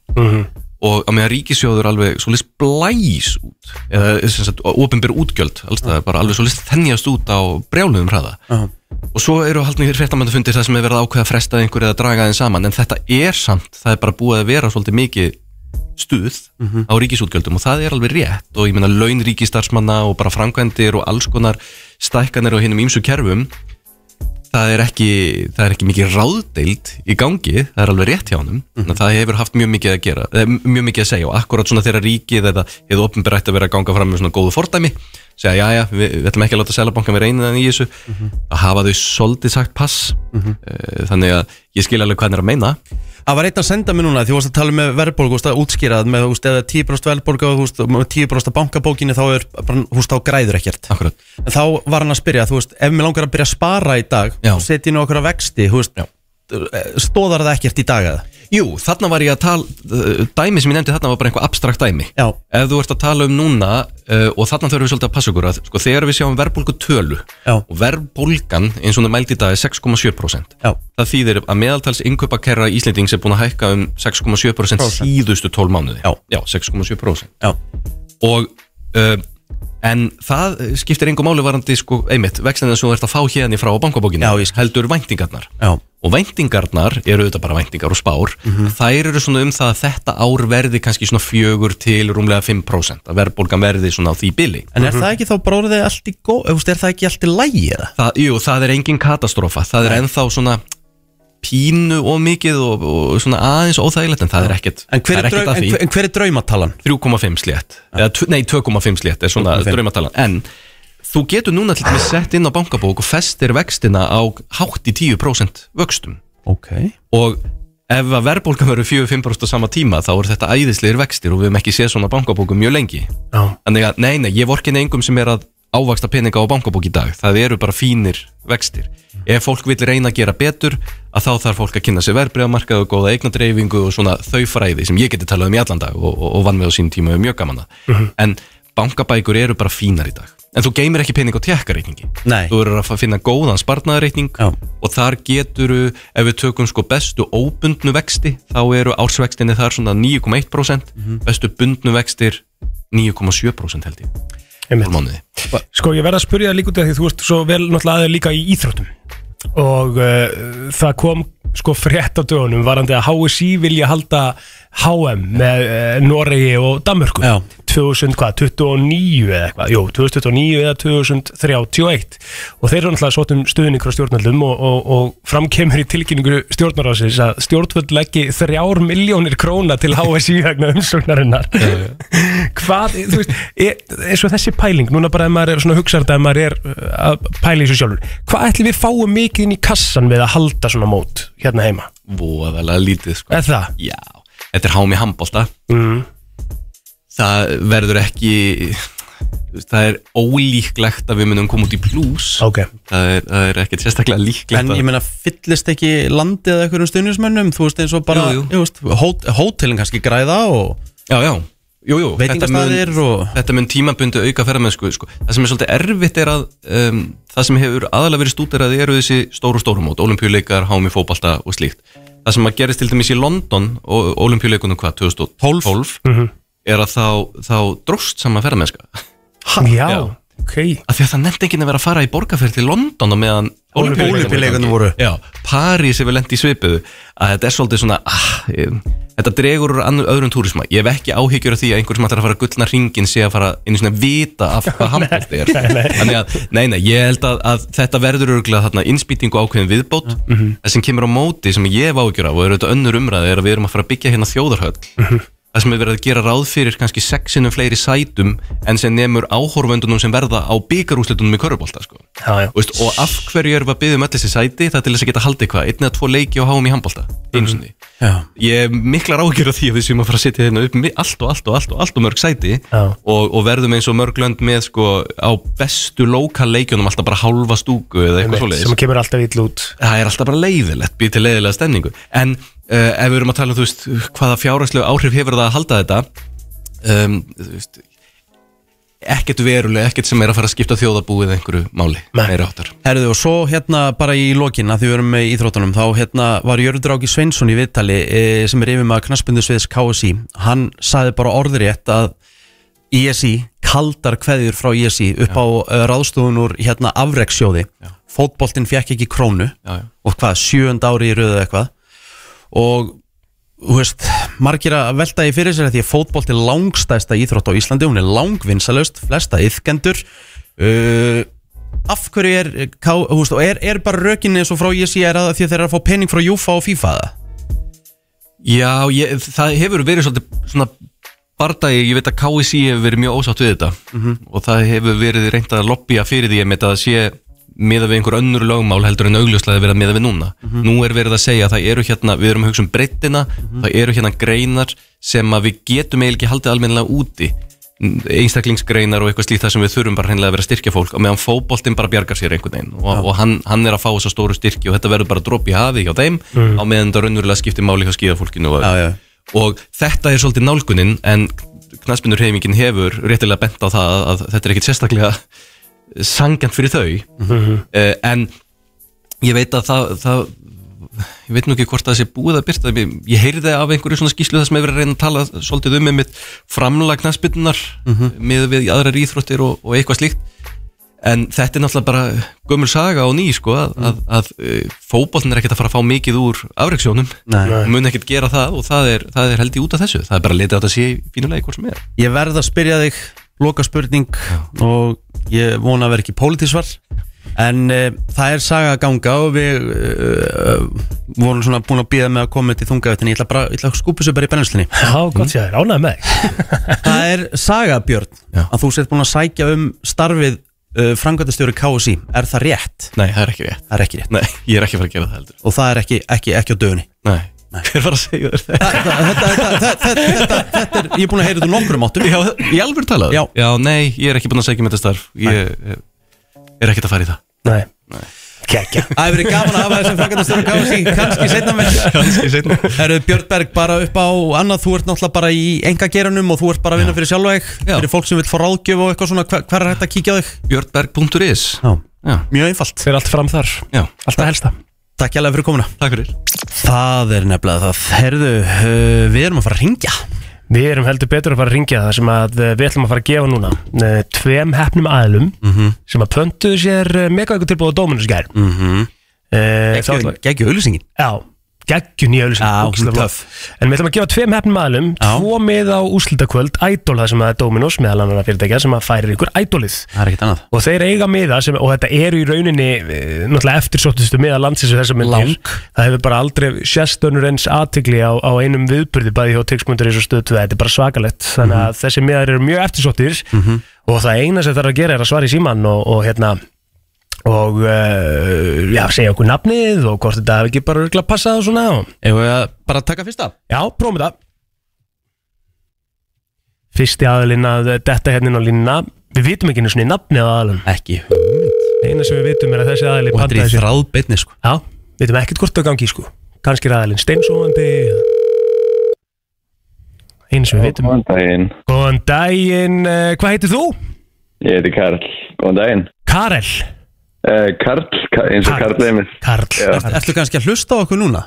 [SPEAKER 15] og að meðan ríkisjóður alveg svolítið blæs út eða sem sagt ofinbyr útgjöld allstað, bara alveg svolítið þennjast út á brjálunum hraða
[SPEAKER 1] Já.
[SPEAKER 15] og svo eru haldnir fréttamandafundir það sem er verið að ákveða að fresta einhverju eða draga þeim saman en þetta er samt, það er bara búið að vera svolítið mikið stuð
[SPEAKER 1] Mhm.
[SPEAKER 15] á ríkisútgjöldum og það er alveg rétt og ég meina laun ríkistarfsmanna og bara framkvæmdir og alls konar stækkanir og hinnum ímsu kerfum það er ekki, það er ekki mikið ráðdeild í gangi, það er alveg rétt hjá honum þannig að það hefur haft mjög mikið að eh, gera eða mjög mikið að segja og akkurat svona þegar ríkið eða hefur opinberætt að vera að ganga fram með svona góðu fordæmi segja já já, við, við ætlum ekki að láta selabankan vera einu þannig í þessu að hafa þau svolítið sagt pass
[SPEAKER 1] Mhm.
[SPEAKER 15] Eh, þannig að ég skil alveg hvað hann er að meina
[SPEAKER 1] Það var einn að senda mér núna því þú varst að tala með verðbólgu, þú veist að útskýra það með þú veist eða 10% verðbólgu og þú veist með 10% af bankabókinni þá er bara, þú veist þá græður ekkert.
[SPEAKER 15] Akkurat.
[SPEAKER 1] En þá var hann að spyrja, þú veist, ef mér langar að byrja að spara í dag og setja inn okkur að vexti, þú veist, stóðar það ekkert í dag eða?
[SPEAKER 15] Jú, þarna var ég að tala, uh, dæmi sem ég nefndi þarna var bara einhver abstrakt dæmi
[SPEAKER 1] Já.
[SPEAKER 15] Ef þú ert að tala um núna uh, og þarna þurfum við svolítið að passa okkur að sko, þegar við sjáum verðbólgu tölu
[SPEAKER 1] Já.
[SPEAKER 15] og verðbólgan eins og hún er mæld í dag er 6,7%
[SPEAKER 1] Já.
[SPEAKER 15] Það þýðir að meðaltals innkaupakerra Íslendings er búin að hækka um 6,7%
[SPEAKER 1] Prósent.
[SPEAKER 15] síðustu 12 mánuði
[SPEAKER 1] Já,
[SPEAKER 15] Já 6,7%
[SPEAKER 1] Já.
[SPEAKER 15] Og uh, En það eh, skiptir engum máli varandi sko, einmitt, vextina sem þú ert að fá hérna frá á bankabókinu, Já, heldur væntingarnar
[SPEAKER 1] Já. Mhm.
[SPEAKER 15] og væntingarnar eru auðvitað bara væntingar og spár þær eru svona um það að þetta ár verði kannski svona fjögur til rúmlega 5% að verðbólgan verði svona á því bili Mhm.
[SPEAKER 1] En er það ekki þá bara orðið allt í góð, þú veist, er það ekki allt í lægi eða?
[SPEAKER 15] það, Jú, það er engin katastrófa það er ennþá svona pínu og mikið og, og svona aðeins óþægilegt en það er ekkert
[SPEAKER 1] En hver
[SPEAKER 15] það
[SPEAKER 1] er,
[SPEAKER 15] er ekkert
[SPEAKER 1] draug,
[SPEAKER 15] að
[SPEAKER 1] en,
[SPEAKER 15] því.
[SPEAKER 1] hver- en hver er draumatalan?
[SPEAKER 15] 3,5 slétt eða, tv- Nei, 2,5 slétt er svona
[SPEAKER 1] 2,5.
[SPEAKER 15] draumatalan En þú getur núna til dæmis sett inn á bankabók og festir vextina á hátt í 10% vöxtum
[SPEAKER 1] Ok
[SPEAKER 15] Og ef að verðbólgan verður 4-5% á sama tíma þá eru þetta æðislegir vextir og við hefum ekki séð svona bankabókum mjög lengi
[SPEAKER 2] Já.
[SPEAKER 15] Þannig að, nei, nei, ég vorkin engum sem er að ávaxta peninga á bankabók í dag Það eru bara fínir vextir Ef fólk vil reyna að gera betur að þá þarf fólk að kynna sér verðbregamarkað og góða eignadreifingu og svona þau fræði sem ég geti talað um í allan dag og, og, og vann við á sínum tíma og er mjög gaman að
[SPEAKER 2] Mhm.
[SPEAKER 15] En bankabækur eru bara fínar í dag En þú geymir ekki pening á tjekkareikningi
[SPEAKER 1] Nei.
[SPEAKER 15] Þú verður að fa- finna góðan spartnaðareikning og þar getur ef við tökum sko bestu óbundnu vexti þá eru ársvextinni þar svona 9,1%
[SPEAKER 2] Mhm.
[SPEAKER 15] bestu bundnu vextir 9,7% held ég
[SPEAKER 2] Einmitt.
[SPEAKER 15] Úr mánuði.
[SPEAKER 2] Sko ég verð að spyrja þig líka út af því þú ert svo vel náttúrulega aðeins líka í íþróttum og uh, það kom sko frétt á dögunum varandi að HSI vilja halda HM með uh, Noregi og Danmörku 2029 eða eitthvað, jú, 2029 eða 2031 og þeir eru náttúrulega sótt um stuðning frá stjórnarlum og, og, og framkemur í tilkynningu stjórnarásins að stjórnvöld leggi þrjár miljónir króna til HSI vegna umsóknarinnar hvað, þú veist, er, er svo þessi pæling núna bara ef maður er svona hugsaður þetta ef maður er uh, að pæla í þessu sjálfur hvað ætlum við fáum mikið inn í kassan við að halda svona mót hérna heima
[SPEAKER 15] voðalega lítið sko.
[SPEAKER 2] Er það?
[SPEAKER 15] Já, þetta er hámi handbólta
[SPEAKER 2] mm.
[SPEAKER 15] það verður ekki þú veist, það er ólíklegt að við munum koma út í plús
[SPEAKER 2] okay.
[SPEAKER 15] það, er, það er ekkert sérstaklega líklegt
[SPEAKER 1] En
[SPEAKER 15] að-
[SPEAKER 1] ég meina, fyllist ekki landið eða einhverjum stuðnismönnum, þú veist eins og bara,
[SPEAKER 15] Jú, jú.
[SPEAKER 1] Ég veist, hót, hótelin kannski græða og...
[SPEAKER 15] Já, já, jú, jú
[SPEAKER 1] Veitingastaðir
[SPEAKER 15] þetta mun,
[SPEAKER 1] og...
[SPEAKER 15] Þetta mun tímabundu auka ferðamennsku sko. Það sem er svolítið erfitt er að um, það sem hefur aðalega verið stúderað eru þessi stóru stórumót, olimpíuleikar, hámi fótbalta og slíkt. Það sem að gerist til dæmis í London og olimpíuleikunum hvað, 2012
[SPEAKER 2] Mhm.
[SPEAKER 15] er að þá, þá dróst saman ferðamennska
[SPEAKER 2] já, ok
[SPEAKER 15] að því að það nefndi enginn að vera að fara í borgarferð til London og meðan
[SPEAKER 1] Ólympíuleikarnir
[SPEAKER 15] Ólympíuleikarnir
[SPEAKER 1] voru.
[SPEAKER 15] Já, París hefur lent í svipuðu að þetta er svolítið svona ah, ég, þetta dregur úr annu- öðrum túrisma ég hef ekki áhyggjur af því að einhver sem ætlar að fara að gullna ringin sé að fara inn í svona vita af hvað handbótti er
[SPEAKER 2] [LAUGHS] nei, nei.
[SPEAKER 15] þannig að, nei, nei, ég held að, að þetta verður örgulega þarna innspýtingu ákveðin viðbót
[SPEAKER 2] Mm-hmm.
[SPEAKER 15] það sem kemur á móti sem ég hef áhyggjur af og er auðvitað önnur umræði er að við erum að fara að byggja hérna þjóðarhöll
[SPEAKER 2] Mm-hmm.
[SPEAKER 15] það sem er verið að gera ráð fyrir kannski sexinum fleiri sætum en sem nemur áhorfendunum sem verða á byggarúslitunum í körubólta sko.
[SPEAKER 2] Já, já.
[SPEAKER 15] Veist, og af hverju erum við að byggja um öll þessi sæti það er til þess að geta haldið hvað, einn eða tvo leiki og háum í handbólta einu sinni
[SPEAKER 1] Já.
[SPEAKER 15] ég hef miklar ágjör á því að við séum að fara að setja hérna upp mi- allt og allt og allt og allt og mörg sæti
[SPEAKER 2] Já.
[SPEAKER 15] og, og verðum eins og mörg lönd með sko á bestu lokal leikjunum alltaf bara hálfa stúku eða eitthvað
[SPEAKER 2] Einmitt, sem
[SPEAKER 15] svoleiðis
[SPEAKER 2] kemur alltaf ill út
[SPEAKER 15] það er alltaf bara leiðilegt, býr til leiðilega stemningu en uh, ef við erum að tala um þú veist, hvaða fjárhagslegu áhrif hefur það að halda þetta um, þú veist, ekkert veruleg, ekkert sem er að fara að skipta þjóðabúið einhverju máli, meira áttar
[SPEAKER 1] Herðu og svo hérna bara í lokin að því við erum með íþróttunum þá hérna var Jörgdráki Sveinsson í viðtali e, sem er yfir með knaspundusviðs KSI hann saði bara orðrétt að ISI, kaldar kveðjur frá ISI upp á uh, ráðstofun úr hérna afreksjóði fótboltinn fekk ekki krónu
[SPEAKER 15] Já, já.
[SPEAKER 1] og hvað, sjöund ári í röðu eitthvað og þú veist, margir að velta í fyrir sér að því að fótbolt er langstæsta íþrótt á Íslandi hún er langvinsalust, flesta yfkendur uh, af hverju er, eh, ká, þú veist, og er, er bara rökinni eins og frá ég sé er að því að þeir eru að fá pening frá Júfa og FIFA eða?
[SPEAKER 15] Já, ég, það hefur verið svolítið svona bardagi, ég veit að KSI hefur verið mjög ósátt við þetta og það hefur verið reynt að lobbya fyrir því með að það sé miða við einhver önnur lögmál heldur en augljóslega verið að miða við núna nú er verið að segja að það eru hérna við erum að hugsa um breyttina, það eru hérna greinar sem að við getum eiginlega ekki haldið almennilega úti N- einstaklingsgreinar og eitthvað slíkt það sem við þurfum bara hreinlega að vera að styrkja fólk og meðan fótboltinn bara bjargar sér einhvern veginn og, og hann, hann er að fá þessa stóru styrki og þetta verður bara dropi í hafi hjá þeim
[SPEAKER 2] Mhm.
[SPEAKER 15] á meðan þetta raunverulega skiptir máli hjá skíðafólkinu og, já, já. og þetta er svolítið nálgunin en knaspinur heimingin hefur réttilega bent á það að þetta er ekkit sérstaklega sangjant fyrir þau
[SPEAKER 2] Mhm.
[SPEAKER 15] Eh, en ég veit að það, það ég veit nú ekki hvort það sé búið að byrta ég, ég heyrði af einhverju svona skýslu það sem hefur verið að reyna að tala svolítið um einmitt framlag knaspinnar
[SPEAKER 2] Mhm.
[SPEAKER 15] með við aðrar íþróttir og, og eitthvað slíkt en þetta er náttúrulega bara gömul saga og ný sko að, að, að fótbollin er ekkert að fara að fá mikið úr afreiksjónum,
[SPEAKER 1] Nei. Nei.
[SPEAKER 15] mun ekkert gera það og það er, það er held í út af þessu, það er bara að leta á þetta sé í fínulegi hvort sem er
[SPEAKER 1] Ég verð að spyrja þig loka spurning og ég vona að vera ekki pólitísvar en e, það er saga að ganga og við e, e, vorum svona búin að bíða með að koma til þungavittin ég ætla bara, ég ætla að skúpa þessu bara í brennslinni
[SPEAKER 2] Já, gott sér, ánægð með þig
[SPEAKER 1] [LAUGHS] Það er saga Björn að þú sért búin að sækja um starfið uh, framkvæmtastjóri KSI er það rétt?
[SPEAKER 15] Nei, það er ekki rétt,
[SPEAKER 1] það er ekki rétt.
[SPEAKER 15] Nei, ég er ekki að fara að gera það heldur
[SPEAKER 1] og það er ekki, ekki, ekki á dögunni
[SPEAKER 15] Nei. Hver var að segja þér
[SPEAKER 1] þetta?
[SPEAKER 2] [LAUGHS]
[SPEAKER 1] Þetta, þetta, þetta, þetta, þetta er, ég er búin að heyra þetta úr nokkrum áttum
[SPEAKER 15] Já, í alveg talað? Já. nei, ég er ekki búin að segja um þetta starf Ég eh, er ekkert að fara í það
[SPEAKER 2] Nei
[SPEAKER 1] Kekja Það hefur verið gaman að hafa þessum frækandastöru KSI kannski setna með
[SPEAKER 15] Kannski setna
[SPEAKER 1] Herru Björn Berg bara upp á annað þú ert náttúrulega bara í enga gerunum og þú ert bara að vinna fyrir sjálfa þig fyrir fólk sem vil fá ráðgjöf og eitthvað svona hver, hver er hægt að kíkja á þig?
[SPEAKER 15] björnberg.is
[SPEAKER 1] Mjög einfalt
[SPEAKER 2] Fyrir allt fram þar
[SPEAKER 15] Já.
[SPEAKER 2] Allt að helsta
[SPEAKER 1] Takk hérlega fyrir komuna
[SPEAKER 15] Takk fyrir
[SPEAKER 1] Það er nefnilega það Herðu, uh, við erum að fara að ringja
[SPEAKER 2] Við erum heldur betur að fara að ringja það sem að eh, við ætlum að fara að gefa núna eh, tveim hefnum aðlum
[SPEAKER 1] Mhm.
[SPEAKER 2] sem að pöntuðu sér mega ykkur tilbúið á Dominus í gær
[SPEAKER 1] mm -hmm.
[SPEAKER 2] Gekkju
[SPEAKER 1] auðlýsingin
[SPEAKER 2] Eh, Já, gekkju nýja auðlýsingin Já, En við ætlum að gefa tveim hefnum aðlum tvo með á úslitakvöld Idol það sem að er Dominus meðal annara fyrirtækja sem að færir ykkur Idolið
[SPEAKER 1] Það er ekkert annað
[SPEAKER 2] og þeir eiga miða sem, og þetta eru í rauninni eh, náttúrulega eftirsóttustu miða landsins við þessar myndir
[SPEAKER 1] Lang.
[SPEAKER 2] það hefur bara aldrei sérstönur eins aðtigli á, á einum viðburði bæði hjá tegsmundur eins og stöð 2 þetta er bara svakalett
[SPEAKER 1] Mhm.
[SPEAKER 2] þannig að þessi miðar eru mjög eftirsóttir og það eina sem þarf að gera er að svara í símann og, og hérna og uh, já, segja okkur nafnið og hvort þetta hefur ekki bara örgla passað og svona
[SPEAKER 1] Eða við bara taka fyrsta?
[SPEAKER 2] Já, prófum þetta Fyrsti aðalinn að detta hérna inn á línuna Við vitum ekki einu svona nafnið á aðalinn
[SPEAKER 1] Ekki
[SPEAKER 2] eina sem við vitum er að þessi aðalinn
[SPEAKER 1] Og þetta er í þráð beinni sko
[SPEAKER 2] Já, við veitum ekkert hvort það gangi sko Kanski er aðalinn steinsóandi Einu sem við vitum
[SPEAKER 16] Góðan daginn,
[SPEAKER 2] Góðan daginn, eh, hvað heitir þú?
[SPEAKER 16] ég heiti Karl. Góðan daginn.
[SPEAKER 2] Karel
[SPEAKER 16] Uh, Karl, Ka- eins og Karl Eimil.
[SPEAKER 2] Karl.
[SPEAKER 1] Ert- Ertu kannski að hlusta á okkur núna?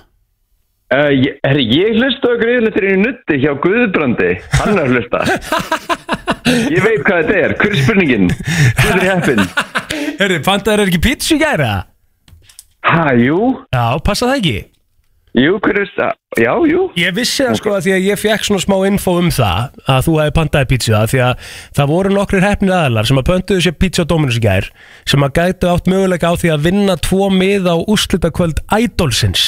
[SPEAKER 16] Uh, ég, herri, ég hlusta á greiðlutir í nutti hjá Guðbrandi. Hann er að hlusta. Ég veit hvað þetta er. Hver er spurningin? Hvað er heppin?
[SPEAKER 2] Herri, fantaður er ekki pizza í gæra?
[SPEAKER 16] Ha, jú.
[SPEAKER 2] Já, passa það ekki
[SPEAKER 16] Jú, hver er það? Já, jú.
[SPEAKER 2] Ég vissi það sko að því að ég fekk svona smá info um það að þú hefði pantaði pizza af því að það voru nokkrir hefnir aðalar sem að pöntuðu sér pizza á Dominus í gær sem að gætu átt möguleika á því að vinna tvo miða á úrslitakvöld Idolsins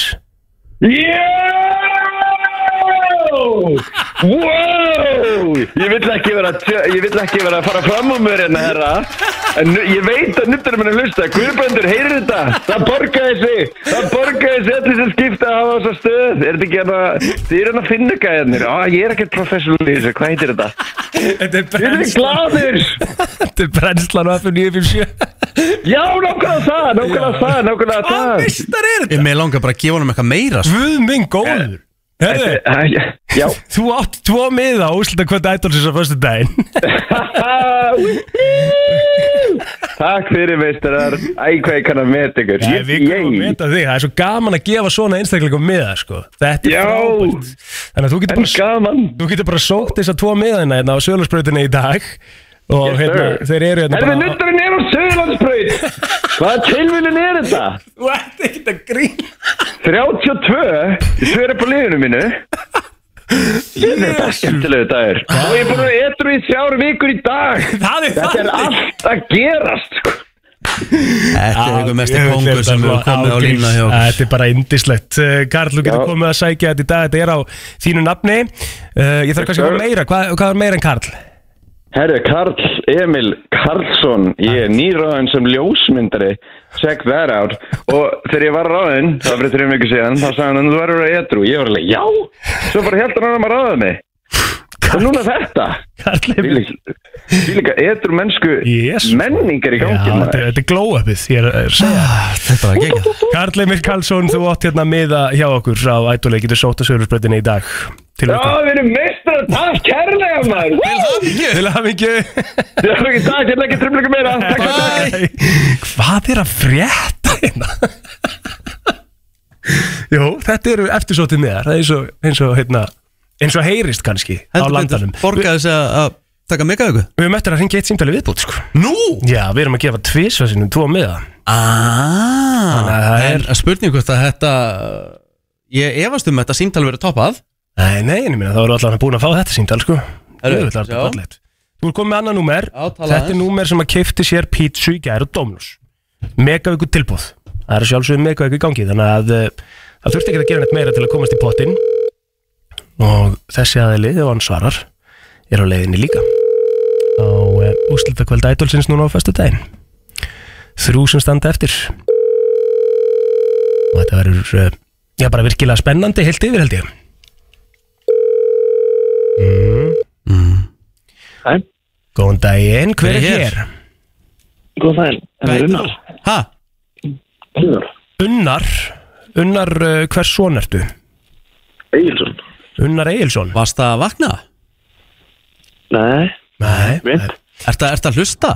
[SPEAKER 16] Wow! Wow! Ég vill ekki vera, tjö- ég vill ekki vera að fara fram úr mér hérna, herra. En nu, ég veit að nuttar minn að hlusta. Guðbrandur, heyrir þetta? Það borgaði sig. Það borgaði sig allir sem skipta að hafa þessa stöð. Er þetta ekki hérna, þið eru hérna að finna gæðinir. Á, ég er ekkert professional í þessu. Hvað heitir þetta?
[SPEAKER 2] Þetta er
[SPEAKER 16] Þið eru gladir.
[SPEAKER 2] Þetta er brennslan á F957
[SPEAKER 16] Já, nákvæmlega það, nákvæmlega það, nákvæmlega það. Hvað
[SPEAKER 2] mistar er
[SPEAKER 1] Ég með langar bara að gefa honum eitthvað meira sko.
[SPEAKER 2] Guð minn góður
[SPEAKER 16] Herðu, Eh, já
[SPEAKER 2] [LAUGHS] Þú átt tvo miða á úrslitakvöld Idolsins á förstu daginn
[SPEAKER 16] Takk fyrir meistarar Æ, hvað ég kann að met ykkur
[SPEAKER 2] Ég, við komum að meta þig, það er svo gaman að gefa svona einstaklingum miða sko. Þetta er
[SPEAKER 16] Já.
[SPEAKER 2] frábært Þannig að þú getur bara
[SPEAKER 16] gaman.
[SPEAKER 2] Þú getur bara sókt þess að tvo miðaðina hérna á sölursprautinni í dag Og hérna,
[SPEAKER 16] sir.
[SPEAKER 2] þeir eru hérna
[SPEAKER 16] Herðu, nuttarinn er á Söðurlandsbraut
[SPEAKER 2] [LAUGHS]
[SPEAKER 16] Hvaða tilvílin er þetta?
[SPEAKER 2] Þú ert ekkert að grín
[SPEAKER 16] 32 Ég sver upp á liðinu mínu Þetta er það skemmtilegu dagur Og ég er búin að etru í þrjár vikur í dag
[SPEAKER 2] Það er
[SPEAKER 16] Þetta er
[SPEAKER 2] þannig.
[SPEAKER 16] allt að gerast sko.
[SPEAKER 1] Þetta er einhver mesti
[SPEAKER 2] Ég veit
[SPEAKER 1] kongur
[SPEAKER 2] þetta
[SPEAKER 1] sem hefur
[SPEAKER 2] alveg
[SPEAKER 1] komið á
[SPEAKER 2] ágríns.
[SPEAKER 1] línuna hjá okkur
[SPEAKER 2] Þetta er bara indislegt Eh, Karl, þú getur
[SPEAKER 1] Já.
[SPEAKER 2] komið að sækja þetta í dag Þetta er á þínu nafni Eh, Ég þarf
[SPEAKER 16] Yes,
[SPEAKER 2] kannski að
[SPEAKER 16] sir.
[SPEAKER 2] vera meira Hvað, hvað er meira en Karl?
[SPEAKER 16] Herru, Karl Emil Karlsson, ég er nýröðin sem ljósmyndari, check that out og þegar ég var ráðinn, það var fyrir þrjum viku síðan, þá sagði hann að þú verður að etru ég var alveg, já, svo bara heldur hann að maður ráðið mig og núna þetta
[SPEAKER 2] Karl
[SPEAKER 16] Emil Fylika etru mennsku menningar í gangi
[SPEAKER 2] Já,
[SPEAKER 16] maður.
[SPEAKER 2] þetta, þetta er glow-upið Ég er að segja
[SPEAKER 1] Ah,
[SPEAKER 2] Þetta var gegn Karl Emil Karlsson, þú átt hérna miða hjá okkur á ætulegi getur sótt að sögursbreytinni í dag Til
[SPEAKER 16] Já, við erum meistar að taf kærlega maður Til
[SPEAKER 2] hamingju Til hamingju
[SPEAKER 16] Til hamingju, takk, ég legg ekki tripplöku meira Takk, takk, takk
[SPEAKER 2] Hvað er að frétta hérna? Jú, þetta eru eftirsótið miðar Það er eins og, eins og, hérna, eins og heyrist kannski á
[SPEAKER 1] Heldur betur,
[SPEAKER 2] landanum Borgaði þess að, að taka mega ykkur? Við höfum eftir að hringja eitt símtali viðbútt sko. Nú? Já, við erum að gefa tvisvarsinum tvo miða
[SPEAKER 1] Ah, en spurning hvort að þetta Ég efast um að þetta símtal verið toppað
[SPEAKER 2] Nei, nei, en ég minna, þá erum allan búin að fá þetta símtal sko.
[SPEAKER 1] Herru,
[SPEAKER 2] Jú, þetta er
[SPEAKER 1] já.
[SPEAKER 2] fallegt. Þú er komið með annan númer
[SPEAKER 1] talaðu
[SPEAKER 2] Þetta er númer sem að keipti sér pítsu í gæri og Dominus Megavíku tilbúð Það er sjálfsögum megavíku í gangi Þannig að eh, það þurfti ekki að gera neitt meira til að komast í pottin Og þessi aðeili, ef hann svarar Er á leiðinni líka Á úslita kvöld ædolsins núna á föstu daginn Þrjú sem standa eftir Og þetta verður eh, Já, bara virkilega spennandi heilt yfir held ég mm.
[SPEAKER 17] Mm-hmm.
[SPEAKER 18] Hæ?
[SPEAKER 2] Góðan daginn, hver er
[SPEAKER 18] Hver er
[SPEAKER 2] hér?
[SPEAKER 18] Góðan daginn, það er Unnar
[SPEAKER 2] Hæ?
[SPEAKER 18] Unnar
[SPEAKER 2] Unnar Unnar, uh, hvers son ertu?
[SPEAKER 18] Egilson
[SPEAKER 2] Unnar Egilson
[SPEAKER 1] Varst það að vakna?
[SPEAKER 18] Nei
[SPEAKER 2] Nei
[SPEAKER 18] Vint
[SPEAKER 1] Ertu ert að hlusta?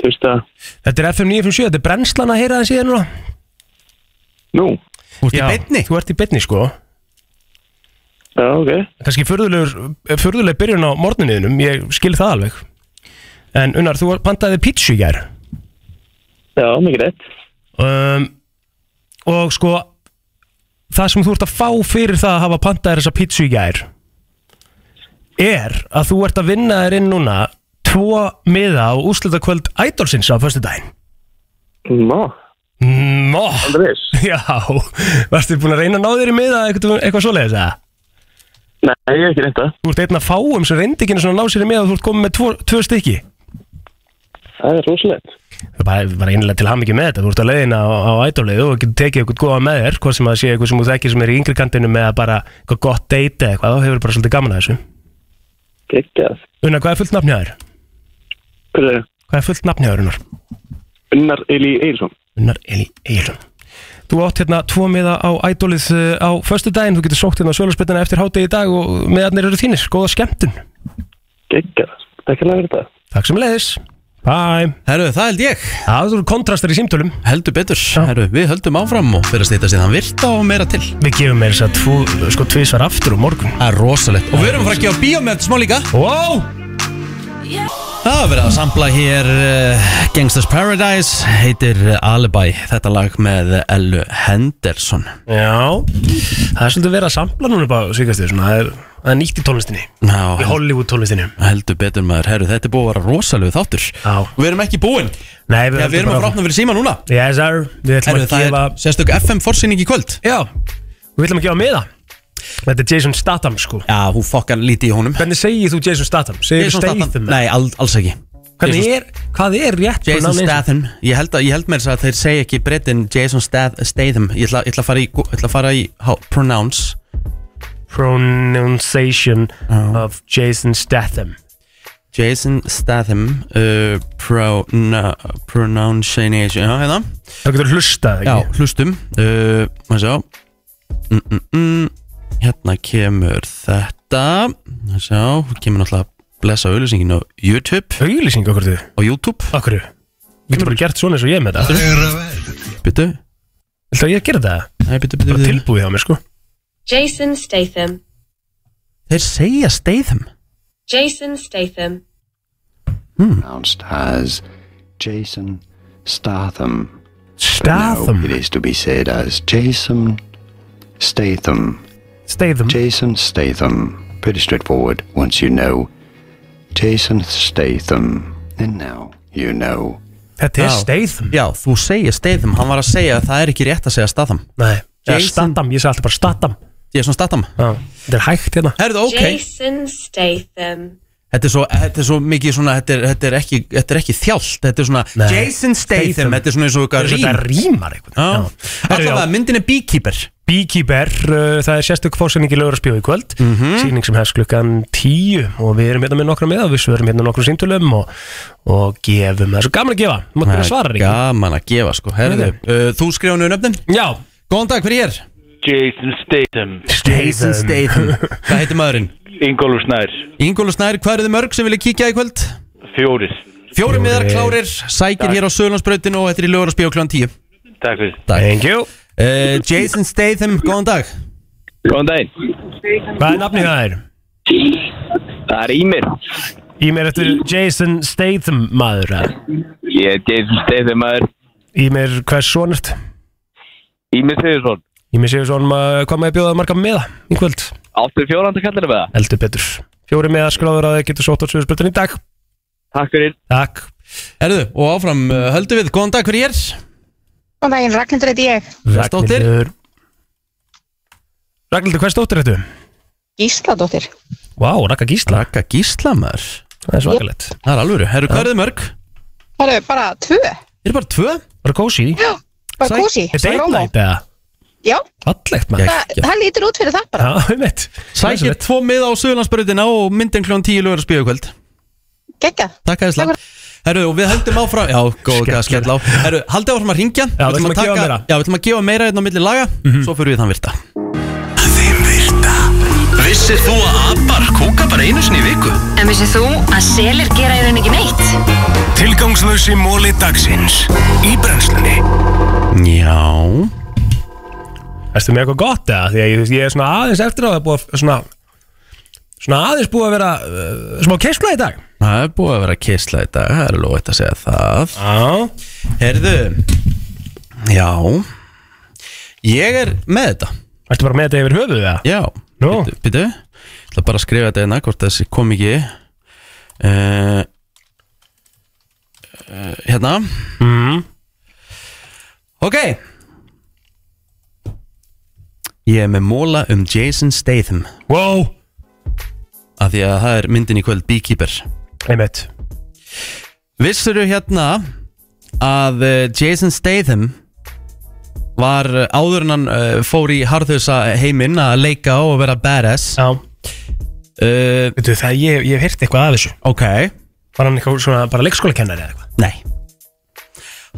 [SPEAKER 18] Hlusta
[SPEAKER 2] Þetta er FM 957, þetta er brennslan að heyra það síðan núna
[SPEAKER 18] Nú
[SPEAKER 2] Þú ert í bytni? Þú ert í bytni, sko
[SPEAKER 18] Já, ok
[SPEAKER 2] Kanski furðuleg byrjun á morguninniðnum, ég skil það alveg En Unnar, þú pantaði pítsu í gær
[SPEAKER 18] Já, mikið rétt
[SPEAKER 2] um, Og sko Það sem þú ert að fá fyrir það að hafa pantaði þessa pítsu í gær Er að þú ert að vinna þér inn núna Tvo miða á úslita kvöld Ædolsins á föstu daginn
[SPEAKER 18] Má
[SPEAKER 2] Nó Andrés [LAUGHS] Já, varstu búin að reyna að ná þér í miða eitthvað, eitthvað svoleiðis eða?
[SPEAKER 18] Nei, ég er ekki reynda
[SPEAKER 2] Þú ert einn að fáum sem reyndi ekki einu sinni að ná sér í miða og þú ert komið með tvo, tvö stykki
[SPEAKER 18] Það er rosalegt
[SPEAKER 2] Það er bara, bara einlega til hamingju með þetta, þú ert að leiðina á, á ædólið og getur tekið eitthvað góða með þér hvað sem að sé eitthvað sem þú þekkir sem er í yngri kantinum eða bara eitthvað gott date eða eitthvað, þá hefur bara svolítið gaman að þessu
[SPEAKER 18] Gekkjað
[SPEAKER 2] Unna, hvað er fullt nafn hjá þér?
[SPEAKER 18] Hver er það?
[SPEAKER 2] Hvað er fullt nafn hjá þér, Unnar?
[SPEAKER 18] Unnar Eli Egilson
[SPEAKER 2] Unnar Eli Egilson Þú átt hérna tvo miða á ædólið eh, á föstu daginn, þú getur sókt hérna á sölursbyttina eftir hádegi í dag og miðarnir eru þínir, góða skemmtun
[SPEAKER 18] Gekkjað Takk fyrir þetta
[SPEAKER 2] Takk sem leiðis Bye
[SPEAKER 1] Herru, það held ég
[SPEAKER 2] Það eru kontrastar í símtölum
[SPEAKER 1] Heldur betur, herru, við höldum áfram og fyrir að stýta síðan virta og meira til
[SPEAKER 2] Við gefum meira þess að tvo, sko tvísvar aftur og morgun
[SPEAKER 1] Það er rosalegt Og við erum að fara að gefa bíó með þetta smá líka
[SPEAKER 2] Wow
[SPEAKER 1] Það er verið að sampla hér uh, Gangsters Paradise heitir eh, Alibi Þetta lag með Ellu Henderson
[SPEAKER 2] Já, það er svolítið verið að sampla núna bara svíkastu, svona, það er, það er nýtt í tónlistinni
[SPEAKER 1] Já,
[SPEAKER 2] Í Hollywood tónlistinni
[SPEAKER 1] Heldur betur maður, herru, þetta er búið að vera rosalegu þáttur
[SPEAKER 2] Já
[SPEAKER 1] Við erum ekki búin
[SPEAKER 2] Nei,
[SPEAKER 1] Já, við erum að frátna fyrir síma núna
[SPEAKER 2] Yes sir, við ætlum
[SPEAKER 1] Herru,
[SPEAKER 2] að
[SPEAKER 1] það
[SPEAKER 2] gefa
[SPEAKER 1] er sérstök FM forsýning í kvöld
[SPEAKER 2] Já, við ætlum að gefa miða Þetta er Jason Statham sko
[SPEAKER 1] Já, hún fokkar lítið í honum
[SPEAKER 2] Hvernig segir þú Jason Statham? Segir
[SPEAKER 1] Jason
[SPEAKER 2] þú
[SPEAKER 1] Statham?
[SPEAKER 2] Statham?
[SPEAKER 1] Nei, al, alls ekki
[SPEAKER 2] Hvernig
[SPEAKER 1] Jason-
[SPEAKER 2] er, hvað er rétt
[SPEAKER 1] Jason
[SPEAKER 2] pronoun eins og-
[SPEAKER 1] Statham Ég held, að, ég held með þess að þeir segja ekki breytin Jason Stath, Statham Ég ætla, ég ætla að fara í, ég ætla að fara í how, pronounce
[SPEAKER 2] Pronunciation of Jason Statham
[SPEAKER 1] Jason Statham uh, pro, na, Pronunciation Já, hérna
[SPEAKER 2] Það getur hlustað ekki?
[SPEAKER 1] Já, hlustum uh, maður sjá. mm, mm, mm. Hérna kemur þetta Maður sjá, hún kemur náttúrulega blessa auðlýsingin á YouTube
[SPEAKER 2] Auðlýsing okkur þið?
[SPEAKER 1] Á YouTube
[SPEAKER 2] Okkur Við getum bara gert svona eins og ég með þetta
[SPEAKER 1] Byttu
[SPEAKER 2] Ætla ég að gera það?
[SPEAKER 1] Nei, byttu, byttu
[SPEAKER 2] Bara tilbúið á mér sko
[SPEAKER 19] Jason Statham
[SPEAKER 1] Þeir segja Statham
[SPEAKER 19] Jason Statham
[SPEAKER 17] announced as Jason Statham.
[SPEAKER 2] Statham?
[SPEAKER 17] it is to be said as Jason Statham.
[SPEAKER 2] Statham?
[SPEAKER 17] Jason Statham. Pretty straightforward once you know. Jason Statham. And now you know.
[SPEAKER 2] Þetta er
[SPEAKER 1] Já.
[SPEAKER 2] Statham.
[SPEAKER 1] Já, þú segir Statham, hann var að segja að það er ekki rétt að segja Statham
[SPEAKER 2] Nei, eða
[SPEAKER 1] Jason-
[SPEAKER 2] Statham, ég segi alltaf bara Statham
[SPEAKER 1] Jason Statham
[SPEAKER 2] Já, þetta er hægt hérna
[SPEAKER 1] Herðu, ok
[SPEAKER 19] Jason Statham.
[SPEAKER 1] Þetta er, svo, þetta er svo mikið svona, þetta er, þetta er, ekki, þetta er ekki þjált, þetta er svona
[SPEAKER 2] Nei.
[SPEAKER 1] Jason Statham,
[SPEAKER 2] Statham.
[SPEAKER 1] þetta er svona eins og
[SPEAKER 2] Þetta er svona
[SPEAKER 1] eitthvað
[SPEAKER 2] rím. rímar
[SPEAKER 1] eitthvað Allavega, myndin er Beekeeper
[SPEAKER 2] Beekeeper, uh, það er sérstök fórsending í lögurspíu í kvöld
[SPEAKER 1] Mhm.
[SPEAKER 2] Sýning sem hefst klukkan 10 og við erum hérna með nokkra meða við svörum hérna nokkra síntölum og, og gefum það er svo gaman að gefa, maður byrja að svara ekki
[SPEAKER 1] Gaman að gefa sko, herðu uh, Þú skrifa nú nöfnin?
[SPEAKER 2] Já
[SPEAKER 1] Góðan dag, hver er hér?
[SPEAKER 20] Jason Statham
[SPEAKER 1] Jason Statham Hvað heitir maðurinn?
[SPEAKER 20] Ingólfur Snær
[SPEAKER 1] Ingólu Snær, hvað eru þið mörg sem vilja kíkja í kvöld?
[SPEAKER 20] Fjórir
[SPEAKER 1] Fjóri miðar klárir, sækir hér á Sölandsbrautinu og þetta er í lögur og spíu kljóðan 10
[SPEAKER 20] Takk fyrir
[SPEAKER 2] Thank you
[SPEAKER 1] uh, Jason Statham, góðan dag
[SPEAKER 20] Góðan daginn
[SPEAKER 2] Hvað er nafnið það er?
[SPEAKER 20] Það er Ímir
[SPEAKER 2] Ímir eftir Jason Statham maður eða?
[SPEAKER 20] Ég er Jason Statham maður
[SPEAKER 2] Ímir, hvers son ert?
[SPEAKER 20] Ímir Sigursson
[SPEAKER 2] Ímir séu svona hvað maður bjóðað marga meða í kvöld
[SPEAKER 20] Áttur fjóranda kallir með það
[SPEAKER 2] Eldur betur Fjóri meðar skráður að þið getur sótt á svöðspöldin í dag
[SPEAKER 20] Takk fyrir
[SPEAKER 2] Takk
[SPEAKER 1] Herðu, og áfram uh, höldum við, góðan dag, hver er hér?
[SPEAKER 21] Góðan daginn, Ragnhildur heiti ég.
[SPEAKER 1] Ragnhildur.
[SPEAKER 2] Ragnhildur Ragnhildur, hvers dóttir ertu?
[SPEAKER 21] Gísladóttir.
[SPEAKER 2] Vá, Raka Gísla
[SPEAKER 1] Raka Gísla maður
[SPEAKER 2] Það er svakalegt
[SPEAKER 1] Það er alvöru, herru, hvað eru þið mörg?
[SPEAKER 21] Það eru bara tvö.
[SPEAKER 1] Er bara tvö?
[SPEAKER 2] Bara kósi
[SPEAKER 21] Já, bara kósi.
[SPEAKER 2] Er date night eða?
[SPEAKER 21] Já,
[SPEAKER 2] Fallegt
[SPEAKER 21] það, það lítur út fyrir það bara.
[SPEAKER 2] Já, um eitt
[SPEAKER 1] Sækir tvo miða á Suðurlandsbröðina og myndin kljón 10 lögur að spíu kvöld
[SPEAKER 21] Gekka
[SPEAKER 1] Takk aðeins lag Herru, og við höldum áfram Já, góð, gæða skell á Herru, haldið áfram að ringja Já,
[SPEAKER 2] við ætlum að gefa meira. Mhm.
[SPEAKER 1] Já, við ætlum að gefa meira einn á milli laga Svo fyrir við þann virta
[SPEAKER 9] Vissir þú að abar kúka bara einu sinni í viku?
[SPEAKER 22] En vissið þú að selir gera í raun ekki neitt?
[SPEAKER 9] Tilgangslösi móli dagsins Í brennslunni
[SPEAKER 1] Já
[SPEAKER 2] Erstu með eitthvað gott eða? Því að ég, ég er svona aðeins eftir á það er búið að svona Svona aðeins búið að vera uh, smá keisla í dag
[SPEAKER 1] Það er búið að vera kisla í dag Það er lóðið að segja það Já Herðu Já Ég er með þetta
[SPEAKER 2] Ertu bara með þetta yfir höfuðu það?
[SPEAKER 1] Já Nú Býtu, býtu. Ég ætla bara að skrifa þetta hérna Hvort þessi kom ekki uh, uh, Hérna mm. Ok Ég er með móla um Jason Statham
[SPEAKER 2] Wow
[SPEAKER 1] Af því að það er myndin í kvöld Beekeeper
[SPEAKER 2] Einmitt
[SPEAKER 1] Vissuru hérna að eh, Jason Statham var eh, áður en hann uh, fór í harðhusa heiminn að leika og vera badass Eh,
[SPEAKER 2] Já Veitu það, ég, ég hef heyrt eitthvað af þessu
[SPEAKER 1] Ok
[SPEAKER 2] Var hann eitthvað svona bara leikskólakennari eða eitthvað?
[SPEAKER 1] Nei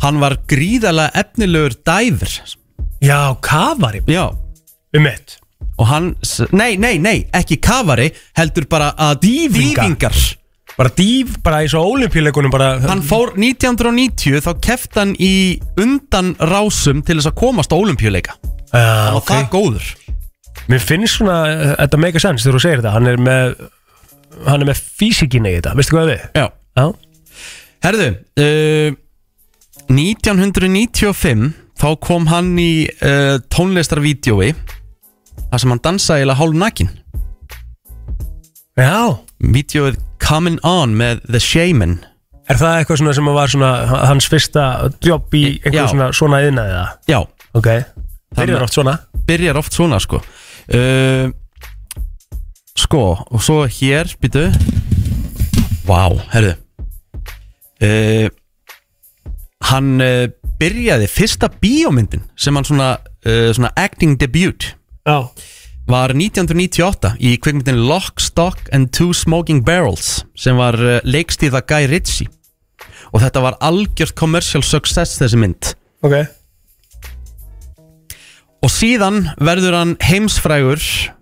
[SPEAKER 1] Hann var gríðalega efnilegur dæfur
[SPEAKER 2] Já, kavari
[SPEAKER 1] Já
[SPEAKER 2] Um mitt
[SPEAKER 1] Og hann, s- nei, nei, nei, ekki kavari Heldur bara að dývingar
[SPEAKER 2] Bara dýv, bara í svo olimpíuleikunum bara
[SPEAKER 1] Hann fór 1990 þá keft hann í undan rásum til þess að komast á olimpíuleika
[SPEAKER 2] Já,
[SPEAKER 1] ok Það góður
[SPEAKER 2] Mér finnst svona, uh, þetta make a sense þegar þú segir þetta Hann er með, hann er með físikinni í þetta, veistu hvað við?
[SPEAKER 1] Já,
[SPEAKER 2] Já.
[SPEAKER 1] Herðu, uh, 1995 þá kom hann í uh, tónlistarvídjói þar sem hann dansaði eiginlega hálf nakin
[SPEAKER 2] Já
[SPEAKER 1] Vídjóið Coming On með The Shaman
[SPEAKER 2] Er það eitthvað svona sem var svona hans fyrsta jobb í
[SPEAKER 1] Já.
[SPEAKER 2] einhver svona svona yðnaði það?
[SPEAKER 1] Já
[SPEAKER 2] Ok, byrjar oft svona
[SPEAKER 1] Byrjar oft svona sko uh, Sko, og svo hér, býtu Vá, herðu uh, Hann uh, byrjaði fyrsta bíómyndin sem hann svona, uh, svona acting debut
[SPEAKER 2] Já
[SPEAKER 1] var 1998 í kvikmyndin Lock, Stock and Two Smoking Barrels sem var uh, leikstíða Guy Ritchie og þetta var algjört commercial success þessi mynd
[SPEAKER 2] Ok
[SPEAKER 1] og síðan verður hann heimsfrægur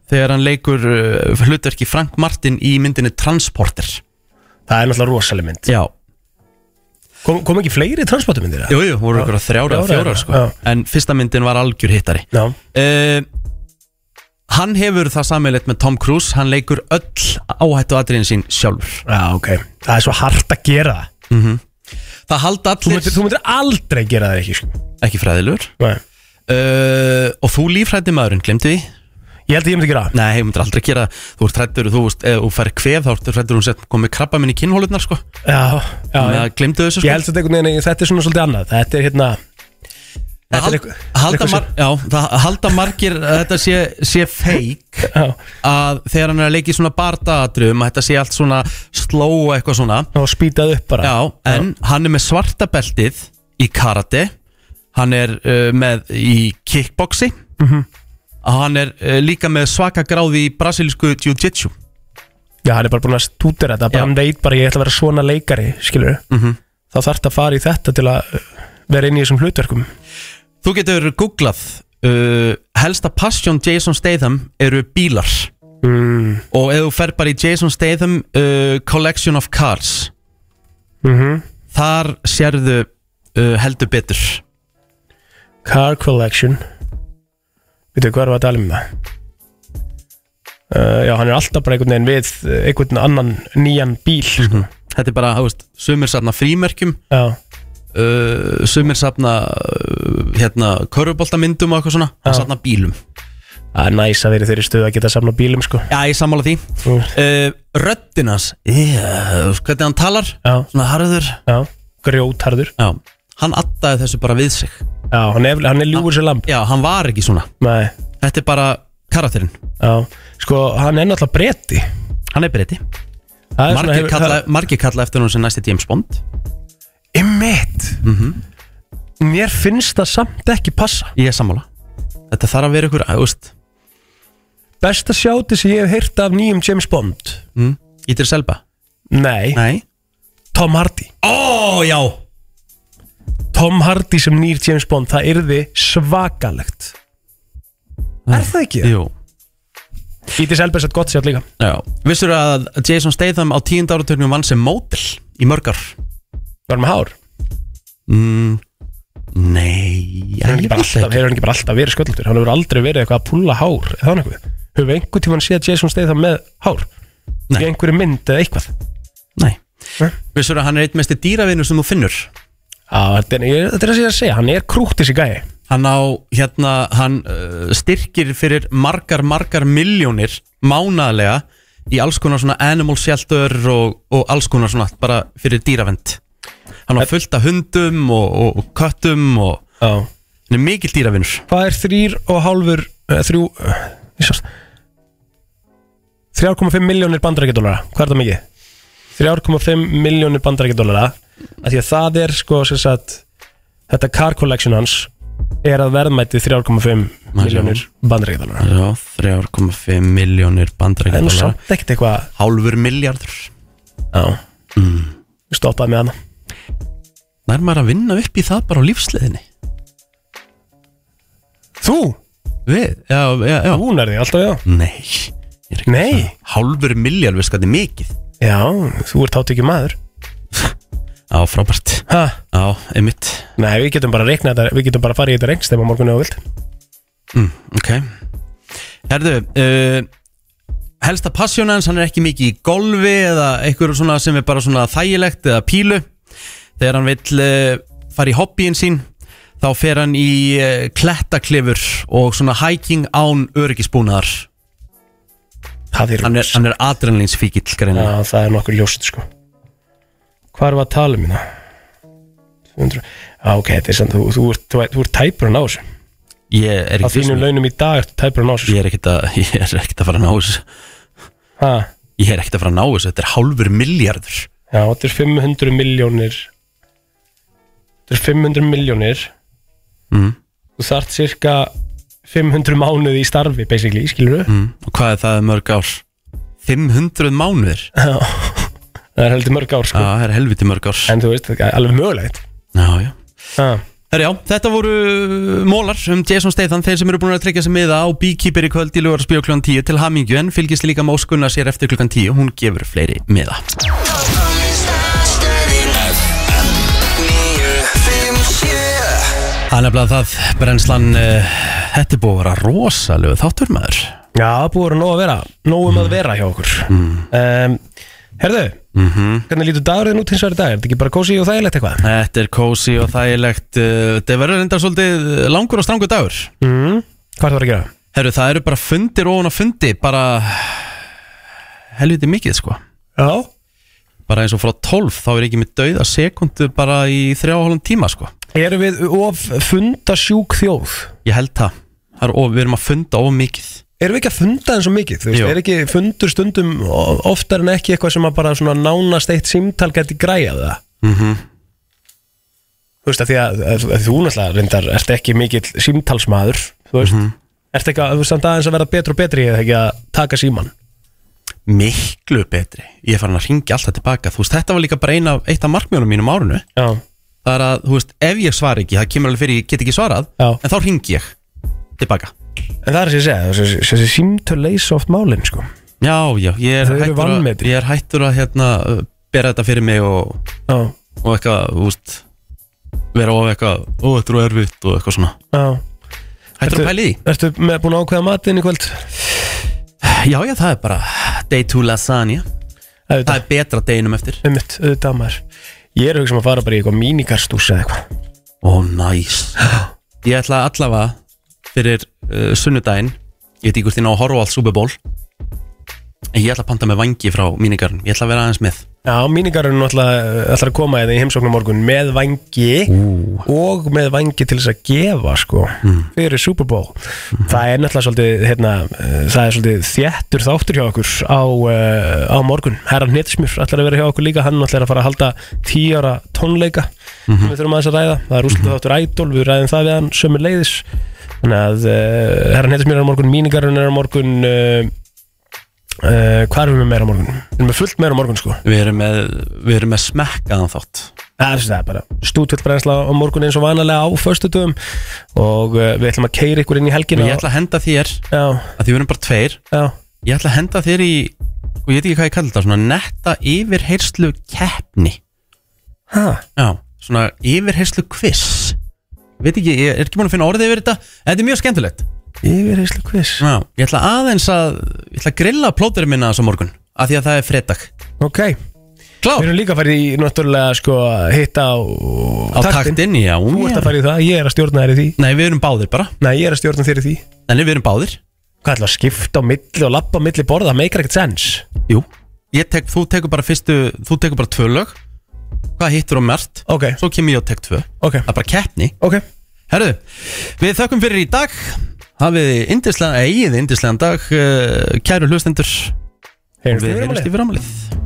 [SPEAKER 1] þegar hann leikur uh, hlutverki Frank Martin í myndinni Transporter
[SPEAKER 2] Það er náttúrulega rosaleg mynd
[SPEAKER 1] Já
[SPEAKER 2] Kom, kom ekki fleiri transportumyndir það?
[SPEAKER 1] Jú, jú, voru ykkur þrjára og fjórar sko. en fyrsta myndin var algjör hittari
[SPEAKER 2] Já.
[SPEAKER 1] uh, Hann hefur það sammeilegt með Tom Cruise hann leikur öll áhættu atriðin sín sjálfur
[SPEAKER 2] Já, ok, það er svo hart að gera það
[SPEAKER 1] -hmm. Það halda allir
[SPEAKER 2] Þú myndir, þú myndir aldrei gera það ekki sko.
[SPEAKER 1] Ekki fræðilegur
[SPEAKER 2] Nei
[SPEAKER 1] uh, Og þú lífrætti maðurinn, glemdi því?
[SPEAKER 2] Ég held að ég myndi gera það
[SPEAKER 1] Nei, ég myndi aldrei gera það. Þú ert hrættur, þú veist, ef þú fær kvef þá ertu um hrættur hún sett komið krabba minn í kinnhólutnar sko
[SPEAKER 2] Já, já
[SPEAKER 1] Þannig að glemdu þessu sko
[SPEAKER 2] Ég held þetta einhvern veginn, þetta er svona svolítið annað Þetta er hérna
[SPEAKER 1] Það hal- halda, mar, já, það halda margir að þetta sé, sé fake að þegar hann er að leika í svona bardaatrum að þetta sé allt svona slow og eitthvað svona
[SPEAKER 2] og spýtað upp bara
[SPEAKER 1] já, en hann er með svarta beltið í karate hann er uh, með í kickboxi
[SPEAKER 2] Mhm.
[SPEAKER 1] og hann er uh, líka með svaka gráði í brasilísku jiu-jitsu
[SPEAKER 2] Já, hann er bara búin að stúdera þetta bara hann veit bara ég ætla að vera svona leikari skilur
[SPEAKER 1] Mhm.
[SPEAKER 2] þá þarf þetta að fara í þetta til að uh, vera inn í þessum hlutverkum
[SPEAKER 1] Þú getur googlað uh, helsta passion Jason Statham eru bílar
[SPEAKER 2] mm.
[SPEAKER 1] og ef þú fer bara í Jason Statham uh, Collection of Cars
[SPEAKER 2] Mm -hmm.
[SPEAKER 1] þar sérðu uh, heldur betur
[SPEAKER 2] Car Collection Veitu, hvað erum við að tala um það? Uh, já, hann er alltaf bara einhvern veginn við uh, einhvern annan nýjan bíl sko.
[SPEAKER 1] Mhm. Þetta er bara, þú veist, sumir safna frímerkjum
[SPEAKER 2] Já.
[SPEAKER 1] uh, sumir safna uh, hérna, körfuboltamyndum og eitthvað svona hann safna bílum
[SPEAKER 2] Það er næs að verið þeirri stuð að geta samla bílum sko.
[SPEAKER 1] Já, ég sammála því uh, Röddin hans, yeah, hvernig hann talar
[SPEAKER 2] Já.
[SPEAKER 1] svona harður
[SPEAKER 2] Já. grjótharður
[SPEAKER 1] Já. Hann addaði þessu bara við sig
[SPEAKER 2] Já, hann er, hann er ljúfur sér lamp
[SPEAKER 1] Já, hann var ekki svona
[SPEAKER 2] Nei.
[SPEAKER 1] Þetta er bara karakterinn
[SPEAKER 2] Já, sko, hann er náttúrulega bretti
[SPEAKER 1] Hann er bretti
[SPEAKER 2] Það er svona
[SPEAKER 1] Margir
[SPEAKER 2] hefur-
[SPEAKER 1] kalla, margir kalla eftir hún sem næsti James Bond Mhm.
[SPEAKER 2] Emmett Mér finnst það samt ekki passa
[SPEAKER 1] Ég er sammála Þetta þarf að vera ykkur ást
[SPEAKER 2] Besta sjáti sem ég hef heyrt af nýjum James Bond
[SPEAKER 1] mm. Ítir Selba
[SPEAKER 2] Nei.
[SPEAKER 1] Nei
[SPEAKER 2] Tom Hardy
[SPEAKER 1] Ó, já
[SPEAKER 2] Tom Hardy sem nýr James Bond Það yrði svakalegt Er það ekki?
[SPEAKER 1] Jú
[SPEAKER 2] Ítis Elbers er gott sjátt líka
[SPEAKER 1] Já Vissur að Jason Statham á tíund áratögnum vann sem mótil í mörgar
[SPEAKER 2] Var hann með hár?
[SPEAKER 1] Mm, nei
[SPEAKER 2] Hefur hann ekki bara alltaf, hefur hann ekki bara alltaf verið skölltur Hann hefur aldrei verið eitthvað að púlla hár eða þannig eitthvað Hefur einhvern tímann séð Jason Statham með hár? Nei. Í einhverju mynd eða eitthvað
[SPEAKER 1] Vissur að hann er eitt mesti dýravinur sem þú finnur
[SPEAKER 2] Já, þetta er, ég- þetta er það sem ég er að segja Hann er krútt þessi gæi
[SPEAKER 1] Hann á, hérna, hann uh, styrkir fyrir margar, margar milljónir mánaðlega í alls konar svona animal shelter og, og alls konar svona bara fyrir dýravend Hann á fullt af hundum og, og, og köttum og
[SPEAKER 2] Já.
[SPEAKER 1] Hann er mikill dýravinur
[SPEAKER 2] Hvað er þrýr og hálfur eh, Þrjú eh, ég sást. 3,5 miljónir bandarækjadólara Hvað er það mikið? 3,5 miljónir bandarækjadólara af Því að það er sko sem sagt, Þetta car collection hans Er að verðmæti 3,5 miljónir bandarækjadólara
[SPEAKER 1] Já, 3,5 miljónir
[SPEAKER 2] En
[SPEAKER 1] bandarækjadólar
[SPEAKER 2] samt ekkert eitthvað
[SPEAKER 1] Hálfur miljardur
[SPEAKER 2] Já
[SPEAKER 1] mm.
[SPEAKER 2] Stoppaði með hana
[SPEAKER 1] Nær maður að vinna upp í það bara á lífsleðinni
[SPEAKER 2] Þú?
[SPEAKER 1] Við, já, já, já
[SPEAKER 2] Þú nærði, alltaf já
[SPEAKER 1] Nei, ég er ekki
[SPEAKER 2] Nei.
[SPEAKER 1] það. Hálfur miljard, veist hvað þetta er mikið
[SPEAKER 2] Já, þú ert hátt ekki maður
[SPEAKER 1] Já, frábært
[SPEAKER 2] Ha?
[SPEAKER 1] Já, einmitt
[SPEAKER 2] Nei, við getum bara að reikna þetta Við getum bara að fara í þetta reikst Þegar morgun eða þú vilt
[SPEAKER 1] mm, Ok Herðu, uh, helsta passjón hans Hann er ekki mikið í golfi Eða eitthvað svona sem er bara svona þægilegt Eða pílu Þegar hann vill uh, fara í hobbyin sín Þá fer hann í uh, klettaklifur Og svona hiking án öryggisbúnaðar
[SPEAKER 2] er
[SPEAKER 1] Hann er, hann er adrenalinsfíkil greinilega.
[SPEAKER 2] Já, það er nokkur ljóst sko Hvað er að tala um það? 200 Já, ok, þetta er samt, þú, þú, ert- þú, ert- þú ert tæpur að ná þessu
[SPEAKER 1] Ég
[SPEAKER 2] Á
[SPEAKER 1] er ekki
[SPEAKER 2] þínum launum í dag ertu tæpur að ná þessu
[SPEAKER 1] Ég er ekkert að, [LAUGHS] ég er ekkert að fara að ná þessu
[SPEAKER 2] Ha?
[SPEAKER 1] Ég er ekkert að fara að ná þessu, þetta er hálfur miljardur
[SPEAKER 2] Já, þetta er 500 miljónir Þetta er 500 miljónir
[SPEAKER 1] mm.
[SPEAKER 2] Þú þart cirka 500 mánuði í starfi, basically, skilur við?
[SPEAKER 1] Mm. Og hvað er það mörg ár? 500 mánuðir?
[SPEAKER 2] Já, það er heldur mörg ár, sko
[SPEAKER 1] Já, það er helviti mörg ár
[SPEAKER 2] En þú veist, það er alveg mögulegt
[SPEAKER 1] Já, já
[SPEAKER 2] Ha?
[SPEAKER 1] Herra, já, þetta voru uh, mólar um Jason Statham þeir sem eru búin að tryggja sig miða á Beekeeper í kvöld í lögarspíu klukkan 10 til hamingju en fylgist líka móskunna sér eftir klukkan 10 hún gefur fleiri miða Það er nefnilega það, brennslan uh, þetta er búið að vera rosalegu þáttur maður
[SPEAKER 2] Já, búið að vera nóg að vera Nóg
[SPEAKER 1] Mm.
[SPEAKER 2] um að vera hjá okkur um, Herðu,
[SPEAKER 1] Mhm.
[SPEAKER 2] hvernig lítur dagurinn út hins vegar í dag? Er þetta ekki bara kósi og þægilegt eitthvað?
[SPEAKER 1] Þetta er kósi eh, og þægilegt uh, Þetta verður enda svolítið langur og strangur dagur
[SPEAKER 2] Mm. Hvað er það að gera?
[SPEAKER 1] Herru, það eru bara fundir ofan á fundi Bara helviti mikið sko
[SPEAKER 2] Já
[SPEAKER 1] Bara eins og frá 12 þá er ekki með dauða sekundu bara í þrjá og hálfum tíma sko
[SPEAKER 2] Erum við of fundasjúk þjóð?
[SPEAKER 1] Ég held það, það er of, Við erum að funda of mikið
[SPEAKER 2] Erum við ekki að funda eins og mikið? Þú veist,
[SPEAKER 1] Jú.
[SPEAKER 2] er ekki fundur stundum o- oftar en ekki eitthvað sem að bara svona nánast eitt símtal geti græjað það?
[SPEAKER 1] mm
[SPEAKER 2] Mhm.
[SPEAKER 1] -hmm.
[SPEAKER 2] Þú veist, að því að, að, að þú náttúrulega reyndar ert ekki mikill símtalsmaður, þú veist
[SPEAKER 1] Mhm.
[SPEAKER 2] Ert ekki að, þú veist, samt aðeins að verða betur og betri eða ekki að taka síman
[SPEAKER 1] Miklu betri Ég er farin að ringja alltaf tilbaka Þú veist, þetta var líka bara eina, eitt af markmjónum mínum á árinu
[SPEAKER 2] Já.
[SPEAKER 1] Það er að, þú veist, ef ég svar ekki Það kemur alveg fyrir, ég get ekki svarað
[SPEAKER 2] Já.
[SPEAKER 1] En þá ringi ég tilbaka
[SPEAKER 2] En það er sem ég segja, þessi- þessi símtöl leysa oft málin, sko
[SPEAKER 1] Já, já, ég er
[SPEAKER 2] Þau eru
[SPEAKER 1] hættur að,
[SPEAKER 2] vanmetin.
[SPEAKER 1] ég er hættur að hérna, uh, bera þetta fyrir mig og,
[SPEAKER 2] Já.
[SPEAKER 1] og eitthvað, þú veist vera of eitthvað, ó, þetta er of erfitt og eitthvað svona
[SPEAKER 2] Já
[SPEAKER 1] Hættur að pæla í því?
[SPEAKER 2] Ertu með búin að ákveða matinn í kvöld?
[SPEAKER 1] Já, já, það er bara day to lasagna
[SPEAKER 2] Auðvitað.
[SPEAKER 1] Það er betra deginum eftir
[SPEAKER 2] Einmitt, auðvitað maður Ég er hugsa um að fara bara í eitthvað mínikarstús eða
[SPEAKER 1] [GASPS]
[SPEAKER 2] eitthvað
[SPEAKER 1] Ó, næs Ég ætla allavega fyrir uh, sunnudaginn Ég veit ekki hvort ég ná að horfa á allt Super Bowl En ég ætla að panta með vangi frá mínigarn Ég ætla að vera aðeins með
[SPEAKER 2] Já, mínigarinn ætlar að koma eða í heimsóknum morgun með vangi og með vangi til þess að gefa sko,
[SPEAKER 10] Mm.
[SPEAKER 2] fyrir Super Bowl Það er náttúrulega svolítið hérna, eh, það er svolítið þjættur þáttur hjá okkur á, uh, á morgun Herran Hnitsmjör ætlar að vera hjá okkur líka hann ætlar að fara að halda 10 ára tónleika
[SPEAKER 1] Mhm.
[SPEAKER 2] sem við þurfum aðeins að ræða það er úrslit þáttur Idol, við ræðum það við hann sömu leiðis þannig að uh, Herran Hnitsmjör er á morgun, mínigarinn er á morgun uh, Uh, hvað erum við með meira á morgun? Við erum með fullt meira á morgun sko
[SPEAKER 1] Við erum með, við erum með smekkaðan þátt
[SPEAKER 2] Það er það bara stútvöld brennsla á morgun eins og vanalega á föstudum og uh, við ætlum að keira ykkur inn í helgina
[SPEAKER 1] Og ég ætla að henda þér
[SPEAKER 2] Já.
[SPEAKER 1] að því við erum bara tveir
[SPEAKER 2] Já.
[SPEAKER 1] Ég ætla að henda þér í og ég veit ekki hvað ég kalla þetta svona netta yfirheyrslu keppni
[SPEAKER 2] Ha?
[SPEAKER 1] Já, svona yfirheyrslu quiz Veit ekki, ég er ekki búin að finna orðið yfir þetta en Þetta er mjög skemmtilegt
[SPEAKER 2] Yfirheyslu quiz
[SPEAKER 1] Já, ég ætla aðeins að ég ætla að grilla plóterinn minna þess að morgun af því að það er fredag
[SPEAKER 2] Ok
[SPEAKER 1] Klár
[SPEAKER 2] Við erum líka að fara í náttúrulega sko hitta á,
[SPEAKER 1] á taktinn, já
[SPEAKER 2] Þú ert að fara í það, ég er að stjórna þér í því
[SPEAKER 1] Nei, við erum báðir bara
[SPEAKER 2] Nei, ég er að stjórna þér í því
[SPEAKER 1] Nei, við erum báðir
[SPEAKER 2] Hvað ætla að skipta á milli og lappa á milli borða, það meikar ekkert sens
[SPEAKER 1] Jú Ég tek, þú tekur bara fyrstu, þú tekur bara tvö lög Hvað hittur og mert
[SPEAKER 2] Ok
[SPEAKER 1] Svo kemur ég og tek tvö
[SPEAKER 2] Ok
[SPEAKER 1] Það er bara keppni
[SPEAKER 2] Ok
[SPEAKER 1] Herðu, við þökkum fyrir í dag Hafið indislegan, eigið indislegan dag uh, Kæru hlustendur
[SPEAKER 2] Heyrumst í
[SPEAKER 1] Og Við
[SPEAKER 2] fyrramálið.
[SPEAKER 1] heyrjumst í framhalið